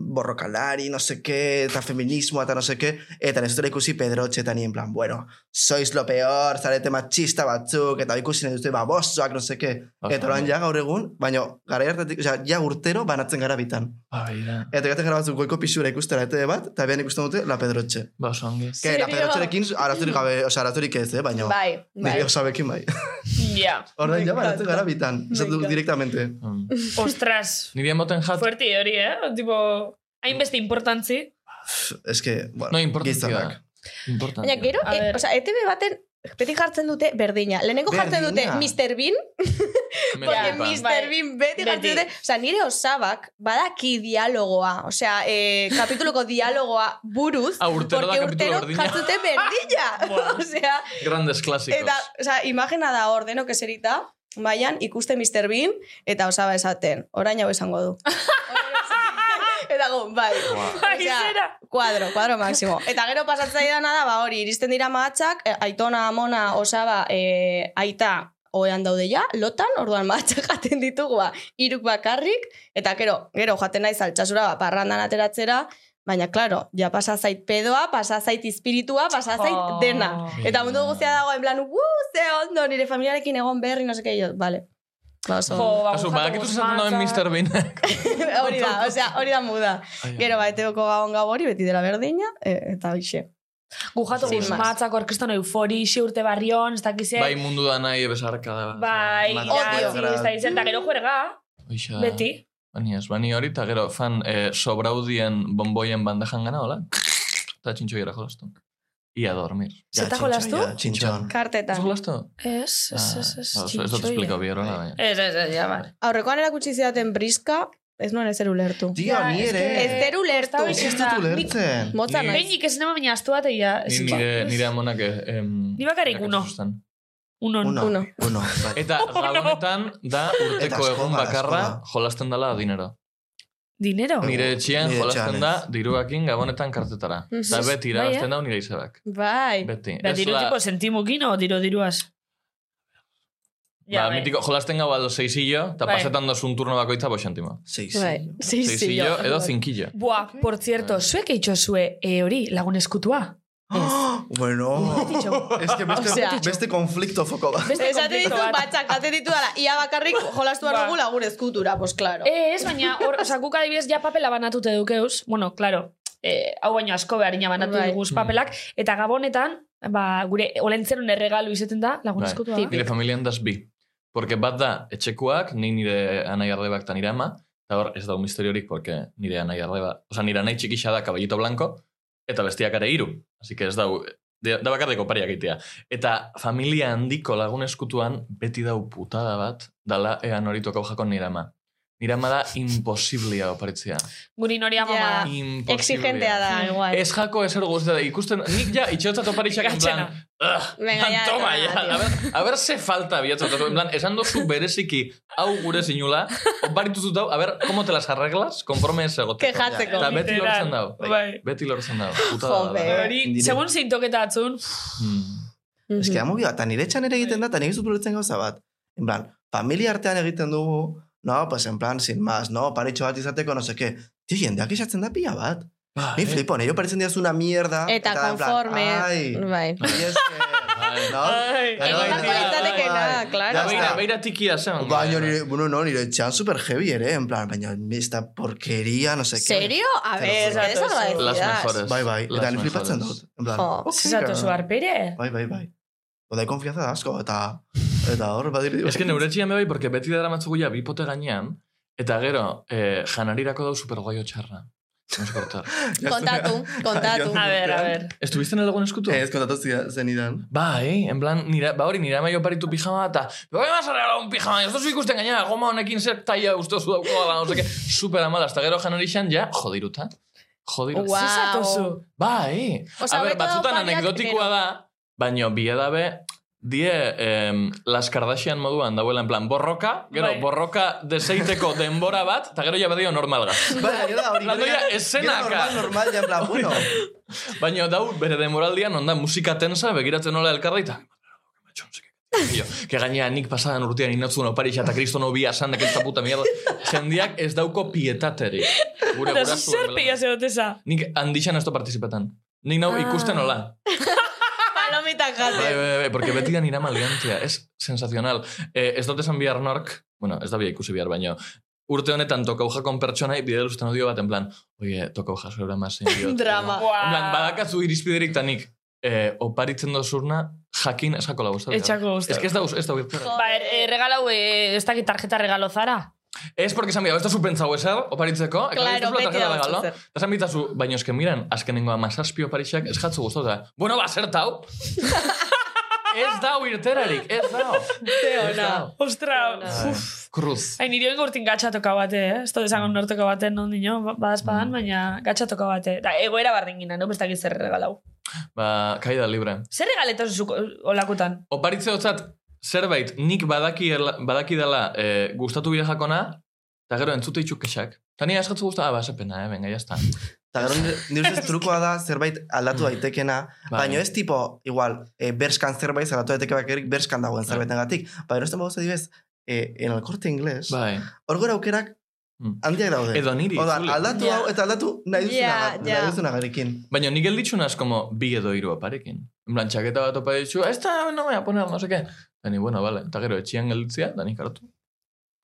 E: borrokalari, no sé qué, eta feminismo, eta no sé qué, eta nesutura ikusi pedrotxe, eta nien plan, bueno, sois lo peor, zarete machista batzuk, eta ikusi nahi duzte, ba, bosoak, no sé qué.
F: Ojo.
E: Eta orain ja gaur egun, baino, gara hartatik, o sea, ja urtero banatzen gara bitan.
F: Ba, beira.
E: Eta gaten gara batzuk goiko pisura ikustera ete bat, eta behan ikusten dute La Pedrotxe.
F: Ba, oso ongi.
E: Que La
D: Serio?
E: Pedrotxerekin arazurik gabe, osea, arazurik ez, eh, baina
D: Bai, bai.
E: nire osabekin bai.
C: Ja.
E: Horren ja banatzen gara bitan, esatu direktamente.
F: Mm.
C: Ostras,
F: Niri emoten jat...
C: fuerte hori, eh? Tipo, hainbeste importantzi.
E: Ez que, bueno,
F: No, importantzia da.
E: gizonak.
D: Baina
F: Importantzia.
D: gero,
C: A
D: e,
C: ver.
D: oza, ETV baten beti jartzen dute berdina. Lehenengo jartzen dute
E: Berdina.
D: Mr. Bean,
F: Me
D: porque
F: flipa.
D: Mr.
C: Bai.
D: Bean beti
C: Beti.
D: jartzen dute. Oza, nire osabak badaki dialogoa, osea, e, kapituluko dialogoa buruz,
F: Ah, urtero da
D: porque
F: kapitulu
D: urtero
F: berdina.
D: jartzen dute berdina. osea,
F: Grandes clásicos.
D: eta, osea, imagina da hor denok eserita, baian ikuste Mr. Bean, eta osaba esaten, orain hau esango du. eta go, bai.
F: Wow.
C: Ai,
D: Osea,
C: zera.
D: Kuadro, kuadro maksimo. Eta gero pasatzea da, ba hori, iristen dira mahatxak, eh, aitona, amona, osaba, eh, aita, oean daude ja, lotan, orduan matxa jaten ditugu, ba, iruk bakarrik, eta gero, gero jaten naiz altxasura, ba, parrandan ateratzera, baina, klaro, ja pasa zait pedoa, pasa zait espiritua, pasa zait
C: Oh.
D: dena. Eta mundu guztia dago, en plan, "Wu, ze ondo, nire familiarekin egon berri, no seke, jo, vale. Ba, oso-
C: Jo, ba,
F: Kasu,
C: gustatu
F: badakitu zaten noen
C: guztatzen.
F: Mr. Beanek.
D: hori da, osea, hori da muda.
F: Ai, ai.
D: Gero, ba, eteoko gabon gau hori, beti dela berdina, e, eta hoxe.
C: Gujatu
D: Sin más.
C: guzmatzako, orkeston eufori, xe urte barrion, ez dakizek.
F: Bai mundu da nahi ebesarka da.
D: Ba,
C: Bai,
E: Mat-
C: idatzi,
E: Odio.
C: ez da izen, da gero juerga,
F: Hoixa da.
C: beti.
F: Bani ez, bani hori, eta gero fan eh, sobraudien bomboien bandajan gana, hola? Eta txintxo gira jolastu. Ia dormir.
C: Zetako lastu?
E: Txintxon.
F: Ez
D: Kartetan.
F: jolastu?
C: Ez, ez, ez, ez,
F: Ah, Ez dut esplikau biero, baina.
C: Ez, ez, ez, ja, bai.
D: Aurrekoan erakutsi zidaten briska, ez nuen ezer ulertu.
E: Tio,
C: Ja,
E: ni
C: ez
E: ere.
C: que-
D: Ez zer ulertu.
C: Ez
E: Ez
C: da-
E: dut ulertzen.
D: Motza
F: Ni-
D: naiz.
C: Behinik ez nema baina astu bat egia.
F: Ni nire, nire amonak... Eh,
C: Ni bakarrik uno. Unon.
E: Uno.
D: Uno.
E: Uno. bai.
F: Eta gabonetan da
E: Eta
F: urteko
E: askola,
F: egun bakarra
E: askola.
F: jolasten dela dinero.
C: Dinero.
F: Nire etxean
E: Nire
F: jolasten
E: etxean
F: da
E: ez.
F: diruakin gabonetan kartetara.
D: Mhm.
F: Eta beti
C: Bai,
F: irabazten da nire izabak.
D: Bai.
F: Beti.
C: Da,
F: Ez
C: diru
F: da-
C: Ba, tipo sentimukin o diru diruaz?
F: Ba, mitiko, jolasten gau aldo seizillo, eta
C: Bai.
F: pasetan dozun turno bakoitza boxentimo.
E: Seiz.
D: Bai. Sí, sí,
F: Seizillo edo zinkillo.
C: Buah, por cierto, zuek eitxosue e hori lagun eskutua.
E: Ah, Bueno. Ez que beste,
D: O sea-
E: beste konflikto foko bat.
C: Beste
D: Esate
C: konflikto bat.
D: ditu batzak, ate ditu dala, ia bakarrik jolastu
C: Ba.
D: behar dugu lagun eskutura, pues claro.
C: Eh, Ez, baina, hor, oza, guk adibidez, ja papela banatute dukeuz. Bueno, claro, eh, hau baino asko beharina banatu
D: Bai.
C: duguz
F: Mm.
C: papelak. Eta gabonetan, ba, gure olentzeron erregalu izeten da, lagun
F: Bai.
C: eskutua.
F: Nire familian daz bi. Porque bat da, etxekoak, ni nire anai arrebak eta nire ama, eta hor ez da un misteriorik, porque nire anai arreba, oza, nire anai txikixa da kabellito blanco, eta bestiak ere hiru. Así que ez da, da, da bakarreko pariak egitea. Eta familia handiko lagun eskutuan beti dau putada bat, dala ean hori tokau jakon nire ama. Nire ama da imposiblia oparitzea.
C: Guri nori ama
D: Ja.
C: bada.
F: Imposiblia.
D: Exigentea da, igual.
F: Ez jako ezer guztia da, ikusten, nik ja itxotza toparixak en plan,
C: Gatxena.
F: "Ugh,
D: Venga, ya,
F: toma,
D: toma,
F: ya,
D: tío."
F: a ver, a ver se falta biotza. En plan, esan dozu bereziki hau gure zinula, barituzut dau, a ver, como te las arreglas, konforme ez egoteko.
D: Kejatzeko.
F: Eta beti
C: Literal.
F: lortzen dau.
C: Bai.
F: Beti lortzen dau. Puta da.
D: Joder.
F: da.
C: Hori,
E: Nire-
C: segun zintoketa atzun.
F: Hmm.
D: Mhm.
E: Ez que amobi bat, eta nire etxan ere egiten da, eta nire zuturetzen gauza bat. En plan, familia artean egiten dugu, no, pues en plan, sin más, no, paritxo bat izateko, no seke. Tio, jendeak esatzen da pila bat. Ni flipo, nire paretzen diaz una mierda.
D: Eta
E: da en plan,
D: konforme.
E: Ai,
D: Bai.
E: y es que, no?
F: Ah,
C: Ai,
E: Claro,
F: ai,
E: ya
F: beharko
E: está.
D: litzatekeena, claro.
E: Ya
F: Da, beira,
E: está.
F: beira tikia zen.
E: Baina nire, bueno, no, nire etxan super heavy ere, en plan, baina esta porqueria, no sé qué.
D: Serio? A
E: Te lo
D: ver, ez
E: juro.
D: agradecidas.
F: Las mejores.
E: Bai, bai,
F: Las
E: eta ni
F: mejores.
E: flipatzen dut. En plan,
D: Jo,
E: ok,
C: Zizatu
E: girl.
C: zu arpere.
E: Bai, bai, bai. Oda, konfianza da eh, asko, eta, eta hor, badiri.
F: Ez que neure txian bebai, porque beti dara matzugu ja bipote gainean, eta gero, eh, janarirako dau supergoio txarra. Vamos a cortar.
D: Kontatu, kontatu.
C: A ver, a ver.
F: ¿Estuviste en el algún escuto?
E: Ez, kontatu zida- zenidan.
F: Bai, en plan, nira, ba hori, nire ama oparitu pijama eta Bai, mas arregla un pijama, ez duzu ikusten gainera, goma honekin zer taia uste zu dauko da, no seke, super amala, hasta gero jan hori xan, ja, jodiruta. Jodiruta.
D: Guau.
C: Zizatu zu.
F: Bai.
D: Osea,
F: a ber,
D: hobeto dau
F: batzutan
D: pariak
F: anekdotikoa
D: gero.
F: da, baino bie dabe, die em, Las Kardashian moduan dauela en plan borroka, gero
C: Bai.
F: borroka deseiteko denbora bat, eta gero ja bedio normalga.
E: Baina, gero da hori.
F: Landu
E: gero
F: ja
E: ja-
F: eszenaka.
E: gero Normal, normal, ja, en plan, bueno.
F: Baina dau, bere demoraldian, onda musika tensa, begiratzen nola elkarra, eta... Jo, que gainea nik pasadan urtean inatzun oparixa eta kristo no bia san esta puta mierda. Jendiak ez dauko pietateri. Gure
C: Eta zu zer
F: gurasuen
C: pila
F: belan.
C: zeoteza.
F: Nik handixan ez participetan. Nik nau ikusten hola.
D: Palomitak
F: Bai,
D: jate.
F: bai, bai, porque beti da nira maleantzia. Ez sensazional. Eh, ez dut esan bihar nork, bueno, ez da bia ikusi bihar, baino, urte honetan tokau jakon pertsonai bide usten odio bat, en plan, oie, tokau jaso eramazen diot.
D: Drama.
C: Buah.
F: En plan,
D: Ah.
F: badakatzu irizpiderik tanik, eh, oparitzen dozurna, jakin esako lagu.
C: Etxako guztu.
F: Ez que ez da, ez da uirtera.
C: Ba, er, er, regalau, eh, ez dakit tarjeta regalo zara.
F: Ez porque esan bida, ez da zu pentsau ezer, oparitzeko,
D: Claro, beti da
F: galo,
D: batzuzer.
F: eta esan bitazu, baina esken miran, azkenengo amazazpio parixak, ez jatzu guztu, da, bueno, ba, zertau! ez da uirterarik, ez da. Ez da.
C: Ostra,
D: Ona.
C: uf.
F: Cruz.
C: Hain nire oingo urtin gatxa toka bate, eh? Ez dut esango norteko baten non dino, badazpadan, baina gatxa toka bate. Da, egoera bardin gina, no? Bestak zer regalau.
F: Ba, kaida libre.
C: Zer regaleto zuzuko olakutan?
F: Oparitze hotzat, zerbait, nik badaki, badaki dela eh, gustatu bide jakona, eta gero entzute itxuk kexak. Eta nire askatzu guztu, ah, basepena, eh, venga, jazta.
E: Eta gero nire- nire ustez trukoa da zerbait aldatu daitekena,
F: Bai.
E: baina ez tipo, igual, e, berskan zerbait aldatu daiteke bakarrik berskan dagoen
F: Bai.
E: zerbaitengatik. Baina erosten bagoz adibidez, e, en el corte inglés,
F: Bai.
E: hor gora aukerak
F: Mm.
E: handiak daude.
F: Edo niri.
E: Oda,
F: itzuli.
E: aldatu
D: Ja.
E: hau eta aldatu nahi
D: Ja,
E: duzuna, yeah,
D: ja.
E: nahi duzuna garekin.
F: Baina nik elditzun como bi edo hiru aparekin. En plan, txaketa bat opa ditzu, esta no me voy a poner, no sé qué. Eta ni, bueno, vale. Eta gero, etxian gelditzea, da nik hartu.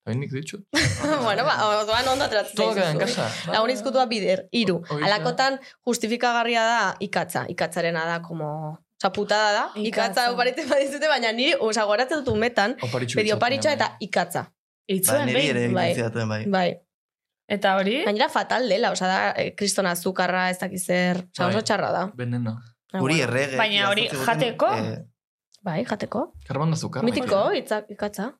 F: Eta nik ditxu.
D: bueno, ba, orduan ondo
F: Todo queda en
D: atratzen
F: casa.
E: Bai.
D: Lagun izkutua bider, iru.
F: O- hori da.
D: Alakotan justifikagarria da ikatza. Ikatzarena da, como... Osa, putada da.
C: Ikatza.
D: Ikatza oparitzen badizute, baina niri, osa, goratzen dut umetan,
F: Oparitxu. bai.
D: bedi oparitza eta ikatza.
E: bai. Ba,
C: Itzuen,
E: niri ere
C: behin.
D: bai.
E: egiten zidaten bai.
D: Bai.
C: Eta hori,
D: Gainera fatal dela, osa da, eh, kriston azukarra, ez dakizer, osa,
F: Bai.
D: oso txarra da.
F: Veneno.
D: Ah,
E: Guri
D: bueno.
E: errege.
C: Baina
E: idazten
C: hori
E: ziguten,
C: jateko?
E: eh,
D: Bai, jateko.
F: Karban da
E: Bai.
F: azukar.
D: Mitiko, itzak, ikatza.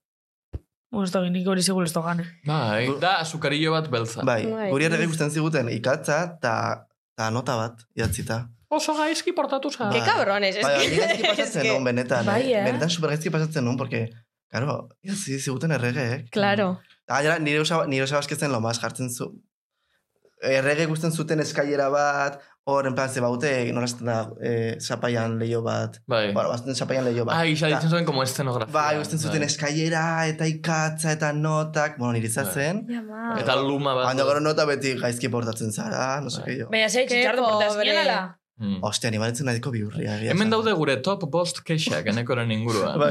C: Usto, nik hori seguro esto gane.
F: Bai, da azukarillo bat beltza.
E: bai,
D: Bai.
E: guri errege ikusten ziguten ikatza eta nota bat, idatzita.
F: Oso gaizki portatu za.
D: Ke
E: Bai.
D: cabrones, es
E: Bai, bai, nik
D: que...
E: gaizki
D: es
E: pasatzen
D: que-
E: nun, benetan.
C: Bai, eh?
E: eh? Benetan supergaizki pasatzen nun, porque, claro, idatzi ziguten erregeek.
D: Claro.
E: Eta gainera, Ah, nire usa, nire usa basketzen lo más jartzen zu. Eh, Errege gusten zuten eskailera bat, hor, en plan, ze baute, nola esaten da, eh, zapaian leio bat.
F: Bai.
E: Bueno, bazten zapaian leio bat.
F: Ah, isa
E: Ta-
F: ditzen zuen como escenografia.
E: Bai, gusten zuten eskailera, eta ikatza, eta notak, bueno, nire
F: Bai.
E: zen.
D: Llama.
F: Eta luma bat.
E: Baina gero nota beti gaizki portatzen zara, no
F: Bai.
E: seke jo.
C: Baina zei,
D: Ke
C: txarro portaz
D: pobre.
C: nienala.
F: Mm.
E: Ostia, ni baletzen nahiko bihurria.
F: Bai.
E: egia
F: Hemen
E: esan.
F: daude gure top bost kexak, enekoren ingurua.
E: Bai.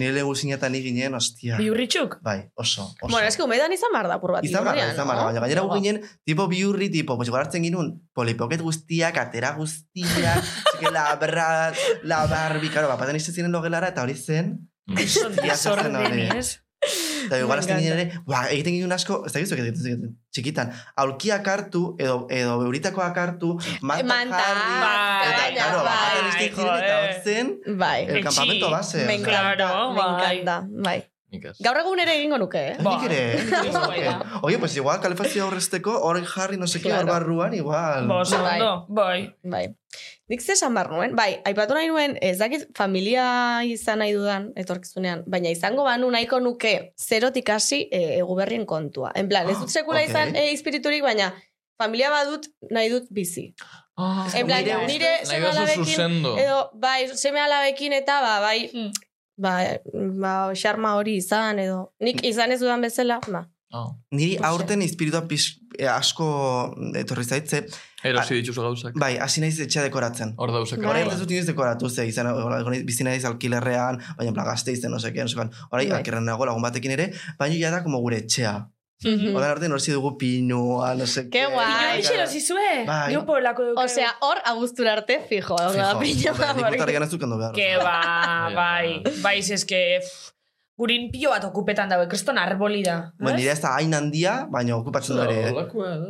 E: Nire lehen guzinetan iginen, ostia.
C: Biurritxuk.
E: Bai, oso, oso.
D: Bueno, es que umedan izan bar da, pur bat.
E: Izan barra,
D: iurrian,
E: izan
D: no?
E: barra, baina gainera
D: Ba.
E: ginen, tipo biurri, tipo, pues igual hartzen ginun, polipoket guztiak, atera guztiak, txeke labra, la barbi, karo, bapaten izan ziren logelara, eta hori zen,
F: Mm.
C: Son
E: Ja, zuzen hori.
C: desordenes.
E: eta igual
D: Me
E: hartzen ginen
D: encanta.
E: ere, ba, egiten ginen asko, ez da gizuak egiten zuten, txikitan, aulkiak hartu, edo, edo beuritakoak hartu, mantak
D: Mantak,
E: jarri, eta,
C: baina,
E: karo, bapaten
C: bai,
E: izan ziren, eta hor
C: joder.
E: zen,
D: Bai.
E: el
C: Etxi,
E: kampamento base,
D: Me
E: osea,
D: encanta,
C: Claro,
D: me
C: bai.
D: encanta, bai.
F: Nik ez.
D: Gaur egun ere egingo nuke, eh?
E: Nik ere.
C: Bai. Bai da.
E: Oye, pues igual kalefazio aurrezteko, hor jarri, no seki, hor
D: Claro.
E: barruan, igual.
C: Ba, oso
D: Bai.
C: ondo, bai.
D: Bai. Nik ze esan behar nuen, bai, aipatu nahi nuen, ez dakit familia izan nahi dudan, etorkizunean, baina izango banu nahiko nuke zerotik hasi e, eguberrien kontua. En plan, ez dut sekula
E: Ah, ok.
D: izan e, espiriturik, baina familia badut, nahi dut bizi.
F: Ah,
D: En plan,
E: nire ustez-
D: nire
F: Nahi
D: seme
F: dozu
D: alabekin,
F: zuzendo.
D: edo, bai, seme alabekin eta, ba, bai,
C: Mm.
D: ba, ba, xarma hori izan, edo, nik
E: Hmm.
D: izan ez dudan bezala, ba.
F: Ah.
E: Niri
D: Horixe.
E: aurten espiritua pix, eh, asko etorri zaitze.
F: Erosi dituzu gauzak.
E: Bai, hasi naiz etxea dekoratzen.
F: Hor dauzak.
D: Bai.
E: Orain ez dut inoiz dekoratu, ze izan, egon naiz- bizi naiz alkilerrean, baina en plan gazte izen, no seke, no seke. Orain,
D: Bai.
E: alkerren nago lagun batekin ere, baina ja da como gure etxea.
C: Mhm.
D: Mm.
E: Orain arte norzi dugu pinua, no seke.
D: Ke guai.
C: Piño
D: Bai.
C: horixe erosizue.
E: Bai.
C: Yo polako duke.
D: O sea, hor agustura arte fijo, hor da pilo.
E: bai, Nik urtarrian ez dukendu behar.
C: Que ba,
F: Ja.
C: bai. Bai, ze eske... pff, Gurin pilo bat okupetan dago, kriston arboli da.
E: Ba,
C: Ez?
E: nire ez da hain handia, baina okupatzen du ere.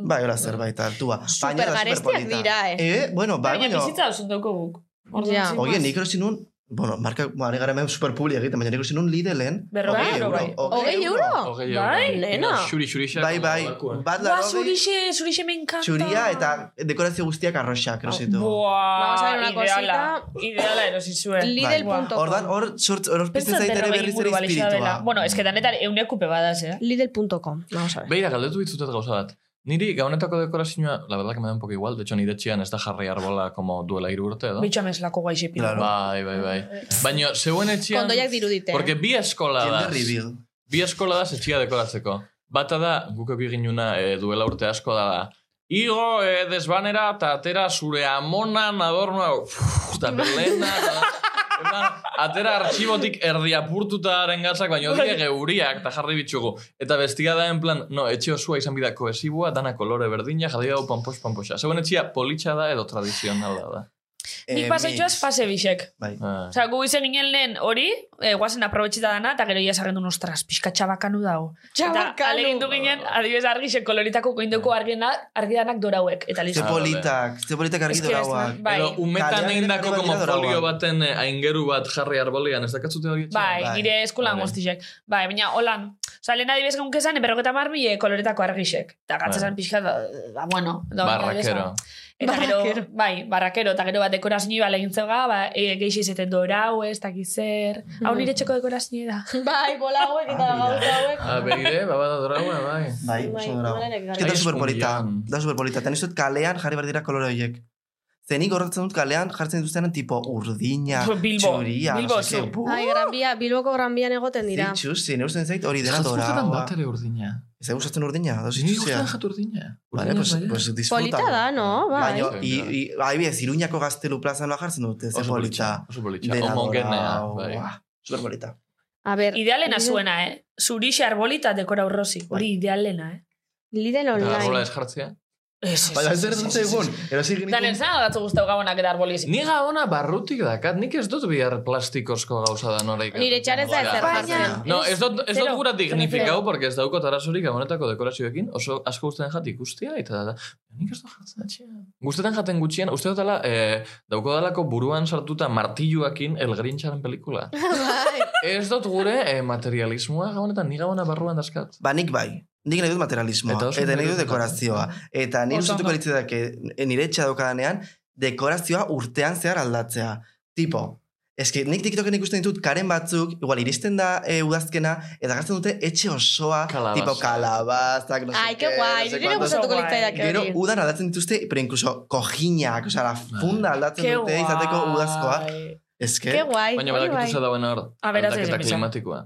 E: Bai, hola zerbait, hartua. Baina da
D: Supergarestiak
E: superpolita.
D: dira, eh.
E: Eh, bueno, bai,
C: Baina
E: baina...
C: bizitza oso dauko guk. Orduan,
D: Ja.
C: sin
E: Oie,
C: más.
E: nik erosi nun, bueno, marka, ari gara hemen superpubli egiten, baina nik erosi nun Lidlen.
C: Berrogei
E: hogei
C: euro, bai.
D: Hogei euro?
F: Ah, Hogei
C: Bai,
F: euro.
D: nena.
F: Xuri, xuri, xuri.
E: Bai, bai, bat
C: Buah,
E: laro
C: zurixe, zurixe me encanta. Ah,
E: txuria eta dekorazio guztiak arroxak erosi du.
C: Buah,
D: Vamos a ver una
C: ideala. Ideala erosizue.
D: Lidl.com.
E: Ordan hor sortz hor pizten
C: Pentsatzen
E: zait ere
C: berrogei
E: berriz
C: inguru
E: ere
C: balixa
E: espiritua.
C: dela. Bueno, ez que danetan eune kupe badaz, eh?
D: Lidl.com, vamos a ver.
F: Beira, galdetu ditzutet gauza bat. Niri gaunetako dekorazioa, la verdad que me da un poco igual, de hecho nire txian ez da jarri arbola como duela hiru urte, edo?
C: Bitxo ameslako guaixe pilo.
E: Claro.
F: Bai, bai, bai. Baina, zeuen etxean...
D: Kondoiak dirudite.
F: Porque bi eskola da.
E: Tinder reveal.
F: Bi eskola da etxia dekoratzeko. Bata da, guk egin ginuna e, duela urte asko da da. Igo e, desbanera eta atera zure amonan adornoa uf, eta pelena eta Eta atera arxibotik erdi apurtuta haren gatzak, baina hori geuriak eta jarri bitxugu. Eta bestia da, en plan, no, etxe osua izan bida koesibua, dana kolore berdina, jarri dago pampos pamposa. Zegoen etxia politxa da edo tradizionala da.
E: Eh,
C: Nik paseitxoaz
E: mix.
C: fase bisek.
E: Bai.
F: Ah.
C: Osa, gu izen ginen lehen hori, eh, guazen aprobetxita dana, eta gero ia sargendun, ostras, pixka txabakanu dago. Eta
D: Txabakanu.
C: alegin du ginen, adibes argixen koloritako goindoko argena, argidanak dorauek. Eta
E: Bai. Ze
C: listo.
F: Ah,
E: politak, ze politak argi
C: Ez que ez
E: dorauak.
C: da- Bai.
F: Edo umetan
E: Kalean
F: egindako
E: ere
F: como
E: badira
F: folio
E: drogan.
F: baten eh, aingeru bat jarri arbolian, ez dakatzute hori etxean?
C: Bai,
E: Bai.
C: nire eskulan
F: Bai.
C: guztizek. Bai, baina holan, oza, lehen adibes
E: Bai.
C: geunkezan, berroketa marmi eh, koloretako argixek. Eta gatzazan pixka, da, da, ba, bueno. Da, baina
F: Ba, Barrakero.
C: esan. Eta
D: Barrakero.
C: gero, bai, barrakero, eta gero bat dekorazio bala egin zeuga, ba, e, geixi izaten dorau, ez dakiz zer. Hau nire txeko dekorazio da.
D: Bai, bola hauek eta gauza hauek.
F: Ah, begire, babada dragoa, bai.
E: Bai,
D: Bai,
E: oso bravo.
D: normalenak gara.
E: Ez que da
F: Bai,
E: superpolita,
F: eskubidean.
E: da superpolita. Tenis dut kalean jarri behar dira kolore horiek. Zenik horretzen dut kalean jartzen dituztenen tipo urdina,
C: Bilbo,
E: txuria,
C: Bilbo
E: no sé
C: zu.
E: qué. Buh,
D: Ai, Gran Bia, Bilboko Gran Bian egoten dira.
E: Zitxusi, ne usten zait hori dena
F: Jatzuzetan
E: doraua.
F: bat ere urdina.
E: Ez da gustatzen urdina, da
F: Ni
E: zitxusia.
F: gustatzen jat urdina.
E: Vale, pues, pues disfruta.
D: Polita da, no? Bai.
E: Baina,
F: Bai.
E: i, i, adibidez, Iruñako gaztelu plazan jartzen dute, ze
F: Oso politxa.
E: polita.
F: Oso politxa.
E: Dena
F: Homogenea, bai.
E: doraua. Superpolita.
D: A ber,
C: Idealena zuena, eh? Zurixe arbolita dekora urrosi.
D: Bai.
C: Hori idealena, eh?
D: Lidl
F: Eta arbola
D: online.
F: ez jartzea.
C: Ez,
H: Baina ez dut egun, erasi
C: Dalen,
H: genituen...
C: zena gatzu guztau gabonak eta arboliz.
F: Ni gaona barrutik dakat, nik ez dut bihar plastikozko gauza da nora ikatzen.
D: Nire txar ez da ezer
C: Baina-
D: jartzen.
F: No, ez dut, ez dut
C: Zero.
F: gura dignifikau,
C: Zero.
F: porque ez dauko tarasorik gabonetako dekorazioekin, oso asko guztetan jat ikustia, eta da, nik ez dut jartzen atxean. Guztetan jaten gutxian, uste dut dela, eh, dauko dalako buruan sartuta martilluakin el Grincharen pelikula.
D: Bai.
F: ez dut gure eh, materialismoa gabonetan, ni gabona barruan daskat.
E: Ba, nik bai. Nik nahi dut materialismoa.
F: Eta
E: Eta,
F: oso
E: nahi dut
F: nahi dut
E: dekorazioa. Eta nire
C: Oso
E: ustetuko
C: ondo.
E: litzea nire etxe daukadanean, dekorazioa urtean zehar aldatzea. Tipo, eske nik TikToken ikusten ditut karen batzuk, igual iristen da e, udazkena, eta gartzen dute etxe osoa,
F: Kalabaza.
E: tipo kalabazak, no
D: Ai,
E: sé
D: que
E: qué,
D: guai,
E: no sé
D: nire
E: cuántos. uh,
D: gustatuko
C: Oso guai.
D: litzaidak
E: Gero
D: hori.
E: udan aldatzen dituzte, pero incluso kojinak, osea, la funda aldatzen
C: Ke
E: dute izateko
C: guai.
E: udazkoa.
D: Ke
E: Eske,
D: guai,
F: Baina
D: hori bai.
F: badakitu ze dagoen hor,
C: A ver, haces
F: aldaketa
C: emisa.
F: klimatikoa.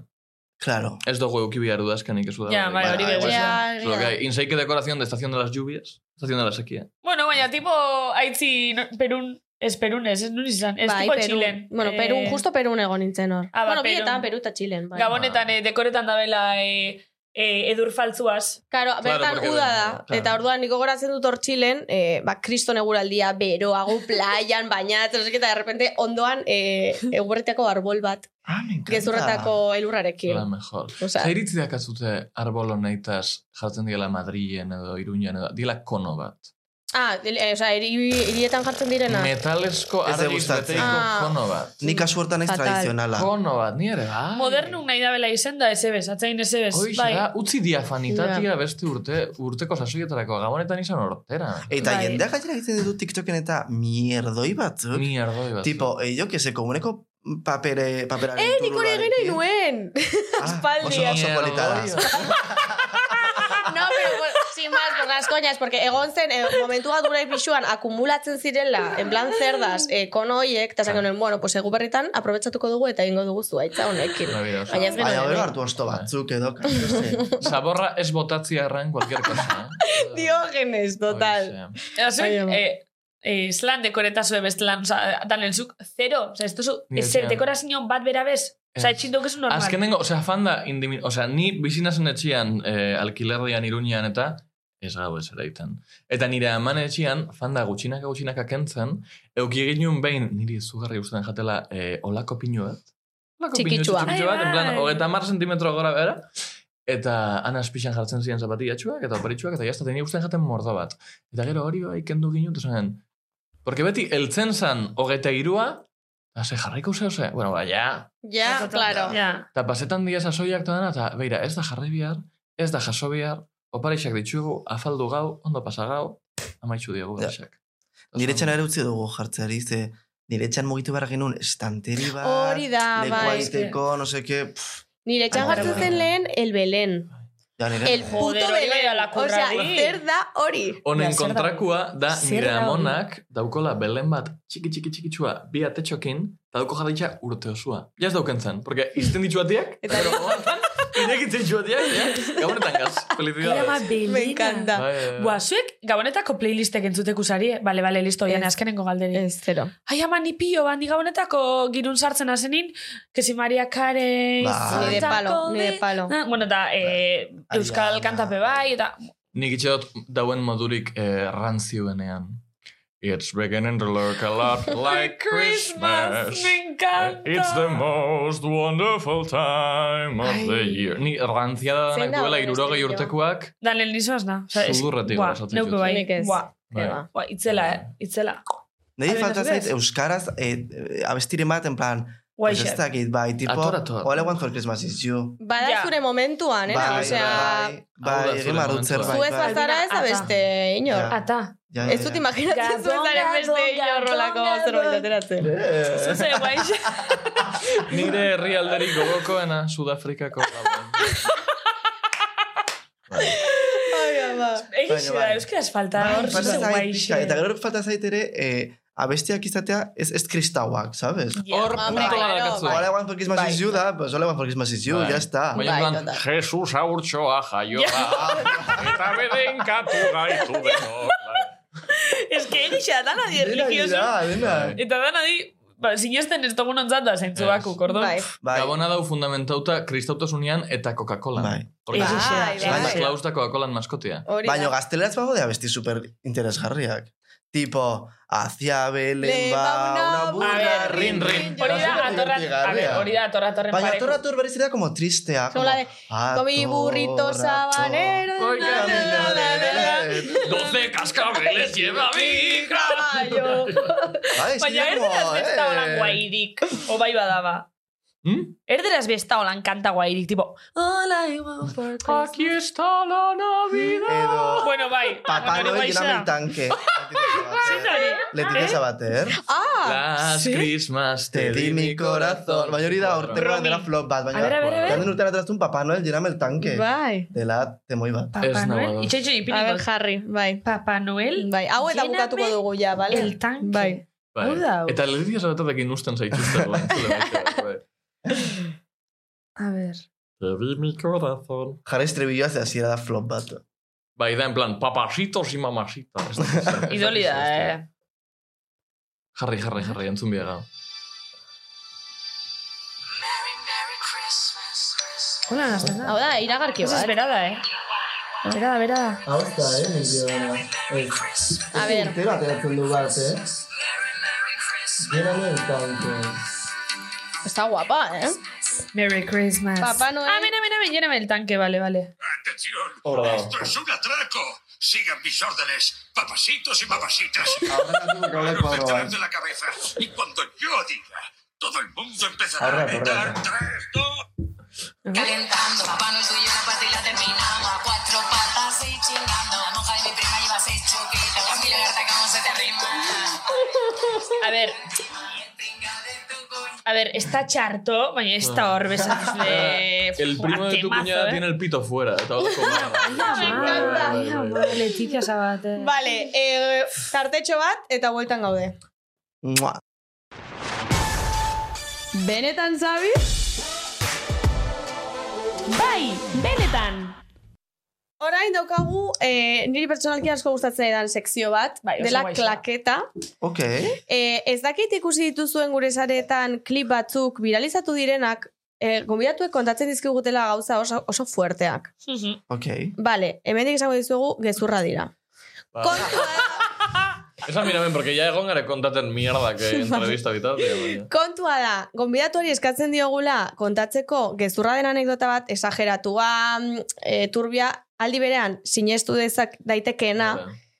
E: claro.
F: Ez dugu euki bihar udazkenik ez da.
C: Ja, bai, hori
E: Bai,
C: bego.
E: bai.
C: Ja.
D: Ja,
F: Lo que
D: ja.
F: hay, inseike decoración de estación de las lluvias, estación de la sequía.
C: Bueno, baina tipo haitzi no, Perun, ez Perun ez, ez nun izan, ez
D: Bai,
C: tipo
D: Perun.
C: Txilen.
D: Bueno,
C: Eh,
D: Perun, justo Perun egon nintzen hor.
C: Ah, ba,
D: Bueno,
C: Perun.
D: bietan, Peru eta Txilen. Bai.
C: Gabonetan, eh, dekoretan dabela eh, eh, edur faltzuaz.
D: Claro, bertan
F: porque-
D: uda da.
F: claro.
D: Eta orduan niko goratzen dut hor Txilen, eh, ba, kriston eguraldia, beroago, playan, bainatzen, no sé qué, eta de repente ondoan eh, egurretiako arbol bat,
E: Ah, me encanta.
D: gezurretako elurrarekin.
F: La mejor.
D: Osea-
F: Zer iritzi dakazute arbol honetaz jartzen diela Madrilen edo Iruñan edo, diela kono bat.
D: Ah, e, osea, eri, hirietan jartzen direna.
F: Metalesko
E: Ez de
F: argiz
E: gustatzen.
F: beteiko
D: Ah.
F: kono bat.
E: Nik kasu hortan ez
D: Fatal.
E: tradizionala.
F: Kono bat, ni ere, bai.
C: Modernuk nahi dabela izen da, ez ebes, atzain ez ebes.
F: Hoxe
C: Bai.
F: da, utzi diafanitatia beste urte, urteko sasoietarako gabonetan izan ortera.
E: Eta
C: Bai.
E: jendeak gainera egiten ditu TikToken eta mierdoi batzuk.
F: Mierdoi bat.
E: Tipo, eh, jo que se komuneko papere, paperaren Ah,
D: Eh, nik hori egin nahi nuen! aspaldi.
E: Oso, oso polita da.
D: no, pero bueno, sin más, por las coñas, porque egon zen, eh, momentu bat gure pixuan akumulatzen zirela, en plan cerdas, eh, kono hoiek, eta zango nuen, bueno, pues egu berritan, aprobetsatuko dugu eta egingo dugu zuaitza honekin.
F: Maravilloso.
D: Baina ez
E: Baina,
D: genuen.
E: bero
D: egin.
E: hartu osto batzuk edo, ka, no sé.
F: Zaborra ez botatzia erran cualquier cosa. eh?
D: Diógenes, total.
F: Hoxe.
C: Eta zuek,
D: Bai, bai.
C: eh, eh, zelan dekoretazue bestelan, oza, danen zuk, zero, oza, ez duzu,
F: Ni
C: ez zer
F: etxean.
C: dekorazio bat bera bez, oza,
F: Ez.
C: etxin dukezu normal.
F: Azkenengo, osea, fan da, indimi, osea, ni bizinazen etxean, eh, alkilerrian, iruñean eta, ez gau ez eraiten. Eta nire aman etxean, fan da, gutxinaka gutxinaka kentzen, euki egin nuen behin, niri zugarri guztetan jatela, eh, olako pinu bat. Olako pinu
D: Txikitua.
F: txikitxo bat,
C: Ai,
F: en plan,
C: bai.
F: hogeita mar sentimetro gora bera, eta ana azpixan jartzen ziren zapatillatxuak, eta oparitxuak, eta jazta, niri guztetan jaten mordo bat. Eta gero hori bai, kendu ginen, eta zen, porque beti, eltzen zan, hogeita irua, eta ze jarraiko zeo ze, bueno, ba, ja,
D: Ja, claro.
C: Ja.
F: Eta pasetan dira sasoiak eta dena, eta beira, ez da jarri bihar, ez da jaso bihar, oparixak ditugu, afaldu gau, ondo pasa gau, amaitxu diogu
E: Ja.
F: oparesak.
E: Nire etxan ere utzi dugu jartzeari, ze nire etxan mugitu behar genuen estanteri bat,
D: Hori da,
E: lekua
D: bai.
E: izteko, no seke, pff,
D: Nire etxan
E: Ai,
D: jartzen
E: bai.
D: zen lehen, el Belén.
E: ja nire...
D: El puto
C: Joder, hori bai
D: Belén.
C: ala
D: O sea,
C: kurrari.
D: zer da hori?
F: Honen
C: Ja, zer da-
F: kontrakua da
C: zer
F: nire
C: da hori?
F: amonak daukola belen bat txiki txiki txikitsua bi atetxokin eta dauko jarritxa urte osua. Ja ez dauken zen, porque izten dituatiak, eta gero gauetan, irekitzen dituatiak, ja, gabonetan gaz,
C: Irama
F: felicidades.
C: belina.
D: Me encanta.
F: Bai, bai, bai.
C: Bua, zuek gabonetako playlistek entzuteku zari, eh? Bale, bale, listo,
D: Ez.
C: jane, azkenengo galderi.
D: Ez, zero.
C: Ai, ama, ni pio, ba, ni gabonetako girun sartzen hasenin, que si Maria Carey,
F: Ba.
E: Bai.
C: Santa
D: Ni de palo,
C: Cole,
D: ni de palo.
C: na- Bueno, eta eh,
E: Bai.
C: Euskal
E: Ariana.
C: kantape bai, eta...
F: Nik itxe dut dauen modurik eh, ranzioenean. It's beginning to look a lot like Christmas.
C: me encanta!
F: It's the most wonderful time of the year. Ni ranziada
D: Zein
F: danak
D: da
F: duela
D: horren
F: irurogei
D: estilo?
F: urtekoak.
C: Daniel Nisoaz na. O sea, es-
F: Sudurretik
C: Buah,
F: pasatzen
C: neuke
F: ditut.
C: bai.
D: Nik ez.
C: Buah,
F: Bai.
D: Eba.
C: buah, itzela, eh? Itzela.
E: Nire
C: Adibidez,
E: falta zait
C: adibidez.
E: euskaraz eh, abestiren bat, en plan, pues
C: Guaixe.
E: ez dakit, bai, tipo,
F: Ator, ator.
E: All I Want for Christmas is you.
D: Bada
C: Ja.
D: zure momentuan, eh?
E: Bai,
D: Osea,
E: bai,
F: Hau da
E: bai, egin
F: zure
E: behar dut
F: momentua.
E: zerbait,
D: zu ez
E: bai.
D: bazara ez da
C: Albina,
D: beste inor.
E: Ja.
C: Ata.
E: Ja,
D: Ez dut imaginatzen
C: Gadonga,
D: zuen zaren beste
C: gadonga,
D: hilorrolako
C: gadonga.
D: zerbait ateratzen.
C: Zuze, guai.
F: Nire herri alderik gogokoena Sudafrikako gabon.
D: Ai, ama.
C: Egixe
E: Baina,
C: da,
E: bai.
C: euskaraz falta.
E: Bai,
C: Hor,
E: falta
C: zuze,
E: zait
C: guai.
E: pixka. Eta gero falta zait ere, eh, abestiak izatea ez, ez kristauak, sabes?
F: Hor
D: Ah,
F: punto
D: bai,
F: bat
D: claro,
F: dakatzu.
D: bai.
E: Hola, One for Christmas
D: Bai.
E: is you da, pues hola, One for Christmas is you,
F: Bai.
E: ya está.
F: Baina
D: Bai,
F: plan,
D: total.
F: Jesus aurtsoa jaio da, eta beden katu gaitu beno.
C: Ez que egixe da, dana di
E: Dena
C: religioso.
E: dira, dena.
C: Eta dana di, ba, sinesten ez dugun ontzat da, zentzu
F: Ez.
C: baku, kordon.
D: Bai.
E: Bai,
F: Gabona dau fundamentauta kristautasunean eta Coca-Cola.
E: Bai.
F: Porque
D: Bai,
F: Jesus
D: bai,
F: Santa
D: bai.
F: Claus da Coca-Colan maskotia.
D: Hori
E: baina
D: da.
E: gazteleraz bago de abesti super interesgarriak. Tipo, hacia Belén
D: Lehen
E: va una
C: A
E: burra,
C: ver,
E: rin, rin.
F: rin.
C: Hori da,
E: Oso
C: atorra, a ver,
E: dibertigarria.
C: hori da, atorra torren
E: Baina
C: pareko.
E: eh. torra tur berriz dira como tristea.
D: Son
E: Como,
D: la de, Comi burrito sabanero.
F: Oye,
D: na, na, na, na, na, na.
F: Doce cascabeles lleva mi
D: Caballo.
C: Baina erderaz
E: eh,
C: besta holan guairik. O bai badaba.
F: ¿Mm?
C: Erderaz besta holan kanta guairik, tipo... All I want for Christmas.
F: Aquí está la Navidad.
E: Edo,
C: Bueno, pues bai.
E: Papá
C: hori
E: Noel
C: guaixa.
E: llename el tanque. Letitia Sabater.
D: Ah,
F: Las Christmas
E: Te di mi corazón. Baina hori da urtekoa
C: Romy.
E: dela flop bat. Baina,
C: A ver, a ver, a ver.
E: Ganden urtera atrastu un Papá Noel llename el tanque.
D: bai.
E: Dela temoi bat.
F: Ez
C: Papá
F: nago
C: Noel.
F: ados.
C: Itxaitxo
D: A ver,
C: ipiniko.
D: Harry, bai.
C: Papá Noel.
D: Bai, hau eta
C: Lléname
D: bukatuko dugu ja, bale?
C: el tanque.
D: Bai.
F: Bai.
C: Hau da, hau.
F: Eta Letitia Sabaterrekin usten zaituzte. bai, entzule baita, bai.
C: A ver.
F: Te di mi corazón.
E: Jarri estribilloa ze hasiera da flop bat.
F: Bai, da en plan, papasitos y mamasitas. Ez dakit zer, ez
C: Idoli
F: dakit zer, ez
C: da,
F: dakit.
C: eh.
F: Jarri, jarri, jarri, entzun biega.
C: Hola, nazten da.
D: Hau da, iragarki
C: Ez
D: bat.
C: esperada, eh. Berada, berada.
E: Hau ez da, eh, nire
D: A ver.
E: Urtero ateratzen du bat, eh? Llename el tanque.
D: Está guapa, eh?
C: Merry Christmas.
D: Papá Noel.
C: Amen, amen, amen, lléname el tanque, vale, vale.
H: ¡Atención!
F: Hor dago.
H: ¡Esto es un atraco! ¡Sigan mis órdenes, papacitos y mamacitas!
E: Ahora tengo que hablar
H: Manos
E: cuadro,
H: detrás
E: eh.
H: de la cabeza! Y cuando yo diga, todo el mundo empezará
E: Ahora,
H: a gritar
E: ahora.
H: tres, dos...
I: Calentando, papá no soy una pata y la terminamos. A cuatro patas y chingando. La monja de mi prima lleva seis choquitos. La mi lagarta como se te arrima.
C: A ver. A ver, está charto, baina ez da hor besatuz de...
F: El primo de tu cuñada tiene el pito fuera. eh, Eta hor
D: Ah,
C: Ah,
D: Me encanta.
C: Letizia
D: Ah.
C: Sabater.
D: Vale, eh, tartetxo bat eta bueltan gaude.
E: Mua.
D: Benetan, Zabi?
A: Bai, benetan.
D: Orain daukagu, eh, niri pertsonalki asko gustatzen edan sekzio bat,
C: Bai, oso
D: dela
C: guaxa.
D: klaketa.
E: Ok.
D: Eh, ez dakit ikusi dituzuen gure saretan klip batzuk viralizatu direnak, eh, gombidatuek kontatzen dizkigutela gauza oso, oso fuerteak.
E: Ok.
D: Vale, hemendik esango dizuegu gezurra dira. Kontua,
F: Esa miramen, porque ya egon gara kontaten mierda que entrevista vital.
D: kontua da, gombidatuari eskatzen diogula kontatzeko gezurra den anekdota bat esageratua, e, turbia, aldi berean sinestu dezak daitekeena,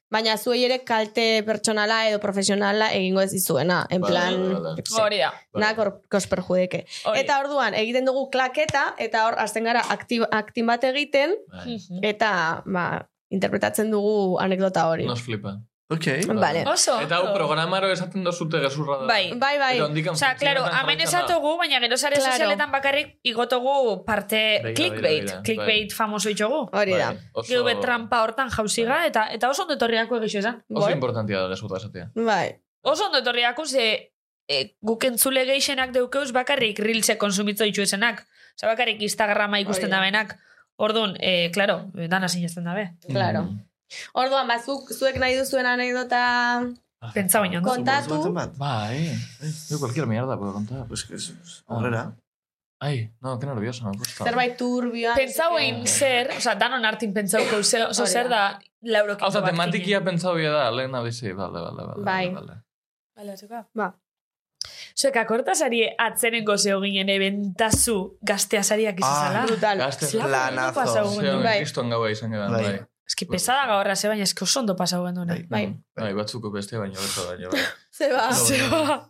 D: baina zuei ere kalte pertsonala edo profesionala egingo ez dizuena, en
F: Vale,
D: plan,
F: vale,
D: jo
F: vale.
D: que sé,
C: Hori da.
F: Vale.
D: na kor- kosperjudeke.
C: Hori.
D: Eta orduan, egiten dugu klaketa, eta hor, hasten gara akti- aktin bat egiten,
C: Mhm.
D: eta, ba, interpretatzen dugu anekdota hori.
F: Nos flipa.
E: Ok.
D: Vale.
C: Oso.
F: Eta hau
C: ondo.
F: programaro esaten dozute gezurra da.
C: Bai.
D: Bai, bai.
F: Eta ondikan
C: Osa, claro,
F: funtzionetan
C: amen
F: jarraitzen da.
C: esatogu, baina gero sare
D: Claro.
C: sozialetan bakarrik igotogu parte
F: Begira,
C: clickbait.
F: begira, begira.
C: Clickbait famoso itxogu.
D: Hori da.
F: Bai, oso-
C: Geu be trampa hortan jauziga, eta eta oso ondo etorriako egixo esan.
F: Oso
D: eh?
F: importantia da gezurra esatea.
D: Bai.
C: Oso ondo etorriako ze e, guk entzule geixenak deukeuz bakarrik rilse konsumitzo ditu esenak. Osa, bakarrik Instagrama ikusten
D: Hori da.
C: da benak. Orduan, e, claro, dana sinesten dabe.
D: Claro.
F: Mm.
D: Orduan, bazuk, zuek nahi duzuen anekdota
E: Ah.
C: Pentsa baino. ondo.
D: kontatu.
F: Bai. Yo cualquier mierda puedo contar.
E: Pues que es...
F: Ah,
E: Horrera.
F: Ay, no, qué nerviosa, me gusta.
D: Zerbait turbioa.
C: Pentsau egin zer, oza, danon artin pentsauko ze- oso
D: Hori
C: zer da lauro
F: Ah,
C: kinto
F: o sea,
C: bat
F: tematikia pentsau bia da, lehen abizi, vale, vale, vale.
D: Bai.
F: vale.
D: Ba.
C: Zuek akortasari atzenengo zeo ginen ebentazu gaztea sariak izizala.
E: Ah,
D: Brutal.
F: Gazte
E: Planazo.
F: Zeon,
D: Bai.
F: kriston gaua izan gara,
E: Bai.
F: bai.
C: Eski pesada gaurra ze baina eski oso ondo pasau gendu
E: Bai.
D: Bai. ba,
F: Bai, batzuk beste baino, beste baino. bai.
D: Zeba.
F: Bai.
C: Zeba.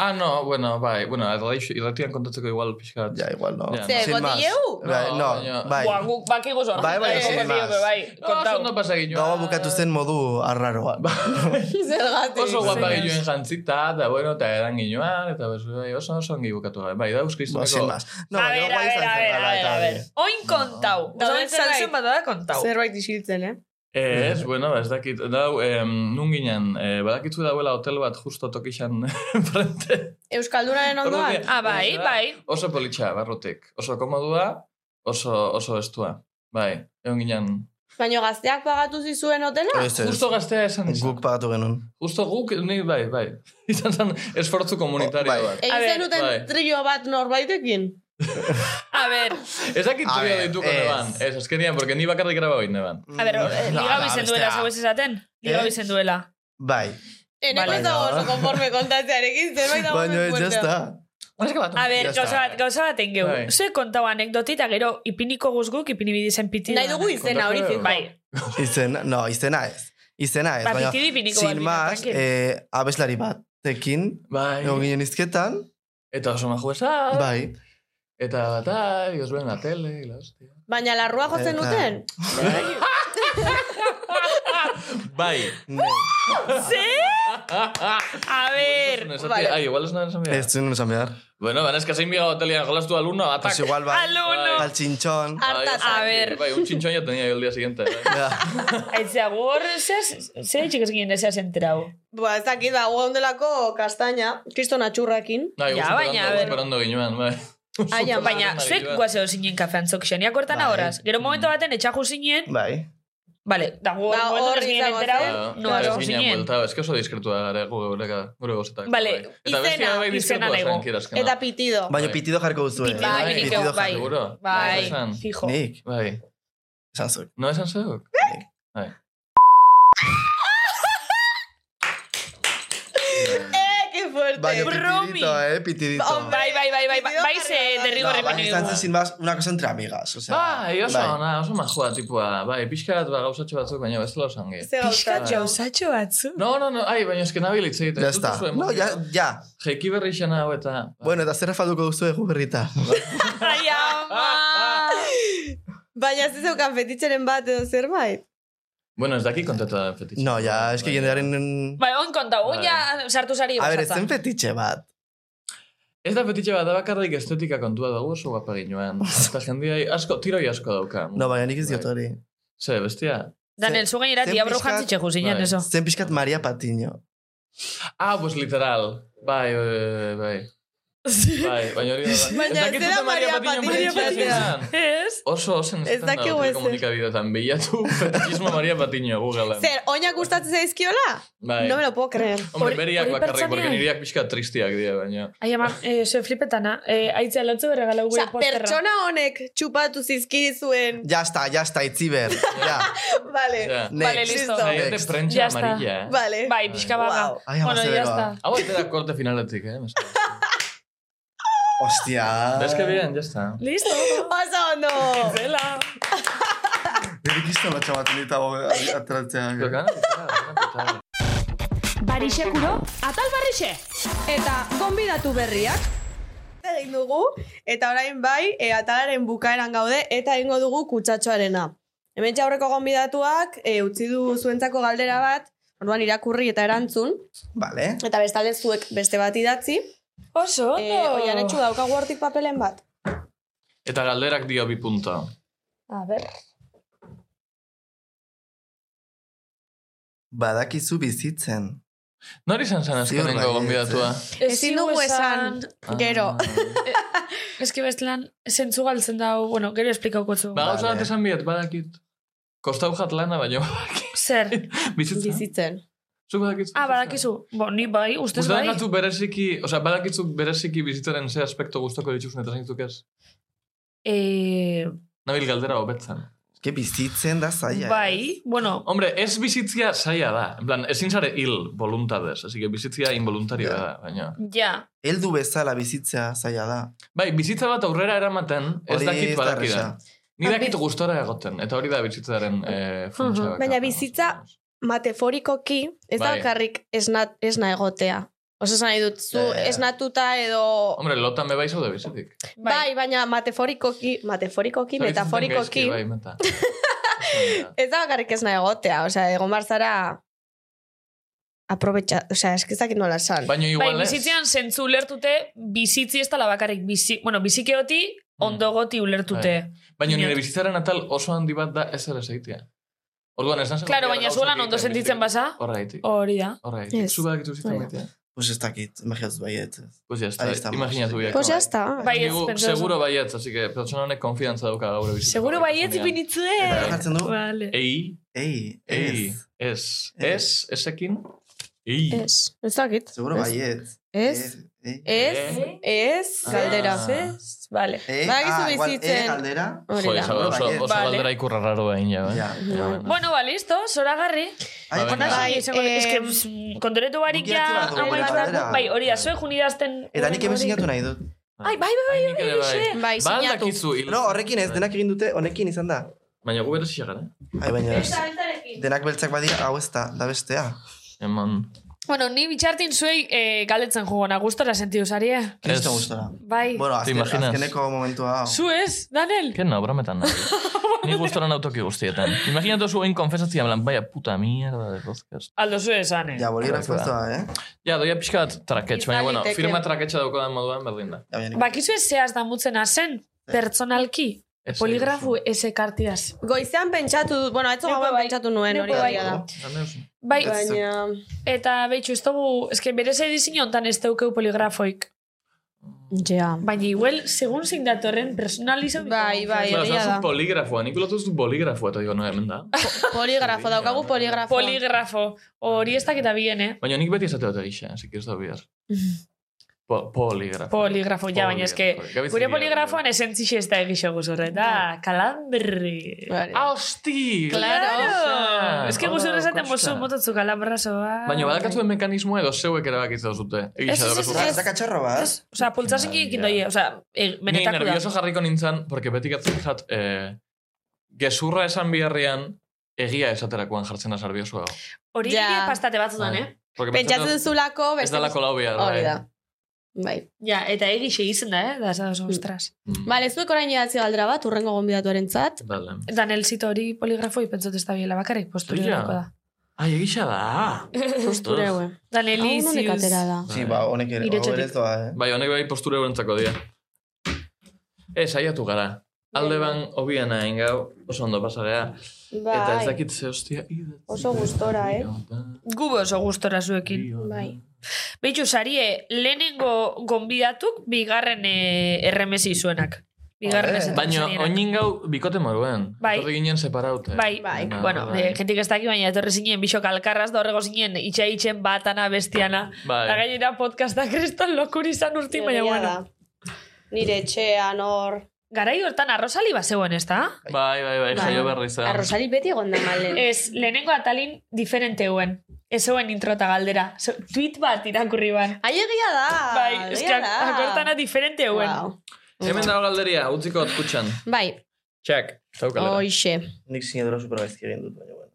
F: Ah, no, bueno, bai, bueno, erraixo- irratian kontatzeko igual pixka bat.
E: Ja, igual, no.
F: Ja,
D: Ze,
E: Sin más.
D: botileu?
E: Bai,
F: No, baina-
E: no, bai.
C: Buah, guk bakigu zor.
E: Bai, bai,
C: Eh,
E: sin
C: kontakio,
E: más.
C: pero bai,
F: No,
C: kontau.
F: zondo pasaginua.
E: Gaua bukatu zen modu arraroa.
D: Zergatik.
F: Oso guapa
D: Zergatik.
F: giluen jantzita, eta bueno, eta edan ginoan, eta bezu, bai, oso oso ongi bukatu gara. Bai, dauz
E: Ba, sin
F: kristoneko...
E: más. No,
C: a
E: baina
C: ver, a
E: guai
C: ver,
E: izan
C: a ver,
E: zen,
C: a
E: ala,
C: ver,
E: eta
C: a ver.
E: bien.
C: Oin kontau. bai.
D: Dauden
C: Dauden saltzen
D: zerbait.
C: bat da kontau.
D: Zerbait isiltzen, eh?
F: Eh, ez, bueno, ba, ez dakit, dau, em, nun ginen, eh, badakitzu dauela hotel bat justo tokixan frente.
D: Euskaldunaren ondoan?
F: Orduan,
C: Ah, bai,
F: ez da,
C: bai.
F: Oso politxa, barrotik. Oso komodua, oso, oso estua. Bai, egon ginen.
D: Baina gazteak pagatu zizuen hotela?
E: Ez, ez.
F: Justo gaztea esan izan.
E: Guk pagatu genuen.
F: Justo guk, ni, bai, bai. Izan zen esfortzu komunitario
E: Oh, bai.
F: bat.
D: Egin
C: A ver,
D: zenuten
F: bai.
D: trio bat norbaitekin?
C: A ver,
F: Ez dakit
E: A
F: trio
E: ver,
F: deituko
E: ez.
F: neban. Ez, azkenian, porque ni bakarrik graba hori neban.
C: a ver, eh,
E: Mm. No, ah,
C: liga
E: da,
C: bizen duela,
E: bestea.
C: zau ez esaten? Liga
E: Eh?
C: bizen duela.
E: Bai.
D: Eneko
E: Baina-
D: ez dago oso konforme kontatzearekin, zerbait dago
E: Baina ez,
D: oso
E: ya
D: fuerte.
E: está.
C: A ver,
E: Ya está.
C: gauza bat, gauza bat engeu.
F: Bai.
C: Zue kontau anekdoti eta gero ipiniko guzguk ipini bidizen piti.
D: Nahi dugu izena hori
F: Kontakeo.
D: fijo.
C: Bai,
E: Izena, no, izena ez. Izena ez,
C: Ba,
E: baina...
C: pitidu ipiniko bat
E: Sin
C: dira,
E: más,
C: tranquil.
E: eh, abeslari bat. Tekin,
F: Bai,
E: egon ginen izketan,
F: eta oso maju esan.
E: bai.
F: Eta tal, y os ven en la tele, y la hostia.
D: Baina larrua jotzen
E: Eta-
D: duten?
F: Bai.
E: Ne,
C: a ver,
F: Esatia,
D: Vale.
F: Ai, ah, igual es una esan behar.
E: Ez zuen esan behar.
F: Bueno, van, es que zein biga hotelian jolastu alumno, atak.
E: Pues igual, bai.
C: aluno.
F: Bai.
E: Paltxintxon.
D: Hartaz.
F: Bai,
C: A ver.
F: Bai, un chinchón ya tenía yo el día siguiente. bai.
E: Ja.
C: Aitzea, gu hor, zer itxik ez ginen ez enterau.
D: Ba, ez dakit, ba, gondelako kastaina, kriston atxurrakin.
F: Bai,
C: Ja,
F: guztu
C: baina,
F: operando-
C: a ver. Ah,
F: operando ginoan, bai.
D: Aia,
C: Baina, zuek guazeo zinen kafean zokixeniak hortan
E: Bai.
C: ahoraz. Gero momentu baten etxaju zinen,
E: Bai.
C: Vale, da gu
D: Ba,
C: momentu
D: hor
C: ez ginen
D: izango
C: enterau,
D: zen.
C: no hasi
D: Claro.
F: Ez ginen
C: zinen.
F: buelta, ez que oso diskretua gara, gu eureka, gure gozetak.
C: Vale,
F: Eta
C: izena,
F: bestia bai
C: izena
F: diskretua
C: nahi
F: zen,
C: gu.
F: kieras que no.
D: Eta pitido.
E: Baina
F: Bai.
E: pitido jarko duzu. eh.
C: Pitido
F: Bai,
C: ipiniko,
E: pitido
C: bai.
E: jarri.
F: Seguro.
C: Bai,
F: Esan.
C: fijo.
E: Nik,
F: Bai,
E: esan zuen.
F: no esan zeuk? Bai.
D: Eh, que fuerte.
E: Baina
C: Bromi.
E: pitidito, eh, pitidito.
D: Hombre,
C: Bai, bai, bai, bai, bai, bai, ze derrigor
E: No, baina
C: ipini
E: izan
C: dugu.
E: zen sin más una cosa entre amigas. O sea,
F: Bai, oso
E: bai.
F: ona, oso majua tipua. Bai, pixka bat ba, gauzatxo batzuk, baina bestela osan gehi.
D: Ze gauza.
F: Bai.
C: jauzatxo batzu.
F: No, no, no, ai, baina eske nabil hitz egiten.
E: Ya
F: ez dut
E: está.
F: oso
E: No,
F: emozio.
E: ya, ya.
F: Jaiki berri izan hau eta...
E: Bueno, eta zer afalduko duzu egu berrita.
C: Ai, ama!
D: Baina ez zeukan fetitxeren bat edo zerbait.
F: Bueno, ez daki kontatu da fetitxe.
E: No, ya, es que
F: Bai.
E: jendearen...
C: Bai, on kontau, on
F: Bai.
C: ja sartu zari
E: A ver, ez
C: gozatzen.
E: zen fetitxe bat.
F: Ez da fetitxe bat, da bakarrik estetika kontua dugu oso guapa ginoan. Eta jendeai asko, tiroi asko dauka.
E: No, baina nik ez diot
F: Bai.
E: hori.
F: Ze, bestia?
C: Daniel, zu gainera
E: zen
C: diabro
E: pixkat-
C: jantzitxe juzinen,
F: Bai.
C: eso.
E: Zen pixkat Maria Patiño.
F: Ah, pues literal. Bai, bai, bai, bai. Bai, baina hori da.
D: Baina
F: Ez dakit
D: ez dela
F: zuten
D: Maria Patiño
F: fetitxea
D: Patiño.
F: zein zen.
C: Ez?
F: Oso ozen
D: Ez
F: ez da
D: dakigu
F: hotel
D: ezer.
F: komunikabidetan bilatu fetichismo Maria Patiño Googlean.
D: Zer, oinak gustatzen zaizkiola?
F: Bai.
D: No me lo puedo creer.
F: Hombre,
C: Hori-
F: beriak
C: hori
F: bakarrik, porque
C: pertsonean-
F: niriak pixka tristiak dira, baina...
C: Ai, ama, eh, zue flipetana, eh, aitzea lotzu berregalau
D: Osea,
C: gure posterra.
D: pertsona honek txupatu zizkizuen.
E: Ya está, ya está, itziber. Ya.
D: Vale,
F: Osea,
C: Vale,
E: Next.
C: listo.
D: Listo.
F: nahi dute
E: Next.
F: prentsa
C: Ya está.
F: amarilla, eh?
D: vale.
C: Bai, pixka
D: Wow.
C: baga.
E: Ai, ama,
C: Bueno,
E: ze
C: ya
E: beroa.
C: está.
F: Hau ez da korte finaletik, eh? mesedez.
E: Hostia.
F: Da eske bidean, jazta.
C: Listo.
D: Oso ondo!
C: Zela.
E: Nik izan batxa bat nitago atratzean.
A: Barixe kuro, atal barrixe.
D: Eta, konbidatu berriak. Egin dugu, eta orain bai, e, atalaren bukaeran gaude, eta egingo dugu kutsatxoarena. Hemen aurreko gonbidatuak, e, utzi du zuentzako galdera bat, orduan irakurri eta erantzun,
E: Vale.
D: eta bestalde zuek beste bat idatzi.
C: Oso,
D: E, oian etxu daukagu hortik papelen bat.
F: Eta galderak dio bi punto.
C: A ver.
E: Badakizu bizitzen.
F: Nori izan zen
E: Ziur
F: azkenengo
E: baietz,
F: gombidatua?
D: Ezin dugu esan,
C: Ah.
D: gero.
C: Ez que bestelan, zentzu galtzen dau, bueno, gero esplikauko zu.
F: Ba, gauza
E: Vale.
F: bat esan biet, badakit. Kostau jat lana, baina
C: Zer?
F: bizitza.
D: Bizitzen.
F: Zuk badakitzu.
C: Ah, badakizu. Bo, ni bai, ustez
F: Uste
C: bai.
F: dakatu bereziki, osea, badakitzu bereziki bizitzaren ze aspekto guztoko dituzun eta zeintzuk ez.
C: Eh,
F: Nabil galdera hobetzen.
E: Eske bizitzen da zaila. eh?
C: bai, bueno,
F: Hombre, ez bizitzia saia da. En plan, ezin zare hil voluntades, así que bizitzia involuntario
E: Ja.
F: da, baina.
C: ja.
E: Heldu bezala bizitzea zaila da.
F: Bai, bizitza bat aurrera eramaten, ez
E: Hori
F: dakit eh?
E: ez da
F: badaki da.
E: erraza.
F: Ni
C: Ba,
F: dakit
C: bi-
F: gustora egoten, eta hori da bizitzaren eh, funtsa.
C: Mhm.
F: bakarra.
D: Baina bizitza- Mateforikoki, ez da
F: Bai.
D: bakarrik esna, esna egotea. Oso esan nahi dut, zu
E: Ja, ja, ja.
D: esnatuta edo...
F: Hombre, lotan me baiz hau da bizitik.
D: bai. baina metaforikoki, metaforikoki, metaforikoki.
F: Gaizki, Bai, meta. Bai,
D: Ez da bakarrik esna egotea, osea, egon bar zara aprobetxa, osea, eskizakit nola esan.
F: Baina
C: Bai,
F: igual ez.
C: bizitzean zentzu ulertute, bizitzi ez dala bakarrik, bizi, bueno, bizikioti,
F: Mm.
C: ondogoti ulertute.
F: Baina
C: Bai.
F: nire bizitzaren atal oso handi bat da ez ere zeitea. Orduan, ez nazen...
C: Claro, baina zuelan ondo sentitzen Oh. basa,
F: Horra gaitik.
C: hori da.
F: Horra
D: Ez.
F: gaitik. Zuba gakitu bizitzen
D: Baina.
F: baitea.
E: Pues ez dakit, imaginatuz baiet.
F: Pues ya
E: Ahí
F: está,
E: estamos.
F: imaginatu biak.
D: Pues ya está.
C: Bai, ez,
F: Nigu
C: pentsa oso.
F: seguro baietz, así que pertsona honek konfiantza dauka gaur bizitzen.
C: Seguro bai baietz binitzue.
E: Eta jartzen du,
C: Vale.
F: Bai. Ei,
E: ei,
F: ei, ez,
E: ez. Ez.
F: ez, ezekin, ei.
D: Ez, ez dakit.
E: Seguro bai, baiet.
D: Ez,
F: Eh?
D: ez, ez,
F: Ah.
D: galdera.
C: Bai. Ez, bai. vale.
D: Eh, Badakizu
E: E,
D: bizitzen.
E: galdera.
D: Hori
F: Jo,
D: da.
F: esa- oso,
E: Baietz.
F: oso
C: Vale.
F: galdera ikurra raro da ja, eh?
E: Ja.
F: Ja, bueno.
C: Bueno, ba, listo, zoragarri.
E: Ai,
F: Bai,
E: ona
C: Ona
D: bai,
E: bai.
C: izango,
D: eh,
C: es que mm, kontoretu barik
E: guki
C: ja,
E: hartu bat dugu,
C: hau ez
E: galdera.
C: dago. bai, hori da, zuek junidazten...
E: Eta nik hemen sinatu nahi dut.
C: Ai, bai, bai,
F: Nik ere bai.
D: Bai,
F: Ba al
D: sinatu.
F: dakizu hil-
E: No, horrekin ez, denak egin dute, honekin izan da.
F: Baina gu berezi gara, eh?
E: Ai, baina ez. Denak beltzak badira, hau ez da, da bestea.
F: Eman.
C: Bueno, ni bitxartin zuei eh, galdetzen jugona, gustora sentidu zarie.
E: Kristo gustora.
C: Bai.
E: Bueno, azken,
F: imaginas?
E: azkeneko momentua hau.
C: Zu ez, Daniel?
F: Que no, brometan nahi. Ni gustoran autoki guztietan. Imaginatu zuen konfesatzia, blan, baina puta mierda de podcast.
C: Aldo zu esan, eh?
E: Ja, boligrafo ez
F: Horrek da.
E: da, eh?
F: Ja, doia pixka bat traketx, baina, bueno,
D: Izaliteke.
F: firma traketxa dauko den moduan berdin da.
E: Ja, baina nik-
C: Bakizu ez zehaz damutzen azen, pertsonalki,
F: Ez,
C: poligrafu
F: ez,
C: ez ekartiaz.
D: Goizean pentsatu dut, bueno, etzo
C: Neuko
D: gauan
C: bai.
D: pentsatu nuen hori
C: Neuko bai.
D: egia da.
F: ez. Dame oso.
C: Bai,
E: Ez.
D: Baina,
C: eta behitxu, ez dugu, eske bere zei dizin hontan ez daukeu poligrafoik.
D: ja.
C: Baina, igual, segun zein datorren personalizan.
D: Bai, bai,
F: Bueno,
D: egia
F: ez
D: da.
F: da poligrafoa, nik ulotu zu poligrafoa, eta digo, no, hemen da.
D: Poligrafo, daukagu poligrafo.
C: Poligrafo. Hori ez dakita bien, eh?
F: Baina nik beti esate dut egisa, así que ez da bihar. Po poligrafo.
C: Poligrafo, ja, baina eske,
F: Poligrafo.
C: gure poligrafoan esentzixe ez da egixo guzorre,
D: Bai.
C: da, kalamberri.
D: Vale.
F: Ah, hosti!
C: Claro! Ez que guzorre esaten bozu
F: moto...
C: mototzu kalambrazoa.
F: Baina badakatzuen mekanismoa edo zeuek erabakitza duzute.
C: Ez,
F: Egisa
C: ez,
F: dago
C: ez,
E: Ba, Ez da katxarro bat.
C: Ez, Osa, pultzasen
F: Maria.
C: egin doi, osa, e,
F: Ni
C: benetako da.
F: nervioso jarriko nintzen, porque beti gatzen zat, eh, gezurra esan biharrean, egia esaterakoan jartzen da nervioso hau.
C: Hori
D: Ja.
C: yeah. pastate batzudan, eh?
F: Porque
D: Pentsatu
F: pentsatzen
D: duzulako,
F: Ez
D: beste...
F: da lako lau behar,
D: Hori
F: bai.
D: da. Bai.
C: Ja, eta egixe izen da, eh? Da, ez da, oso, ostras.
F: Mm.
D: Bale, zuek orain idatzi galdera bat, urrengo gonbidatuaren zat.
F: Dale.
C: Daniel zito hori poligrafoi pentsot ez da biela bakarrik, postura
F: Hostia.
C: da.
F: Ai, egisa da!
D: Posture,
F: Ostras.
D: hue.
C: Daniel
D: Hau nonek
C: iziuz.
D: atera da.
E: Sí, ba, honek ere, hau
C: Iretxotik.
E: ere ez doa, eh?
F: Bai, honek bai posture eurentzako dira. Ez, saiatu gara. Alde ban, obian hain gau, oso ondo pasarea.
D: Bai.
F: Eta ez dakit ze hostia...
D: Oso gustora, eh?
C: Gube oso gustora zuekin.
D: Bai.
C: Beitu, sarie, lehenengo gonbidatuk bigarren eh, erremesi zuenak. Bigarren
E: Ole.
C: esaten
F: Baina,
C: zenienak.
F: oinin gau bikote moruen.
C: Bai.
F: Etorri ginen separaute.
C: Bai,
D: Bai.
F: Baina,
C: bueno,
F: bai.
C: eh, jentik ez daki baina etorri zinen bisok alkarraz da horrego zinen itxa itxen batana bestiana.
F: Bai.
C: Da gainera podcasta kriston lokuri izan urtin, baina
D: Egia
C: bueno.
D: da. Nire etxean hor...
C: Garai hortan arrozali bazegoen, ez da?
F: Bai, bai, bai, jaio berri zen.
D: Arrosari beti egon da malen.
C: Ez, lehenengo atalin diferente huen. Ez huen intro eta galdera. So, tweet bat irakurri ban.
D: Ai, egia da!
C: bai,
D: egia
C: eski
D: Ah, da.
C: akortana diferente huen.
D: Wow.
F: Hemen dago galderia, utziko dut kutxan.
D: Bai,
F: Txak, zaukalera.
D: hoxe.
E: Nik sinadura supergaizki egin dut, baina bueno.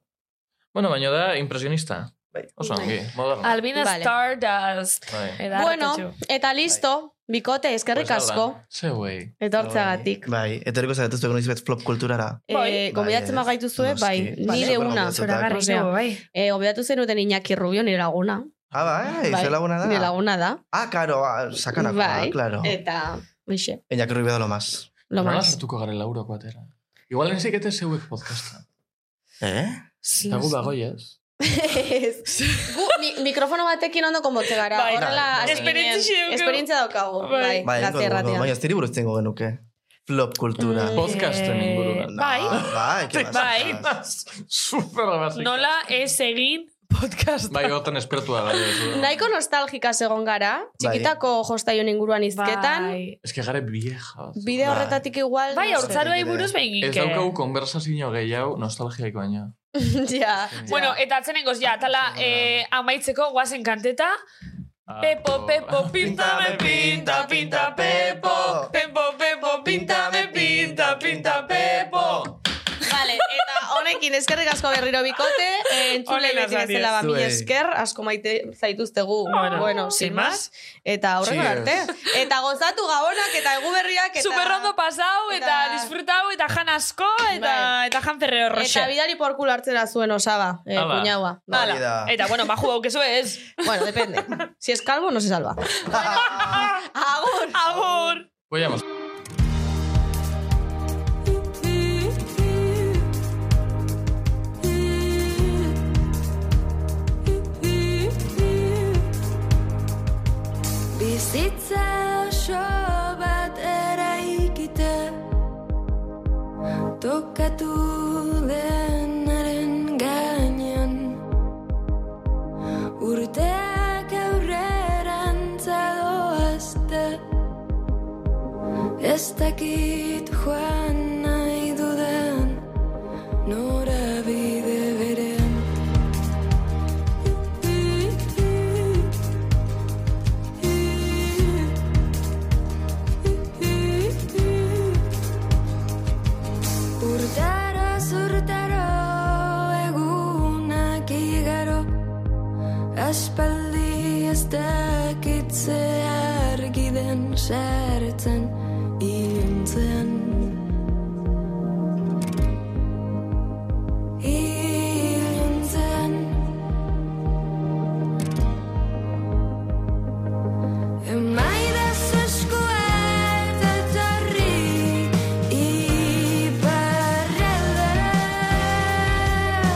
F: Bueno, baina da impresionista.
E: Bai.
F: Oso ongi, moderno.
C: Albina
D: Vale.
C: Stardust. Eh,
F: Bai.
C: Eda,
D: Bueno,
C: hartatxo.
D: eta listo, bikote, eskerrik
F: Pues hala.
D: asko.
F: Ze wey.
D: Etortzeagatik.
E: Bai, etorriko zaituzte egon izbet flop kulturara.
C: Bai.
D: Eh, gobidatzen
E: Bai, ez.
D: bagaituzue, bai,
E: Noski.
D: ni
E: Bai.
D: de
E: Bueno,
D: una.
E: gobidatzen da.
C: Zoragarri
D: Osea,
C: nago, bai.
D: Eh, gobidatu zenuten Iñaki Rubio, nire laguna.
E: Ah,
D: Bai,
E: bai, bai. laguna da.
D: Nire laguna da.
E: Ah, karo, ah, sakanako,
D: Bai.
E: ah, claro.
D: Eta, bixe,
E: Eñaki Rubio da lo más.
D: lo
F: Nola
D: más.
F: sartuko garen lauroko atera. Igual enzik eta zeuek podcasta.
E: Eh?
F: Eta gu bagoi ez.
D: Ez. Gu, mi, mikrofono batekin ondo konbotze gara.
C: Bai.
D: Horrela,
E: Bai.
D: hasi ginen.
C: Esperientzia daukagu.
D: Esperientzia daukagu.
C: Bai.
D: Bai,
E: Bai,
D: gazte
E: egingo dugu,
D: erratia.
E: baina ez diri buruz zingo genuke. Flop kultura.
D: Mm.
F: Podcasten
C: Eh,
F: inguruan.
E: No,
C: Bai.
E: Bai, que
C: Bai.
E: vas, vas.
F: Super basic.
C: Nola ez egin podcast.
F: Bai, hortan espertua gara.
D: Nahiko nostalgika segon gara.
E: Bai.
D: Txikitako jostaion inguruan izketan.
C: Bai,
F: Ez que gare vieja.
D: Bide
E: Bai.
D: horretatik igual...
C: bai
D: no sé.
C: haurtzaroei buruz behin
F: Ez daukagu konversazio gehiago nostalgiaiko baina.
D: ja.
C: Bueno, eta atzenengoz, ja, tala eh, amaitzeko guazen kanteta. Pepo, pepo, pintame, Ah, pinta, pinta, pepo. Pepo, pepo, pintame, pinta, pinta, pepo.
D: Vale, eta honekin Horrekin eskerrik asko berriro bikote, eh, entzule
C: Onena
D: beti
C: zari
D: bezala ba, mi
E: Zuei.
D: esker, asko maite zaituztegu, bueno,
C: Bueno,
D: sin
C: sin
D: más, eta horrego
E: Cheers.
D: arte. Eta gozatu gabonak eta eguberriak eta...
C: Super rondo pasau, eta,
D: eta-
C: disfrutau, eta jan asko, eta,
D: Bai.
C: eta jan ferrero roxe.
D: Eta bidali porkul hartzera zuen osaba, eh,
F: Hala.
D: cuñaua.
C: Hala.
E: Hori Bai, da.
C: Eta, bueno, maju hau, kezu ez.
D: Bueno, depende. Si es calvo, no se salva. Agur!
C: Agur!
F: Voy a
I: Bizitza oso bat eraikita Tokatu denaren gainean Urteak aurrerantza doazte Ez dakit joan nahi dudan Nora bide berean Urtaro zurtaro egunak igaro Aspaldi ez dakitze argi den sartzen iluntzen Iluntzen Emaidas eskuet etorri iparraldera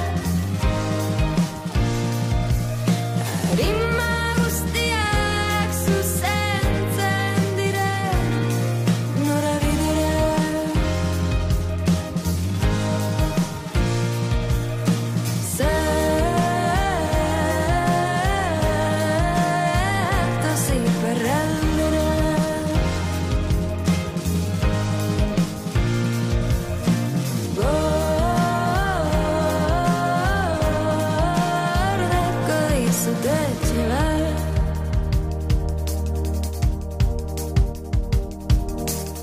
I: Arima guztiak zuzentzen dira norabidera Zertos iparraldera Gordeko dizut etxe bat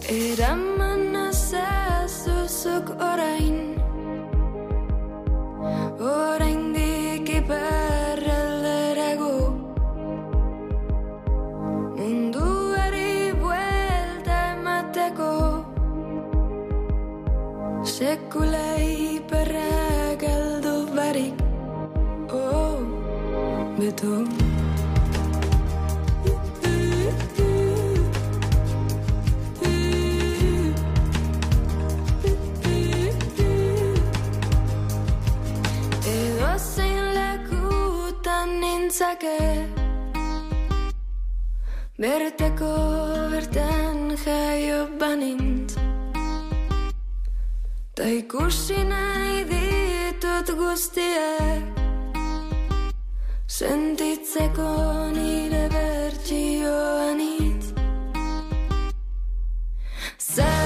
I: Eraman azazuzuk orain Orain dik iparralderago Munduari buelta emateko Sekula iparra galdu barik Oh, beto Edo zein lekutan nintzake Bertako bertan jaio banintz Ta ikusi nahi ditut guztiak Sentitzeko nire bertxioan itz Zer